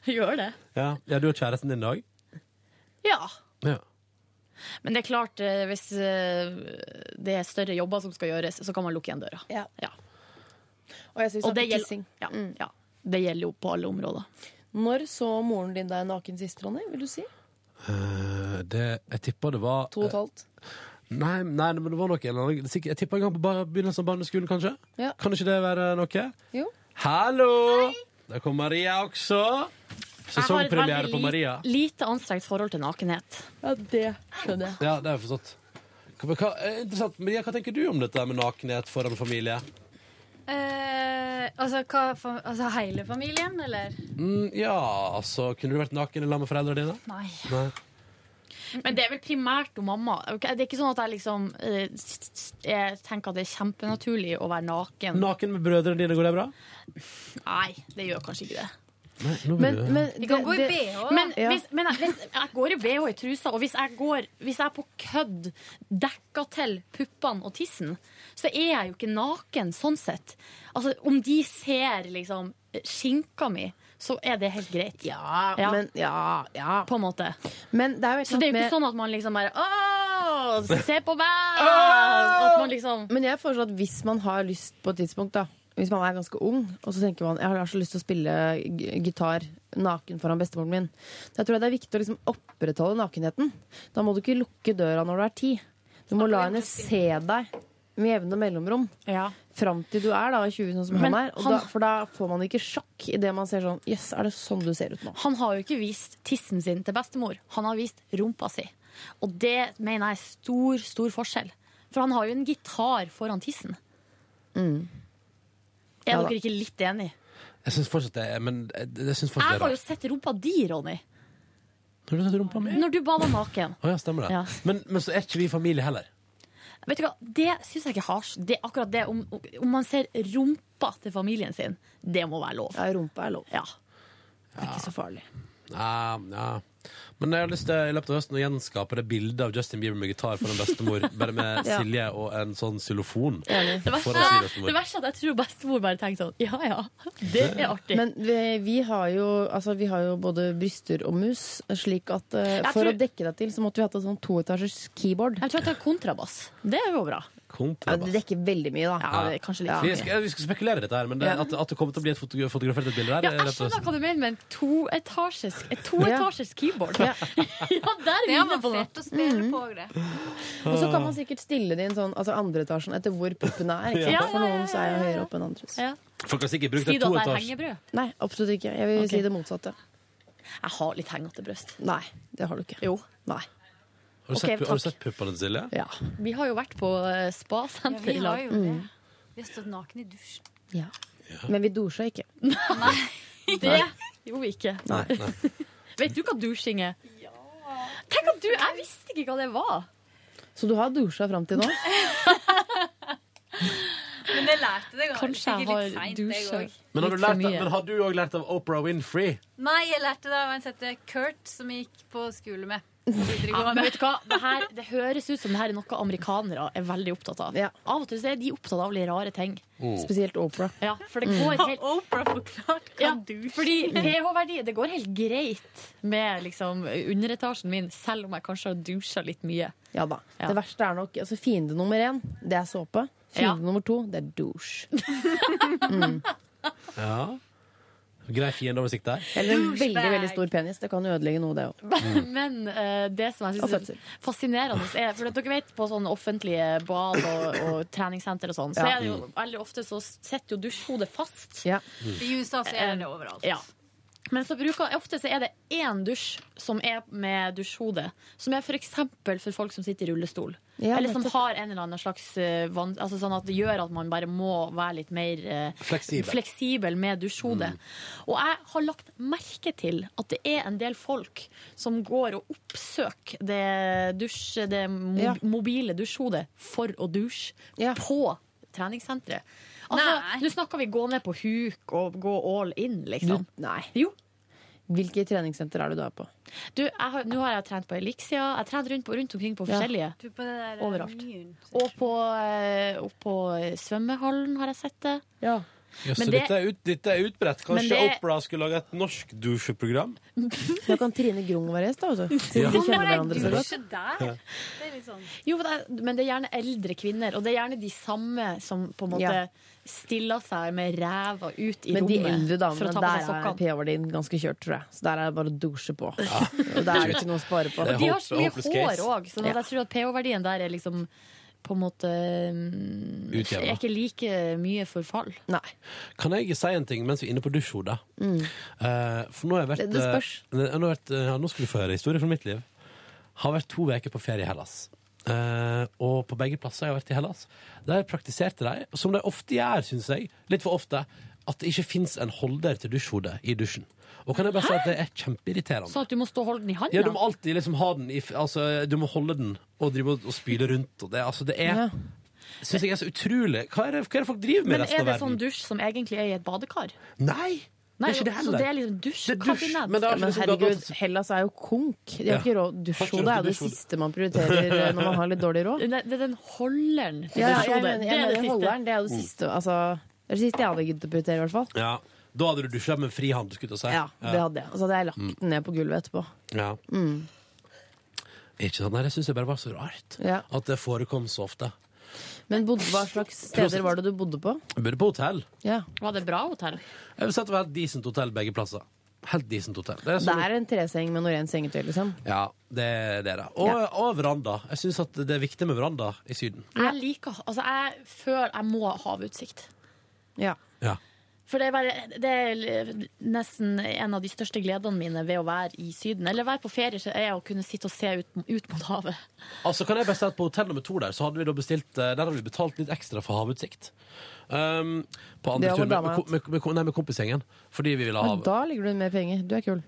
S3: Gjør det.
S2: Ja, ja du og kjæresten din i dag?
S3: Ja.
S2: Ja.
S3: Men det er klart, eh, hvis eh, det er større jobber som skal gjøres, så kan man lukke igjen døra.
S4: Ja.
S3: Ja.
S4: Og jeg synes
S3: Og det
S4: snakker
S3: gjelder,
S4: kissing.
S3: ja, ja. det gjelder jo på alle områder.
S4: Når så moren din deg naken sist, Ronny? Vil du si?
S2: Eh, Det, jeg tippa det var
S4: To og et halvt.
S2: Nei, nei, men det var noe en eller annen- sikkert- Jeg tippa en gang på bar- begynnelsen av barneskolen, kanskje?
S4: Ja.
S2: Kan ikke det være noe?
S4: Jo.
S2: Hallo!
S6: Der kom Maria også. Sesongpremiere på Maria.
S3: Jeg har et veldig li- lite anstrengt forhold til nakenhet.
S4: Ja, det skjønner jeg.
S6: Ja, det har jeg forstått. Hva, men hva, eh, interessant. Maria, hva tenker du om dette med nakenhet foran familie?
S14: Eh, altså, hva, for, altså hele familien, eller?
S6: Mm, ja, altså, kunne du vært naken sammen med foreldrene dine?
S3: Nei.
S6: Nei.
S3: Men det er vel primært om mamma. Ok, Det er ikke sånn at jeg liksom eh, s- s- Jeg tenker at det er kjempenaturlig å være naken.
S6: Naken med brødrene dine, går det bra?
S3: Nei, det gjør kanskje ikke det.
S14: Vi kan gå i BH.
S3: Men,
S14: Ja.
S3: hvis, men jeg, hvis, jeg går i BH i trusa, og hvis jeg, går, hvis jeg på kødd dekker til puppene og tissen, så er jeg jo ikke naken sånn sett. Altså, om de ser liksom skinka mi, så er det helt greit.
S4: Ja, men- ja,
S3: På en måte. så det
S4: sant
S3: er jo
S4: med-
S3: ikke sånn at man liksom bare Å, se på meg!
S4: Åh!
S3: At man liksom
S4: Men jeg foreslår at hvis man har lyst på et tidspunkt, da hvis man er ganske ung, og så tenker man jeg har så lyst til å spille g- gitar naken foran bestemoren min. Da tror jeg det er viktig å liksom opprettholde nakenheten. Da må du ikke lukke døra når du er ti. Du må la henne se deg med jevne mellomrom. Fram til du er da 20, sånn som
S3: Men
S4: han er. Og
S3: han-
S4: da, for da får man ikke sjokk idet man ser sånn Jøss, er det sånn du ser ut nå?
S3: Han har jo ikke vist tissen sin til bestemor. Han har vist rumpa si. Og det mener jeg er stor, stor forskjell. For han har jo en gitar foran tissen. Er
S6: Ja da.
S3: dere ikke litt enige?
S6: Jeg syns fortsatt det er Men jeg, jeg synes fortsatt det
S3: Jeg
S6: er
S3: har jo
S6: rart.
S3: sett rumpa di, Ronny,
S6: Har du sett rumpa mi?
S3: når du bada naken.
S6: Å ja, stemmer det.
S3: Ja.
S6: Men, men så er ikke vi familie heller.
S3: Vet du hva, Det syns jeg ikke har s- det, Akkurat det om, om man ser rumpa til familien sin, det må være lov.
S4: Ja, rumpa er lov.
S3: Ja.
S4: Ikke så farlig.
S6: Ja, ja. Men jeg har lyst til i løpet av høsten å gjenskape det bildet av Justin Bieber med gitar foran bestemor, bare med
S3: Ja.
S6: Silje og en sånn xylofon.
S3: Det verste,
S6: foran sin bestemor.
S3: det verste er at jeg tror bestemor bare tenker sånn Ja ja, det er artig.
S4: Men vi, vi, har jo, altså, vi har jo både bryster og mus, slik at eh,
S3: Jeg
S4: for
S3: tror-
S4: å dekke deg til, så måtte vi hatt et sånn toetasjers keyboard.
S3: Jeg tror jeg tar kontrabass. Det er jo bra.
S4: Ja, det dekker veldig mye, da.
S6: Ja. Vi
S4: Ja.
S6: skal, vi skal spekulere i dette her, men det,
S4: Ja.
S6: at, at det kommer til å bli et fotogra- fotografert et bilde der
S3: Ja,
S6: er
S3: jeg
S6: rett og
S3: skjønner
S6: slett-
S3: hva du mener med en toetasjes et toetasjes keyboard. Ja, der er vi
S14: Det er
S3: inne på
S14: avansert å spille på det.
S4: Og så kan man sikkert stille det inn sånn, altså andre etasjen etter hvor puppene er. Ikke sant?
S6: Ja, ja,
S4: For noen så er jo høyere opp enn andres.
S6: Folk har sikkert brukt
S4: Si
S6: et
S4: da at det er
S6: toetasje.
S4: hengebrød. Nei, absolutt ikke. Jeg vil
S3: Ok.
S4: si det motsatte.
S3: Jeg har litt hengete bryst.
S4: Nei, det har du ikke.
S3: Jo.
S4: Nei.
S6: Har du sett,
S3: Ok,
S6: pu- har du
S3: takk.
S6: sett puppene til Silje?
S4: Ja.
S3: Vi har jo vært på eh,
S14: Ja,
S3: spasenter
S14: vi
S3: i
S14: har
S3: lag.
S14: jo det. Vi har stått naken i dusjen.
S4: Men vi dusja ikke.
S3: Det gjorde vi ikke.
S4: Nei.
S3: Vet du hva dusjing er? Tenk at du, Jeg visste ikke hva det var.
S4: Så du har dusja fram til nå?
S14: Men jeg lærte det
S3: Kanskje jeg
S14: sikkert
S3: har
S14: litt seint, jeg
S3: dusja.
S14: òg.
S6: Men har, du
S3: Litt for
S6: lært,
S3: mye.
S6: men har du òg lært av Oprah Winfrey?
S14: Nei, jeg lærte det av en sette Kurt, som jeg gikk på skole med. på
S3: Ja, men
S14: videregående.
S3: vet du hva? Det, her, det høres ut som det her er noe amerikanere er veldig opptatt av. Av og til så er de opptatt av litt rare ting.
S6: Oh.
S4: Spesielt Oprah.
S3: Ja, for det
S4: Mm.
S3: går helt
S14: Oprah forklart
S3: ja, Fordi pH-verdi, det går helt greit med liksom underetasjen min, selv om jeg kanskje har dusja litt mye.
S4: Ja da.
S3: Ja.
S4: Det verste er nok altså Fiende nummer én, det er såpe. Fiende
S3: Ja.
S4: nummer to, det er douche. mm.
S6: Ja. Grei fiendeoversikt der.
S4: Eller en veldig veldig stor penis. Det kan jo ødelegge noe, det òg.
S3: Men eh, det som jeg synes
S4: Mm. Og
S3: er fascinerende, er For at dere vet på sånne offentlige bad og, og treningssenter og sånn, så
S4: Ja.
S3: er det jo veldig ofte så sitter jo dusjhodet fast.
S4: Ja.
S14: I USA så er det overalt.
S3: Ja. Men så bruker, ofte så er det én dusj som er med dusjhode, som er f.eks. For, for folk som sitter i rullestol.
S4: Ja,
S3: eller som
S4: nettopp.
S3: har en eller annen slags eh, van, altså sånn at Det gjør at man bare må være litt mer eh,
S6: Fleksibel.
S3: fleksibel med dusjhode. Og jeg har lagt merke til at det er en del folk som går og oppsøker det, dusj, det mo
S4: Ja.
S3: mobile dusjhodet for å dusje på treningssenteret. Altså, nå snakker vi gå ned på huk og gå all in, liksom.
S4: Du- Nei.
S3: Jo.
S4: Hvilke treningssenter er det du er på?
S3: Du, jeg har, nå har jeg trent på Elixia, jeg har trent rundt, på, rundt omkring på
S4: Ja.
S3: forskjellige.
S14: Du på det der, eh,
S3: Overalt.
S14: Myhren.
S3: Og på, eh, opp på svømmehallen har jeg sett det.
S6: Ja, så
S3: Men det-
S6: dette, er ut, dette er utbredt.
S3: Men
S6: Kanskje
S3: det-
S6: Oprah skulle lage et norsk dusjeprogram?
S4: Da kan Trine Grung være gjest, da. vet du. Siden
S6: Ja.
S4: de kjenner hverandre så godt.
S14: Dusje der? Det er litt sånn
S3: Jo, men det, er, men det er gjerne eldre kvinner, og det er gjerne de samme som på en måte
S4: Ja.
S3: stiller seg med ræva ut i
S4: Men de
S3: rommet
S4: eldre damene,
S3: for å ta på
S4: der
S3: seg
S4: er
S3: sokkene.
S4: pH-verdien ganske kjørt, tror jeg. Så der er det bare å dusje på. Og der er det ikke noe å spare på.
S3: Og de har så mye hår sånn òg, så
S4: Ja.
S3: jeg tror at pH-verdien der er liksom på en måte mm,
S2: Utjevner.
S3: Er ikke like eh, mye forfall.
S4: Nei.
S2: Kan jeg si en ting mens vi er inne på dusjhodet? Eh, for nå har jeg vært
S3: Mm. Det- det spørs.
S2: eh, nå, har jeg vært, eh, ja, nå skal du få høre historie fra mitt liv. Har vært to uker på ferie i Hellas. Eh, og på begge plasser jeg har vært i Hellas, der praktiserte de, som de ofte gjør, syns jeg, litt for ofte, at det ikke fins en holder til dusjhodet i dusjen. Og kan jeg bare si at det er kjempeirriterende.
S3: Sånn at du må stå og holde den i handa?
S2: Ja, du må alltid liksom ha den i, f- altså, Du må holde den og drive og, og spyle rundt. Og det, altså, det er Syns jeg er så utrolig. Hva er det, hva er det folk driver med i
S3: Men
S2: resten
S3: er
S2: av
S3: det sånn
S2: verden?
S3: dusj som egentlig er i et badekar?
S2: Nei!
S3: Nei,
S2: det er ikke det heller.
S3: Så det er liksom dusjkabinett?
S2: men det er
S4: Ja, men
S2: liksom godt
S4: herregud, Hellas er jo konk. De har
S2: Ja.
S4: ikke råd. Dusjhode er jo det
S2: Dusjhode.
S4: siste man prioriterer eh, når man har litt dårlig råd.
S3: Det det er den holderen til
S4: Ja, ja, jeg
S3: dusjhodet.
S4: mener,
S3: Det
S4: jeg
S3: er det
S4: mener
S3: siste.
S4: holderen. Det er jo det siste. Altså, det er det siste jeg hadde giddet å prioritere, i hvert fall.
S2: Ja, Da hadde du dusja med fri hand, skulle jeg til å si.
S4: Ja, det hadde jeg. Og så hadde jeg lagt den ned på gulvet etterpå.
S2: Ja.
S4: Mm.
S2: Ikke sant? Nei, det syns jeg bare var så rart.
S4: Ja.
S2: At det forekom så ofte.
S4: Men bodde, hva slags steder var det du bodde på?
S2: Jeg bodde på hotell.
S3: Var det bra hotell?
S2: Jeg vil si at det var et decent hotell begge plasser. Helt decent hotell. Det er
S4: Det
S2: sånn,
S4: er en treseng med noe rent sengetøy, liksom.
S2: ja, det er det. da. Og, og veranda. Jeg syns at det er viktig med veranda i Syden.
S3: Jeg liker Altså, jeg føler jeg må ha havutsikt.
S4: Ja.
S2: Ja.
S3: For det er, bare, det er nesten en av de største gledene mine ved å være i Syden. Eller være på ferie, så er jeg å kunne sitte og se ut, ut mot havet.
S2: Altså kan jeg bare si at På hotell nummer to der Så hadde vi da bestilt eh, Der hadde vi betalt litt ekstra for havutsikt. Um, på
S4: Det
S2: andre
S4: hadde
S2: tur med,
S4: dama
S2: med, med, med, nei, med kompisgjengen. Fordi vi ville ha
S4: Og da ligger du med penger. Du er kul.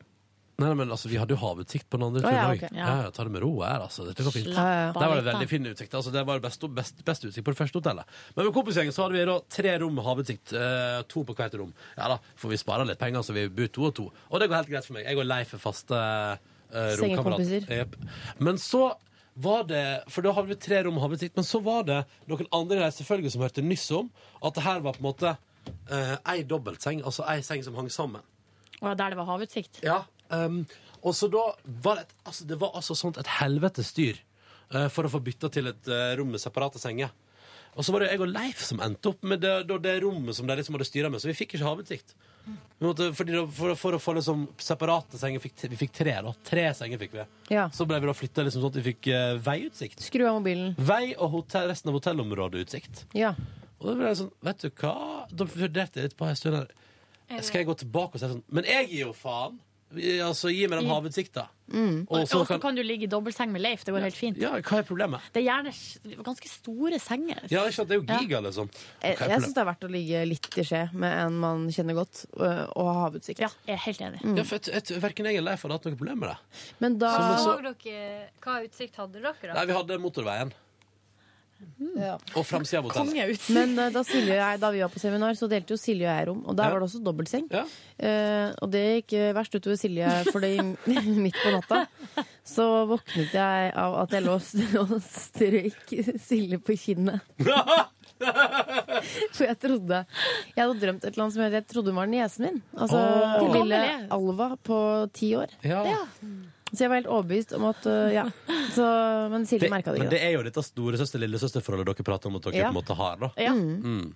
S2: Nei, nei, men altså, Vi hadde jo havutsikt på den andre
S4: Å,
S2: turen
S4: ja,
S2: òg.
S4: ok.
S2: Ja, ja, ta det med ro her, altså. Dette går fint.
S4: Slapp av
S2: Der var det
S4: litt, da.
S2: veldig fin utsikt. Altså, det var det beste, best, beste utsikt på det første hotellet. Men med kompisgjengen så hadde vi da tre rom med havutsikt. eh, to på hvert rom. Ja da, for vi sparer litt penger, så vi bor to og to. Og det går helt greit for meg. Jeg går lei for faste eh, romkamerat.
S4: Sengekompiser.
S2: Jep. Men så var det, for da hadde vi tre rom med havutsikt, men så var det noen andre der selvfølgelig som hørte nyss om at det her var på en måte eh, ei dobbeltseng, altså ei seng som hang sammen.
S3: Og der det var havutsikt.
S2: Ja. Um, og så da var det, et, altså, det var altså sånt et helvetes styr eh, for å få bytta til et eh, rom med separate senger. Og så var det jeg og Leif som endte opp med det, da det rommet som de liksom hadde styra med, så vi fikk ikke havutsikt. Vi måtte, fordi da, for, for å få liksom separate senger fikk, t- Vi fikk tre, da. Tre senger fikk vi.
S4: Ja.
S2: Så ble vi da flytta liksom sånn at vi fikk eh, veiutsikt.
S4: Skru av mobilen.
S2: Vei og hotell, resten av hotellområdeutsikt.
S4: Ja.
S2: Og da ble jeg sånn, vet du hva? Da vurderte jeg litt på en stund her. Skal jeg gå tilbake og si sånn Men jeg gir jo faen! Altså, gi meg den havutsikta.
S3: Mm. Og
S2: Og så
S3: så kan...
S2: kan-
S3: du ligge i dobbeltseng med Leif. Det går helt fint.
S2: Ja, hva er problemet?
S3: Det er gjerne s- ganske store senger.
S2: Ja, ikke sant? Det er jo giga, liksom. Hva
S4: Jeg,
S2: er
S4: jeg syns
S2: problemet?
S4: det er verdt å ligge litt i skje med en man kjenner godt, øh, og ha havutsikt.
S3: Ja, jeg er helt enig.
S4: Mm.
S2: Ja, for jeg- jeg- Verken jeg eller Leif hadde hatt noe problem med det.
S4: Men da
S10: Så dere, hva utsikt hadde dere,
S2: Nei,
S10: da?
S2: Vi hadde motorveien
S4: ja.
S2: og framsida av hotellet.
S4: Men eh, da, Silje og jeg, da vi var på seminar, så delte jo Silje og jeg rom. Og der var det også dobbeltseng. Eh, og det gikk eh, verst utover Silje, fordi midt på natta så våknet jeg av at jeg lå st- og strøyk Silje på kinnet. For jeg trodde Jeg hadde drømt et eller annet som het Jeg trodde hun var niesen min. Altså
S2: Åh. Hvor gammel
S4: lille
S2: er?
S4: Alva på ti år.
S2: Ja.
S4: Så jeg var helt overbevist om at eh, Ja. Så, men Silje merka det
S2: men
S4: ikke.
S2: det er jo dette storesøster-lillesøster-forholdet dere prater om at dere
S4: Ja.
S2: på en måte har. da
S4: Ja.
S2: mm.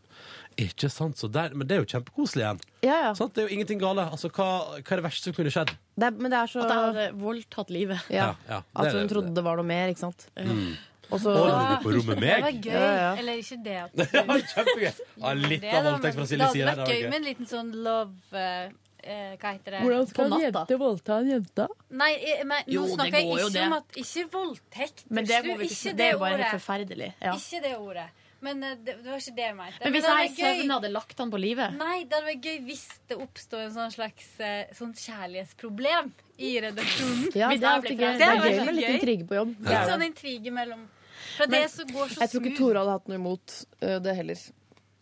S2: Ikke sant? Så der, men det er jo kjempekoselig igjen.
S4: Ja, ja.
S2: Sant? Det er jo ingenting gale. Altså, hva, hva er det verste som kunne skjedd?
S4: Det er, men det er så
S3: At jeg hadde voldtatt livet.
S4: Ja.
S2: ja.
S4: At
S2: Det er
S4: hun
S2: det-
S4: trodde det var noe mer, ikke sant.
S2: Mm.
S4: Og så
S2: Oi, du på rommet med
S10: Det
S2: meg?
S10: var gøy.
S4: Ja, ja.
S10: Eller ikke det. at-
S2: Ja, Kjempegøy. Ja, litt
S10: Det,
S2: av
S10: da,
S2: voldtekt
S10: men
S2: fra
S10: det
S2: Silje
S10: hadde
S2: side.
S10: vært gøy med en liten sånn love eh, eh, Hva heter det?
S4: voldta en jente?
S10: Nei, eh, men nå
S3: Jo, det
S10: snakker jeg
S3: går jo
S10: ikke
S3: det.
S10: om at Ikke voldtekt.
S3: Men det
S10: Slu,
S3: må vi ikke si.
S10: ikke
S3: Det er jo bare helt
S10: ordet.
S3: forferdelig. Ja.
S10: Ikke det ordet. Men eh, det, det var ikke det jeg mente.
S3: Men hvis
S10: det
S3: jeg i
S10: hadde vært
S3: søvne hadde lagt han på livet
S10: Nei, det hadde vært gøy hvis det oppstod en sånn slags eh, sånn kjærlighetsproblem i redaksjonen.
S4: Ja,
S10: Hvis
S4: det er
S10: jeg
S4: alltid
S10: ble
S4: gøy.
S10: forelsket.
S4: Det er
S10: hadde
S4: gøy
S10: vært
S4: med litt
S10: gøy.
S4: intrige på jobb. Det
S10: Litt
S4: er
S10: sånn
S4: det.
S10: intrige mellom Fra det som går så
S4: Jeg tror ikke
S10: smooth.
S4: Tora hadde hatt noe imot øh, det heller.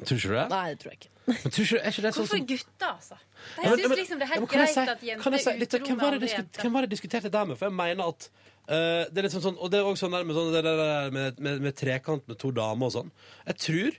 S2: Tror ikke du det?
S4: Nei, det tror jeg ikke.
S2: Men tror ikke, er ikke det sånn
S10: Hvorfor
S2: som
S10: gutter, altså?
S2: Ja,
S10: Jeg
S2: men-
S10: syns
S2: men-
S10: liksom det
S2: ja, men
S10: er helt
S2: kan jeg
S10: greit
S2: si-
S10: at
S2: kan
S10: jenter
S2: jeg si litt- Hvem var
S10: utrommer
S2: det
S10: andre
S2: diskut-
S10: jenter.
S2: hvem var det diskuterte det med? For jeg mener at eh, det er litt sånn sånn, og det er også sånn der med, sånn, det der med, med, med trekant med to damer og sånn. Jeg tror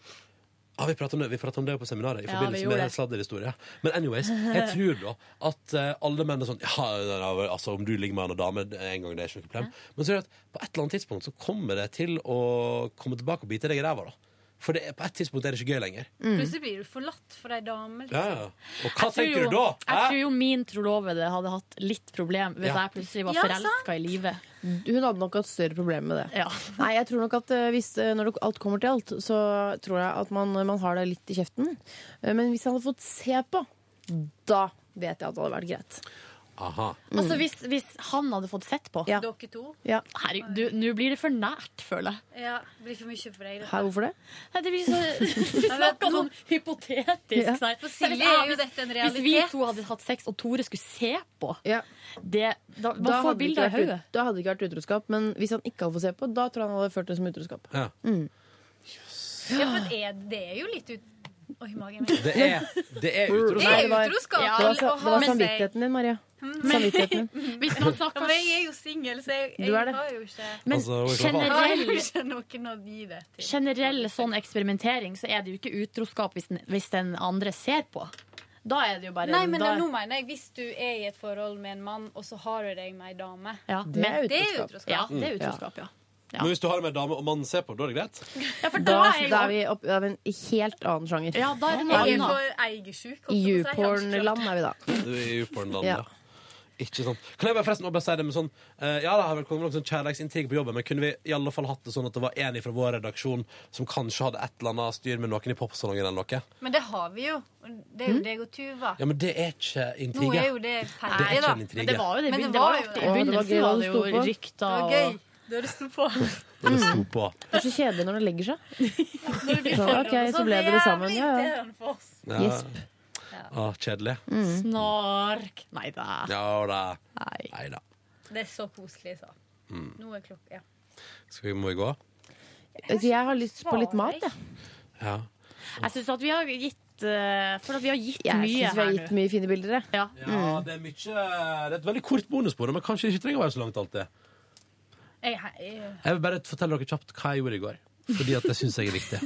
S2: ja, vi pratet om det, vi pratet om det på seminaret i
S15: Ja, vi
S2: forbindelse
S15: gjorde
S2: med
S15: det.
S2: sladderhistorie. Men anyways, jeg tror da at eh, alle menn er sånn ja, ja, ja, altså Om du ligger med en dame en gang, det er ikke noe problem. Men så er det at på et eller annet tidspunkt så kommer det til å komme tilbake og bite deg i ræva. da. For det, er- på et tidspunkt er det ikke gøy lenger.
S10: Plutselig blir du forlatt for ei dame.
S2: Ja, ja. Og hva
S3: Jeg tror
S2: tenker
S3: jo-
S2: du da?
S3: Jeg
S2: Hæ?
S3: tror jo min trolovede hadde hatt litt problem hvis
S2: Ja.
S3: jeg plutselig var
S10: Ja,
S3: forelska i livet.
S4: Hun hadde nok hatt større problemer med det. Nei, jeg tror nok at eh, hvis, eh, Når det- alt kommer til alt, så tror jeg at man, man har det litt i kjeften. Eh, Men hvis han hadde fått se på, da vet jeg at det hadde vært greit.
S2: Aha.
S3: Altså hvis, hvis han hadde fått sett på.
S10: Dere to?
S3: Herregud, du- nå blir det for nært, føler jeg.
S10: Ja, det blir for mye for deg. dette.
S4: Hæ, hvorfor det?
S3: Nei, det blir så, vi
S10: Nei, men
S3: snakker
S10: nå-
S3: sånn hypotetisk.
S10: Ja.
S3: sånn her.
S10: For Silje
S3: Hvis jeg-
S10: Liksom, er jo dette en
S3: Hvis vi
S10: realitet.
S3: to hadde hatt sex, og Tore skulle se på det, da, Man
S4: Da
S3: får
S4: hadde det
S3: bilder i
S4: ikke vært ut-
S3: hodet.
S4: Da hadde det ikke vært utroskap. Men hvis han ikke hadde fått se på, da tror jeg han hadde ført det som utroskap.
S2: Ja.
S4: Mm.
S10: Ja, for det er, det er jo litt ut... Oi, magen min.
S2: Det er, det er utroskap.
S10: Det er utroskap
S4: Ja,
S10: til
S4: det var,
S10: å
S4: det
S10: ha
S4: var
S10: med seg-
S4: samvittigheten din, Maria.
S10: Mm.
S4: Samvittigheten din.
S3: Hvis man snakker
S10: ja, Men jeg er jo singel, så jeg, jeg
S3: Du er det.
S10: har jo ikke
S3: Men
S10: Jeg har jo
S3: generell,
S10: ikke noen å gi det til.
S3: generell sånn eksperimentering, så er det jo ikke utroskap hvis den, hvis den andre ser på. Da er det jo bare
S10: Nei, men
S3: da,
S10: da, nå mener jeg hvis du er i et forhold med en mann, og så har du deg med ei dame.
S3: Ja,
S10: det, er det er utroskap.
S3: Ja, det er utroskap, ja.
S2: Men hvis du har det med en dame og mannen ser på, da er det greit?
S4: Da,
S3: da er jeg
S4: da er
S3: jo-
S4: vi opp, da er vi en helt annen sjanger.
S3: Ja, da er det noe
S10: Jeg er
S3: annet.
S10: for eiersjuk. holdt
S4: I
S10: jeg på å si. Jeg har ikke klart
S4: YouPorn-land er vi da.
S2: Du er jo på en land,
S4: Ja.
S2: ja. Ikke sant. Kan jeg bare forresten også bare si det med sånn eh, Ja, det har vel kommet noen sånn kjærlighetsintrigue på jobben, men kunne vi i alle fall hatt det sånn at det var en fra vår redaksjon som kanskje hadde et eller annet styr med noen i popsalongen eller noe?
S10: Men det har vi jo. Det er jo deg og Tuva.
S2: Ja, men det er ikke
S10: Nå
S2: intrige.
S10: er jo det ferdig,
S2: Det er ikke
S10: da.
S2: en intrige. Men det var
S3: jo det.
S10: Men
S3: Det var jo
S10: jo
S3: det.
S10: det.
S3: I begynnelsen var det jo
S4: det sto på.
S3: rykter
S10: Det
S3: og
S10: var gøy. Da det sto på.
S2: Det sto på.
S4: Det er så kjedelig når det legger seg. Så,
S10: forhold,
S4: ok, så ble dere sammen. Ja,
S10: jævlig
S4: ja.
S10: irriterende for oss.
S2: Ja.
S4: Gjesp.
S2: Ah, kjedelig.
S10: Mm.
S3: Snark. Nei da.
S2: Ja da. Nei da.
S10: Det er så koselig, sa.
S2: Mm.
S10: Nå er klokka ja.
S2: Skal vi, må vi gå?
S3: eh,
S4: Så Altså, jeg har lyst på litt mat, jeg.
S2: Ja.
S3: Jeg syns at vi har gitt eh, For at vi har gitt
S4: Jeg
S3: mye
S4: syns vi har
S3: her
S4: gitt
S3: nå.
S4: mye fine bilder. jeg.
S3: Ja.
S2: Ja,
S10: Mm.
S2: det er mye Det er et veldig kort bonusbord, men kanskje ikke trenger å være så langt alltid.
S10: Jeg, jeg,
S2: Jeg vil bare fortelle dere kjapt hva jeg gjorde i går. Fordi at det syns jeg er viktig.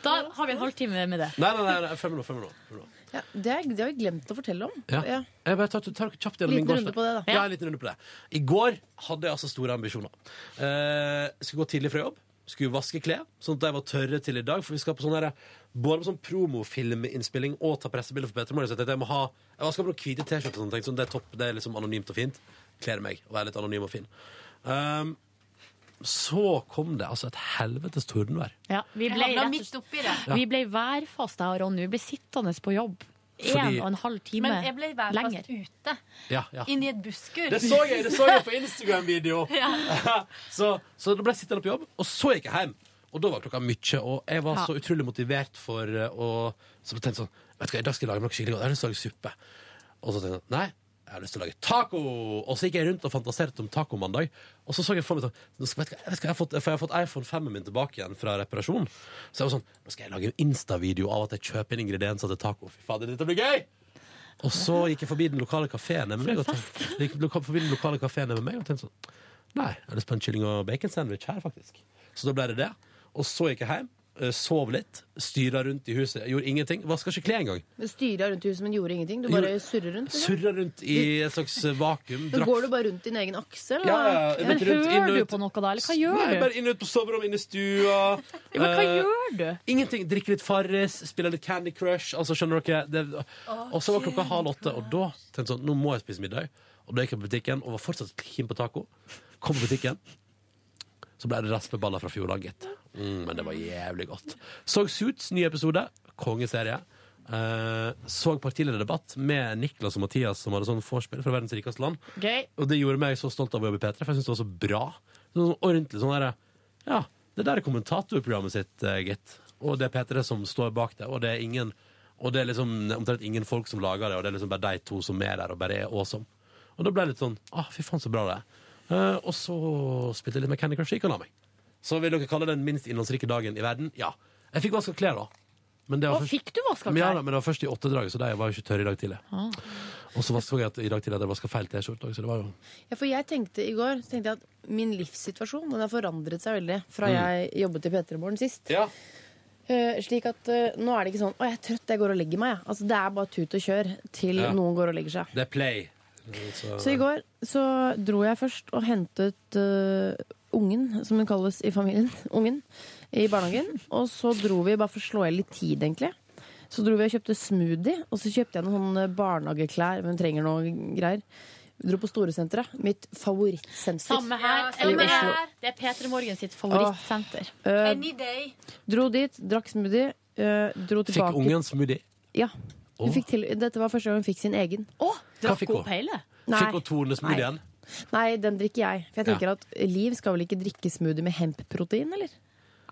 S3: Da har vi en halvtime med det.
S2: Nei, nei, nei, nei følg med nå. Følg med nå. Følg med nå.
S4: Ja, det, er- det har vi glemt å fortelle om.
S2: Ja.
S4: Ja.
S2: Jeg bare tar, tar dere kjapt gjennom
S4: Liten
S2: min gårsdag.
S4: runde på det, da.
S2: Ja, en liten runde på det. I går hadde jeg altså store ambisjoner. Eh, skulle gå tidlig fra jobb, skulle vaske klær, sånn at de var tørre til i dag. For vi skal på sånn her, både på sånn promofilminnspilling og ta pressebilder for Petter Morgen. Så jeg tenkte jeg må ha Jeg vaska på noen hvite T-skjorter, sånn, tenkte sånn, det er topp, det er liksom anonymt og fint. Kler meg og er litt anonym og fin. Um, så kom det altså et helvetes tordenvær.
S3: Ja, vi ble,
S10: havna
S3: rett og
S10: midt
S3: slett-
S10: oppi det.
S3: vi ble værfast, jeg og Ronny. Vi ble sittende på jobb
S2: Fordi-
S3: en og en halv time
S10: Men jeg ble værfast
S3: lenger.
S10: ute.
S2: Ja, ja.
S10: Inni et busskur.
S2: Det så jeg, det så jeg på Instagram-video.
S10: Ja.
S2: så, så da ble jeg sittende på jobb, og så gikk jeg hjem. Og da var klokka mye, og jeg var
S3: Ja.
S2: så utrolig motivert for eh, å Så jeg tenkte sånn Vet du hva, i dag skal jeg lage noe skikkelig godt. Jeg har lyst til å lage suppe. Og så tenkte jeg sånn, nei, jeg har lyst til å lage taco. Og så gikk jeg rundt og fantaserte om tacomandag. Og så så jeg for meg sånn nå skal, vet du hva, vet du hva, jeg har fått, For jeg har fått iPhone 5-en min tilbake igjen fra reparasjon. Så jeg var sånn Nå skal jeg lage en Insta-video av at jeg kjøper inn ingredienser til taco. Fy fader, dette blir gøy! Og så gikk jeg forbi den lokale kafeen med meg og tenkte, jeg gikk loka- forbi den lokale kaféen med meg og tenkte sånn Nei, jeg har lyst på en kylling- og bacon-sandwich her, faktisk. Så da ble det det. Og så gikk jeg hjem, eh, sov litt, styra rundt i huset, jeg gjorde ingenting. Vaska ikke klær engang.
S4: Du styra rundt i huset, men gjorde ingenting. Du
S2: Jeg
S4: bare
S2: gjorde-
S4: surrer rundt. liksom.
S2: Surra rundt i et slags vakuum.
S4: Så
S2: drakk-
S4: går du bare rundt din egen akse, eller?
S2: Ja, ja, ja.
S3: Men
S2: Litt rundt, inn og
S3: hører du
S2: ut.
S3: på noe da, eller hva gjør
S2: Nei,
S3: du?
S2: bare inn og ut på soverommet, inn i stua.
S3: Ja, men hva
S2: Eh,
S3: gjør du?
S2: Ingenting. Drikke litt Farris, spille litt Candy Crush. Altså, skjønner dere? Det, og så var klokka halv åtte, og da tenkte jeg sånn, nå må jeg spise middag. Og da gikk jeg på butikken og var fortsatt keen på taco. Kom på butikken. Så ble det raspeballer fra fjordlaget. Mm, men det var jævlig godt. Så Suits, ny episode. Kongeserie. Eh, så partilederdebatt med Niklas og Mathias, som hadde sånn vorspiel fra verdens rikeste land.
S3: Gøy.
S2: Og det gjorde meg så stolt av å jobbe i P3, for jeg syns det var så bra. Sånn ordentlig sånn der, Ja, det der er kommentatorprogrammet sitt, eh, gitt. Og det er P3 som står bak det, og det er ingen Og det er liksom omtrent ingen folk som lager det, og det er liksom bare de to som er der, og bare er awesome. Og da ble jeg litt sånn ah, Fy faen, så bra det er. Eh, og så spilte jeg litt med Candy Crush, ikke la meg. Så vil dere kalle det den minst innholdsrike dagen i verden? Ja. Jeg fikk vaska klær, da. Men det var
S3: Å,
S2: først-
S3: fikk du vaska
S2: Men Ja,
S3: klær?
S2: da, men det var først i åttedraget, så de var jo ikke tørre i dag tidlig.
S3: Ah.
S2: Og så vaska jeg at i dag tidlig at jeg vaska feil T-skjorte òg, så det var jo
S4: Ja, for jeg tenkte i går så tenkte jeg at min livssituasjon den har forandret seg veldig
S2: Mm.
S4: fra jeg jobbet i P3 Morgen sist. Eh, slik at eh, nå er det ikke sånn 'Å, jeg er trøtt, jeg går og legger meg', jeg. Altså, det er bare tut og kjør til
S2: Ja.
S4: noen går og legger seg.
S2: Det er play. Så,
S4: Så i går så dro jeg først og hentet eh, ungen, som hun kalles i familien, ungen, i barnehagen. Og så dro vi, bare for å slå i litt tid, egentlig. Så dro vi og kjøpte smoothie, og så kjøpte jeg noen sånne barnehageklær, hun trenger noe greier. Vi dro på Storesenteret. Mitt favorittsenter.
S3: Samme her.
S4: I
S3: samme
S4: Oslo.
S3: her. Det er P3 Morgen sitt favorittsenter.
S4: Eh,
S3: Any day.
S4: Dro dit, drakk smoothie, eh, dro tilbake.
S6: Fikk ungen smoothie?
S4: Ja. Hun
S6: Åh.
S4: fikk til, dette var første gang hun fikk sin egen.
S6: Hva fikk hun?
S4: Nei.
S6: Fikk hun tornesmoothien?
S4: Nei, den drikker jeg. For jeg tenker
S6: Ja.
S4: at Liv skal vel ikke drikke smoothie med hempprotein, eller?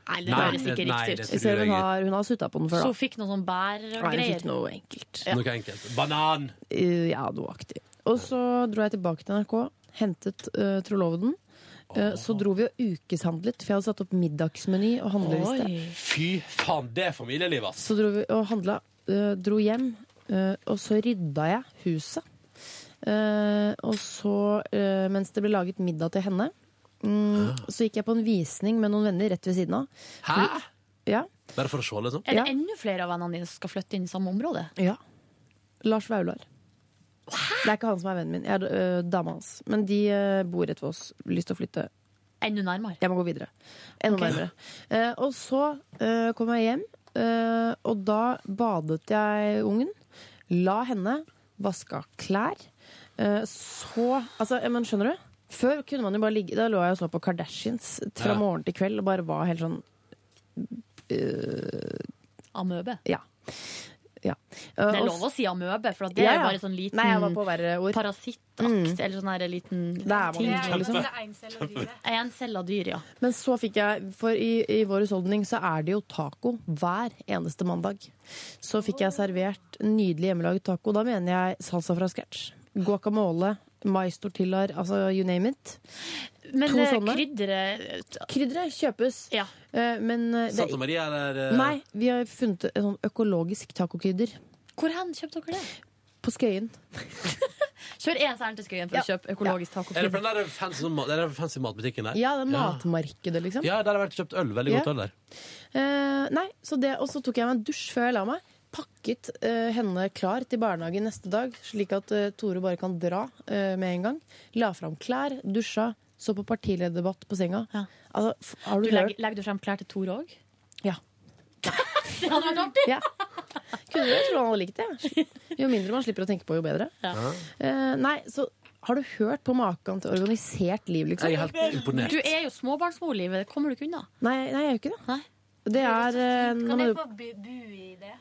S3: Nei, det
S6: Nei,
S3: høres
S6: det-
S3: ikke
S6: nei,
S3: riktig
S6: det
S3: ut.
S6: tror
S4: Selv
S6: jeg
S4: hun
S6: ikke.
S4: har, hun har sutta på den før,
S3: Så
S4: da.
S3: hun fikk noe sånn bær og
S4: Nei, hun
S3: greier.
S4: fikk noe enkelt.
S6: Noe enkelt. Banan!
S4: Eh, ja, noe aktig. Og så dro jeg tilbake til NRK, hentet eh, Trolovden. Eh, så dro vi og ukeshandlet, for jeg hadde satt opp middagsmeny og handleliste.
S6: Fy faen, det er familieliv, ass!
S4: Så dro vi og handla, eh, dro hjem, eh, og så rydda jeg huset. Eh, og så, eh, mens det ble laget middag til henne, mm, så gikk jeg på en visning med noen venner rett ved siden av.
S6: Hæ?
S4: Ja.
S6: Bare for å se, liksom.
S3: Er det enda flere av vennene dine som skal flytte inn i samme område?
S4: ja. Lars Vaular. Det er ikke han som er vennen min, jeg er eh, dama hans. Men de eh, bor rett ved oss, lyst til å flytte.
S3: Enda nærmere.
S4: Jeg må gå videre. Enda
S3: Ok.
S4: nærmere. Eh, og så eh, kom jeg hjem, eh, og da badet jeg ungen. La henne, vaska klær. Eh, så Altså, eh, men skjønner du? Før kunne man jo bare ligge Da lå jeg og så på Kardashians fra
S3: Ja.
S4: morgen til kveld og bare var helt sånn eh,
S3: Amøbe.
S4: Ja. ja.
S3: Det
S4: Eh,
S3: er
S4: og
S3: lov
S4: s-
S3: å si amøbe, for at det
S4: Ja,
S3: er
S4: ja.
S3: bare sånn liten
S4: Nei, jeg var på Mm. verre ord.
S3: parasittakt. Eller sånn her liten
S4: man
S3: ting.
S4: ikke, liksom. Det
S3: Encella dyr, ja.
S4: Men så fikk jeg, for i, i vår husholdning så er det jo taco hver eneste mandag. Så fikk jeg servert nydelig hjemmelaget taco. Da mener jeg salsa fra scratch. Guacamole, maistortillaer, altså you name it.
S3: Men
S4: To
S3: eh,
S4: sånne.
S3: krydderet
S4: Krydderet kjøpes. Eh, Men eh, det,
S6: Santa Maria eller eh,
S4: Nei, vi har funnet et sånn økologisk tacokrydder
S3: Hvor hen kjøpte dere det?
S4: på Skøyen.
S3: Kjør ens ærend til Skøyen for å kjøpe økologisk taco.
S6: Er det på den der fancy, sånn mat- det er den fancy matbutikken der?
S4: Ja, det er matmarkedet, liksom.
S6: Ja, der har jeg vært og kjøpt øl. Veldig godt
S4: Ja.
S6: øl der.
S4: Eh, nei, så det, og så tok jeg meg en dusj før jeg la meg. Pakket eh, henne klar til barnehagen neste dag, slik at eh, Tore bare kan dra eh, med en gang. La fram klær, dusja, så på partilederdebatt på senga. Altså, f- har
S3: Du
S4: du,
S3: legger,
S4: hørt?
S3: legger du frem klær til Tore òg?
S4: Ja.
S3: Det hadde vært artig!
S4: Ja. Kunne du tro han hadde likt det? Jo mindre man slipper å tenke på, jo bedre. Eh, nei, så har du hørt på maken til organisert liv, liksom?
S6: Jeg er helt imponert.
S3: Du er jo småbarnsmor, Livet. Det kommer du ikke unna.
S4: Nei, nei, jeg er jo ikke det. Det er eh, når
S14: Kan
S4: man-
S14: jeg få bu, bu i det?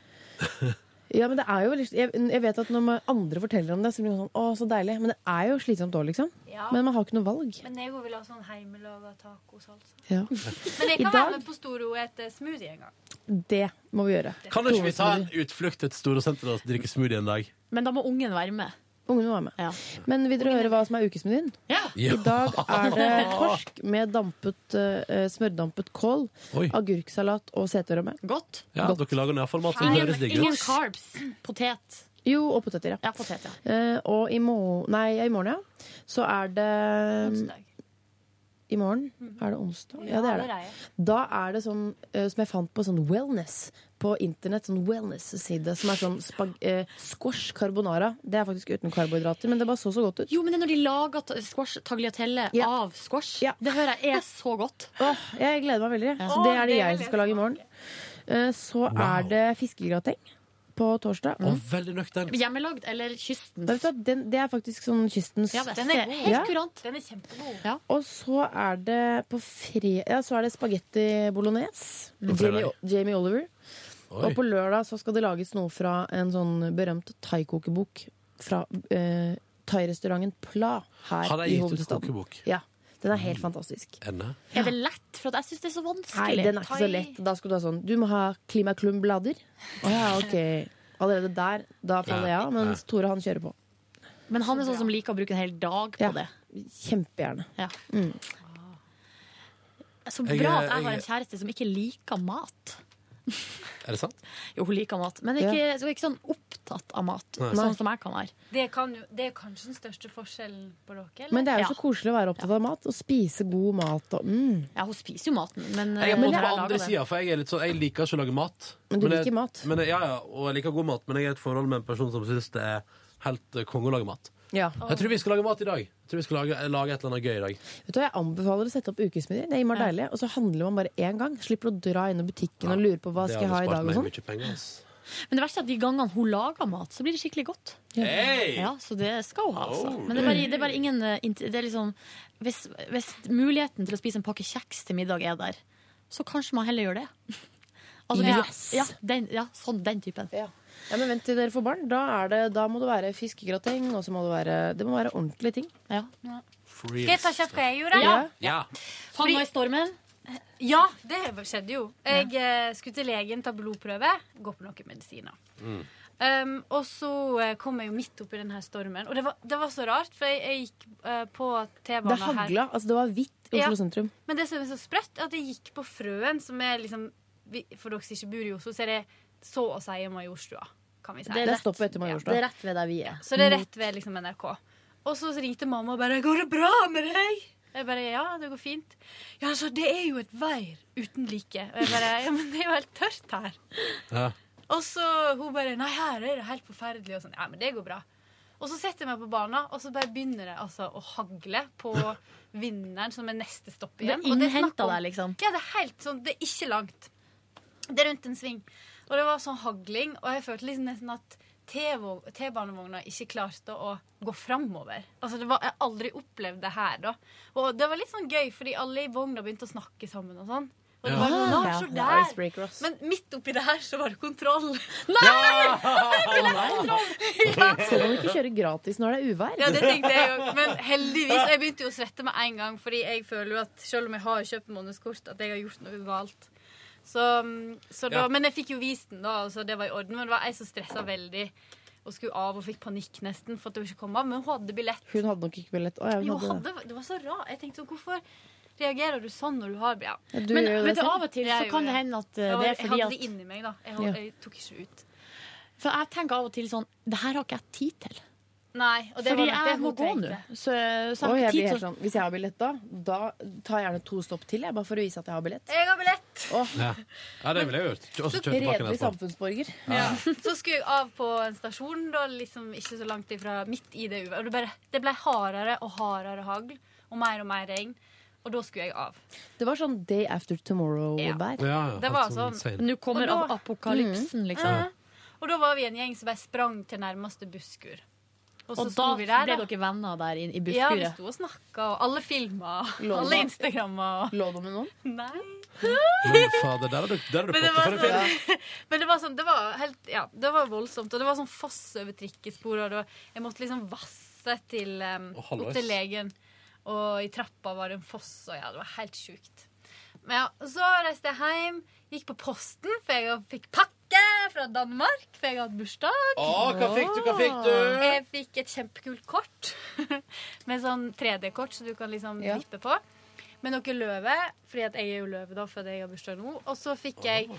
S4: Ja, men det er jo liksom, jeg, jeg vet at når man- andre forteller om det, så blir man sånn Å, så deilig. Men det er jo slitsomt òg, liksom.
S14: Ja.
S4: Men man har ikke noe valg.
S14: Men jeg òg vil ha sånn heimelaga
S10: altså.
S14: tacosalsa.
S4: Ja.
S14: Men jeg
S4: I
S14: kan
S4: dag-
S14: være med på Storo og ete smoothie en gang.
S4: Det må vi gjøre.
S6: Kan ikke vi ta en utflukt til et storosenter og drikke smoothie en dag?
S3: Men da må ungen være med.
S4: Ungene må være med. Men vil dere høre hva som er ukesmenyen?
S6: Ja.
S4: I dag er det torsk med dampet, eh, smørdampet kål,
S6: Oi.
S4: agurksalat og seterømme.
S3: Godt.
S6: Ja, dere lager iallfall mat som
S3: Ingen,
S6: høres digg
S3: ingen
S6: ut.
S3: carbs. Potet.
S4: Jo, og poteter, ja.
S3: Ja, potet, ja.
S4: Eh, og i, må nei, ja, i morgen, ja, så er det I morgen? Er det onsdag? Mhm. Ja, det er det. Da er det sånn eh, som jeg fant på sånn wellness på internett. Sånn wellness-side som er sånn spag eh, squash carbonara. Det er faktisk uten karbohydrater, men det bare så så godt ut.
S3: Jo, men det er når de lager ta- squash, tagliatelle
S4: Ja.
S3: av squash. Det hører jeg er så godt.
S4: Åh, jeg gleder meg veldig. Så det er det jeg som skal lage i morgen. Eh, så er det fiskegrateng på torsdag.
S6: Å, veldig nøktern.
S3: Hjemmelagd eller kystens?
S4: Vet du hva, den, det er faktisk sånn kystens
S3: Ja, den er helt
S4: Ja.
S3: kurant.
S14: Den er kjempegod.
S4: Og så er det på fre... Ja, så er det spagetti bolognese.
S6: På
S4: Jamie,
S6: fredag.
S4: Jamie Oliver.
S6: Oi.
S4: Og på lørdag så skal det lages noe fra en sånn berømt thaikokebok fra eh, thairestauranten Pla her
S6: Har de
S4: i
S6: gitt ut
S4: hovedstaden.
S6: kokebok?
S4: Ja, den er helt fantastisk.
S6: Enne?
S3: Er det lett? For at jeg syns det er så
S4: Nei,
S3: vanskelig.
S4: den er ikke så lett. Da skal du ha sånn Du må ha klimaklum-blader. Å ja, ok. Allerede der, da faller jeg
S6: Ja,
S4: av. Mens Tore, han kjører på.
S3: Men han er sånn som liker å bruke en hel dag på
S4: Ja.
S3: det.
S4: Kjempegjerne.
S3: Ja.
S4: Mm.
S3: Så
S6: Jeg er-
S3: bra at jeg har
S6: jeg-
S3: en kjæreste som ikke liker mat.
S6: Er det sant?
S3: Jo, hun liker mat, men ikke, så ikke sånn opptatt av mat,
S6: Nei.
S3: sånn som jeg kan være.
S14: Det, kan, jo- det er kanskje den største forskjellen på dere? Eller?
S4: Men det er jo
S3: Ja.
S4: så koselig å være opptatt av mat og spise god mat. Og, mm.
S3: Ja, hun spiser jo maten, men
S6: Jeg er på, en måte
S3: men jeg
S6: på
S3: lager
S6: andre
S3: det.
S6: sida, for jeg, er litt sånn, jeg liker ikke å lage mat.
S4: Men du
S6: jeg,
S4: liker mat.
S6: Men, jeg- ja, ja, og jeg liker god mat, men jeg er i et forhold med en person som syns det er helt eh, konge å lage mat.
S4: Ja.
S6: Jeg tror vi skal lage mat i dag. Jeg tror vi skal lage, lage et eller annet gøy i dag.
S4: Vet du, hva, Jeg anbefaler å sette opp ukesmenyer. Det er innmari deilig. Og så handler man bare én gang. Slipper å dra innom butikken og lure på hva
S6: Det
S4: skal
S6: hadde
S4: jeg ha i
S6: spart
S4: dag.
S6: meg
S4: og sånn.
S6: mye penger, ass.
S3: Men det verste er at de gangene hun lager mat, så blir det skikkelig godt.
S9: Hey!
S3: Ja, Så det skal hun ha, altså.
S9: Oh.
S3: Men det er bare, det er bare ingen eh, int- det er liksom, hvis, hvis muligheten til å spise en pakke kjeks til middag er der, så kanskje man heller gjør det. Altså,
S4: Yes.
S3: hvis- ja, den, ja, sånn den typen.
S4: Ja, men vent til dere får barn. Da, er det, da må det være fiskegrateng, og så må det være, det må være ordentlige ting.
S10: Ja. Skal jeg ta kjapt hva jeg gjorde?
S4: Ja.
S3: Havna i stormen?
S10: Ja, det skjedde jo. Jeg eh, skulle til legen, ta blodprøve, gå på noen medisiner. Um, og så eh, kom jeg jo midt oppi denne stormen. Og det var, det var så rart, for jeg, jeg gikk eh, på
S4: Det
S10: T-banen her.
S4: hagla. Altså, det var hvitt i Oslo
S10: Ja.
S4: sentrum.
S10: Men det som er så sprøtt, er at jeg gikk på Frøen, som er liksom vi- For dere som ikke bor i Oslo, så er det så å si Majorstua, kan vi si.
S4: Det stopper etter Majorstua.
S3: Det er rett ved der vi er.
S10: Så det er rett ved liksom, NRK. Og så ringte mamma og bare 'Går det bra med deg?' Jeg bare 'Ja, det går fint'. 'Ja, altså, det er jo et vær uten like'. Og jeg bare 'Ja, men det er jo helt tørt her'.
S2: Ja.
S10: Og så hun bare 'Nei, her er det helt forferdelig'. Og sånn. Ja, men det går bra. Og så setter jeg meg på banen, og så bare begynner det altså å hagle på vinneren, som er neste stopp
S3: Det
S10: igjen.
S3: er
S10: Og er snakk
S3: innhentet
S10: om-
S3: der, liksom.
S10: Ja, det er helt sånn. Det er ikke langt. Det er rundt en sving. Og det var sånn hagling, og jeg følte liksom nesten at T-vog- T-banevogna ikke klarte å gå framover. Altså, det var, jeg har aldri opplevd det her, da. Og det var litt sånn gøy, fordi alle i vogna begynte å snakke sammen og sånn. Og det
S9: Ja.
S10: var sånn,
S9: Ah,
S10: «Nå,
S9: ja.
S10: så
S9: Det er
S10: der.
S9: icebreaker, ass.
S10: Men midt oppi det her så var det kontroll. Nei!
S9: Ja!
S10: Det ble
S4: Så kan
S10: kontroll.
S4: du ikke kjøre gratis når det er uvær.
S10: Ja, det tenkte jeg jo. Men heldigvis. Jeg begynte jo å svette med en gang, fordi jeg føler jo at selv om jeg har kjøpt månedskort, at jeg har gjort noe galt. Så, mm, så da,
S9: Ja.
S10: Men jeg fikk jo vist den, da, så det var i orden. Men det var ei som stressa veldig og skulle av og fikk panikk nesten for at hun ikke kom av. Men hun hadde billett.
S4: Hun hadde nok ikke billett. Å, ja, hun
S10: Jo,
S4: hadde det.
S10: hadde, det var så rart. Jeg tenkte sånn, hvorfor reagerer du sånn når du har ja.
S4: Ja, du Men gjør jo det vet du, selv.
S3: av og til så
S10: Jeg gjorde
S3: kan det hende at, eh, det er
S10: Jeg
S3: fordi
S10: hadde- Jeg hadde
S3: at-
S10: det inni meg, da. Jeg, hold-
S3: Ja.
S10: jeg tok ikke ut.
S3: For jeg tenker av og til sånn Det her har ikke jeg tid til.
S10: Nei, og det
S3: Fordi
S10: var nok det
S3: jeg må
S10: hun
S3: gå
S10: tenkte.
S3: nå. Så, så
S4: Å,
S3: jeg har
S4: jeg blir
S3: ikke tid
S4: helt
S3: til å
S4: sånn, hvis jeg har billett da, da tar jeg gjerne to stopp til, jeg, bare for å vise at jeg har billett.
S10: Jeg har billett!
S2: Ja. ja, det ville jeg gjort. Og så kjøpe pakken
S4: Redelig
S2: etterpå.
S4: samfunnsborger.
S2: Ja.
S10: Så skulle jeg av på en stasjon, da, liksom ikke så langt ifra, midt i det uværet. Og det, bare- det ble hardere og hardere hagl, og mer og mer regn. Og da skulle jeg av.
S4: Det var sånn day after tomorrow-vær.
S10: det var sånn. Og da- Mm.
S3: liksom.
S10: Ja. Og da var vi en gjeng som bare sprang til nærmeste busskur. Og så
S3: Og
S10: sto
S3: da
S10: vi der,
S3: ble
S10: da.
S3: dere venner der i, i
S10: Ja, vi
S3: busskuret.
S10: sto og snakka, og alle filma.
S3: Lå
S10: Alle
S3: da-
S10: Instagramma.
S4: Lå du med noen?
S2: Men
S10: Nei.
S2: fader, der har du, der har du
S10: Men
S2: potta
S10: det var
S2: for en film.
S10: sånn- Men det var sånn, det var helt, ja, det var voldsomt. Og det var sånn foss over trikkespor, og det var, jeg måtte liksom vasse til, um,
S9: Og halvveis.
S10: opp til legen. Og i trappa var det en foss, og ja, det var helt sjukt. Men ja, så reiste jeg hjem, gikk på posten, for jeg fikk pakke fra Danmark, for jeg har hatt bursdag.
S9: Å, hva fikk du, hva fikk du?
S10: Jeg fikk et kjempekult kort, med sånn 3D-kort, så du kan liksom
S9: Ja.
S10: vippe på. Med noe løve, fordi at jeg er jo løve da, fordi jeg har bursdag nå. Og så fikk jeg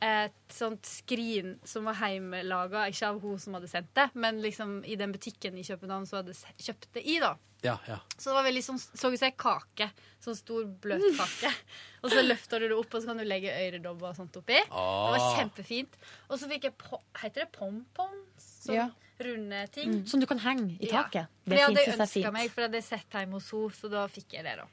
S10: et sånt skrin som var hjemmelaga, ikke av hun som hadde sendt det, men liksom i den butikken i København som hadde se- kjøpt det i, da.
S2: Ja, ja.
S10: Så det var veldig sånn, så ut som ei kake. Sånn stor, bløt kake. Og så løfter du det opp, og så kan du legge øredobber og sånt oppi.
S9: Ah.
S10: Det var kjempefint. Og så fikk jeg po Heter det pompoms? Sånn
S3: Ja.
S10: runde ting.
S3: Som du kan henge i taket.
S10: For
S3: Det
S10: det hadde
S3: fins
S10: jeg
S3: seg
S10: ønska
S3: fint.
S10: meg, for det hadde jeg sett hjemme hos henne, så da fikk jeg det, da.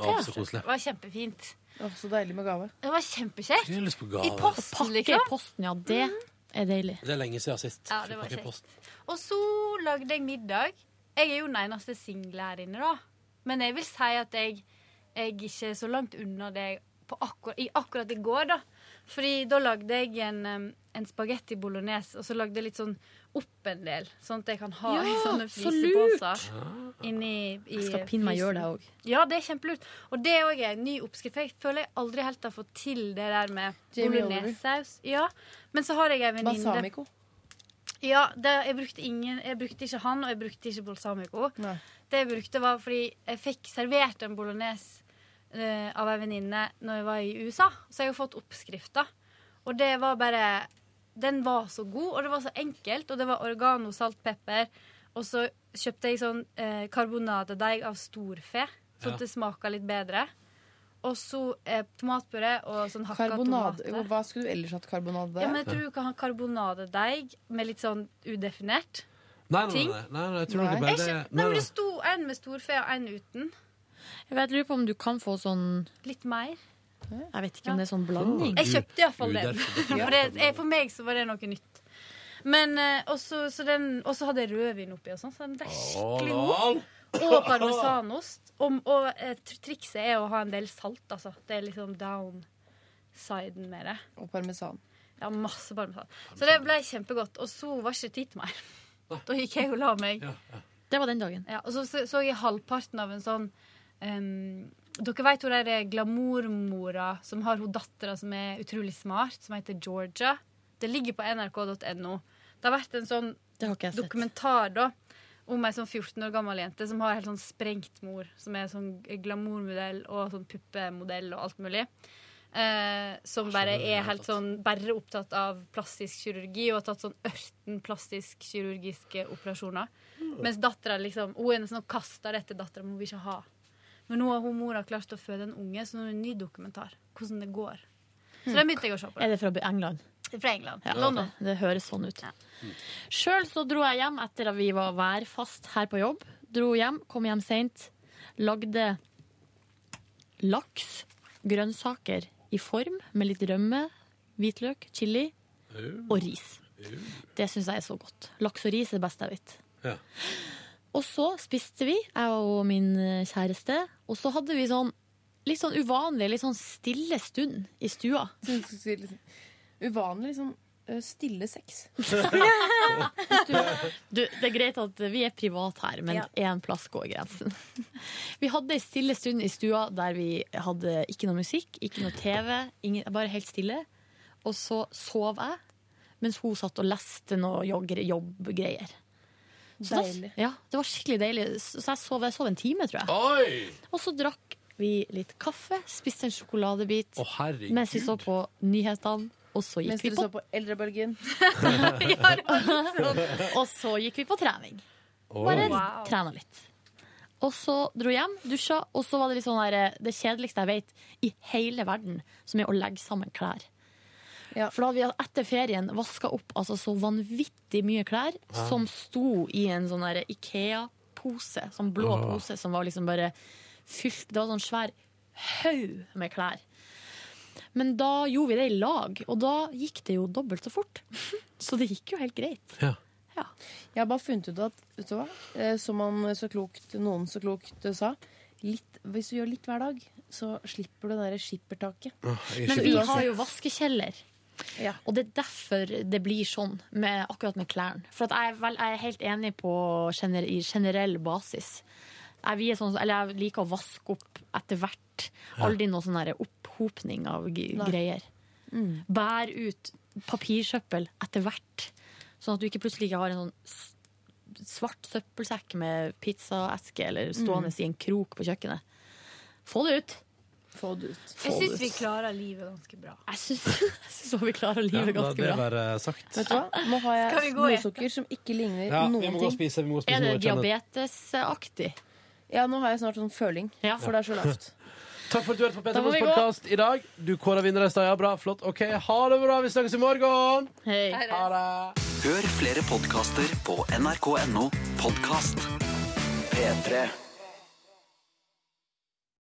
S2: Å, så koselig.
S10: Det var kjempefint.
S4: Å, så deilig med gave.
S10: Det var kjempekjekt.
S2: Jeg har lyst på gave.
S10: I posten, liksom. Mm.
S3: ja, det er deilig.
S2: Det er lenge siden sist.
S10: Ja, det var
S2: Fikk pakke i
S10: kjekt.
S2: posten.
S10: Og så lagde jeg middag. Jeg er jo den eneste single her inne, da. Men jeg vil si at jeg, jeg er ikke er så langt unna det jeg- på akkur i akkurat i går, da. Fordi da lagde jeg en, um, en spagetti bolognese, og så lagde jeg litt sånn opp en del. Sånn at jeg kan ha
S3: Ja,
S10: i sånne
S3: så lurt!
S10: fryseposer. Inni, i
S3: Jeg skal pinne meg
S10: frysen.
S3: gjøre det òg.
S10: Ja, det er kjempelurt. Og det òg er en ny oppskrift. For jeg føler jeg aldri helt har fått til det der med
S4: Jamie Oliver.
S10: bolognesesaus. Ja. Men så har jeg ei venninne
S4: Balsamico.
S10: ja, det, jeg, brukte ingen, jeg brukte ikke han, og jeg brukte ikke balsamico. Det jeg brukte var fordi jeg fikk servert en bolognese eh, av ei venninne når jeg var i USA. Så jeg har fått oppskrifta. Og det var bare Den var så god, og det var så enkelt. Og det var oregano, salt, pepper. Og så kjøpte jeg sånn eh, karbonadedeig av storfe, sånn
S4: Ja.
S10: at det smaka litt bedre. Og så eh, tomatpuré og sånn hakka
S4: Karbonade.
S10: tomater.
S4: Hva skulle du ellers hatt karbonade?
S10: Ja, men jeg tror du kan ha karbonadedeig med litt sånn udefinert.
S2: Nei, nei,
S10: Ting?
S2: nei, nei, nei, jeg tror det bare
S10: Jeg
S2: det
S10: skjøn-
S2: nei,
S10: nei, men
S2: nei.
S10: det sto en med storfe og en uten.
S3: Jeg vet, lurer på om du kan få sånn
S10: Litt mer.
S3: Jeg vet ikke om det er sånn blanding.
S10: Jeg kjøpte iallfall den. For, det, eh, for meg så var det noe nytt. Men eh, også, så den, og så hadde jeg rødvin oppi og sånn, så den ble skikkelig god. Og parmesanost. Og, og eh, tr- trikset er å ha en del salt, altså. Det er liksom downsiden med det.
S4: Og parmesan.
S10: Ja, masse parmesan. Så det ble kjempegodt. Og så var ikke tid til mer. Da gikk jeg og la meg.
S3: Det var den dagen.
S10: Ja, og så så, så jeg halvparten av en sånn ehm, Dere vet hun der glamourmora som har hun dattera som er utrolig smart, som heter Georgia. Det ligger på nrk.no. Det har vært en sånn dokumentar da om ei sånn 14 år gammel jente som har helt sånn sprengt mor. Som er sånn glamourmodell og sånn puppemodell og alt mulig. Eh, som bare er helt sånn bare opptatt av plastisk kirurgi og har tatt sånn ørten plastisk kirurgiske operasjoner.
S16: Mm.
S10: Mens dattera liksom Hun er nesten og kaster det etter dattera, men hun vil ikke ha. Men nå har hun mora klart å føde en unge, så nå er det en ny dokumentar. Hvordan det går. Så den begynte jeg å se på.
S3: Er det fra England?
S10: Det er Fra England.
S3: Ja,
S10: London.
S3: Det, det høres sånn ut. Sjøl så dro jeg hjem etter at vi var værfast her på jobb. Dro hjem, kom hjem seint. Lagde laks, grønnsaker i form med litt rømme, hvitløk, chili og ris. Det syns jeg er så godt. Laks og ris er det beste jeg vet.
S17: Ja.
S3: Og så spiste vi, jeg og min eh, kjæreste, og så hadde vi sånn litt sånn uvanlig, litt sånn stille stund i stua.
S4: liksom Uvanlig liksom ø, stille sex.
S3: Du, det er greit at vi er privat her, men
S4: Ja.
S3: én plass går grensen. Vi hadde ei stille stund i stua der vi hadde ikke noe musikk, ikke noe TV, ingen, bare helt stille. Og så sov jeg, mens hun satt og leste noe jogger- jobbgreier. Så
S4: Deilig.
S3: Da, ja, det var skikkelig deilig. Så jeg sov, jeg sov en time, tror jeg. Og så drakk vi litt kaffe, spiste en sjokoladebit
S17: Å, herregud.
S3: mens vi så på nyhetene, og så gikk
S4: Mens
S3: vi
S4: dere
S3: på
S4: så på Eldrebølgen.
S3: og så gikk vi på trening.
S4: Oi.
S3: Bare
S4: Wow.
S3: trena litt. Og så dro jeg hjem, dusja, og så var det litt sånn der, det kjedeligste jeg vet i hele verden, som er å legge sammen klær. For da hadde vi etter ferien vaska opp altså, så vanvittig mye klær
S16: Ja.
S3: som sto i en sånn der Ikea-pose, sånn blå
S16: Åh.
S3: pose som var liksom bare fylt Det var sånn svær haug med klær. Men da gjorde vi det i lag, og da gikk det jo dobbelt så fort. Så det gikk jo helt greit.
S4: Jeg har bare funnet ut at vet du hva? Eh, Som man så klokt, noen så klokt eh, sa litt, Hvis du gjør litt hver dag, så slipper du det derre skippertaket.
S3: Men vi har jo vaskekjeller. Og det er derfor det blir sånn med, akkurat med klærne. For at jeg, er vel, jeg er helt enig på gener, i generell basis. Jeg, vi er sånn, eller jeg liker å vaske opp etter hvert.
S16: Ja.
S3: Aldri noe sånn der opphopning av g
S16: Nei.
S3: greier. Bær ut papirsøppel etter hvert, sånn at du ikke plutselig ikke har en sånn s- svart søppelsekk med pizzaeske eller stående
S10: Mm.
S3: i en krok på kjøkkenet. Få det ut!
S4: Få det ut.
S10: Jeg syns vi klarer livet ganske bra.
S3: Jeg syns vi klarer livet
S17: la
S3: ganske
S17: det
S3: bra.
S17: være
S2: eh,
S17: sagt.
S4: Vet du hva? Nå har
S3: Skal vi
S4: jeg
S3: gå og ete?
S4: småsukker som ikke ligner
S17: Ja, vi
S4: noen
S17: må gå og
S4: ting.
S17: spise, vi må gå og spise
S3: Er det
S17: noe, jeg kjenner-
S3: diabetesaktig?
S4: Ja, nå har jeg snart sånn føling, for det er så lavt.
S2: Takk for at du hørte på Peter
S4: Da må
S2: Moss
S4: vi gå.
S2: podkast i dag. Du kåra vinnere i stad. Ja, bra. Flott. OK, ha det bra. Vi snakkes i morgen. Ha det.
S1: Hør flere podkaster på nrk.no podkast. P3.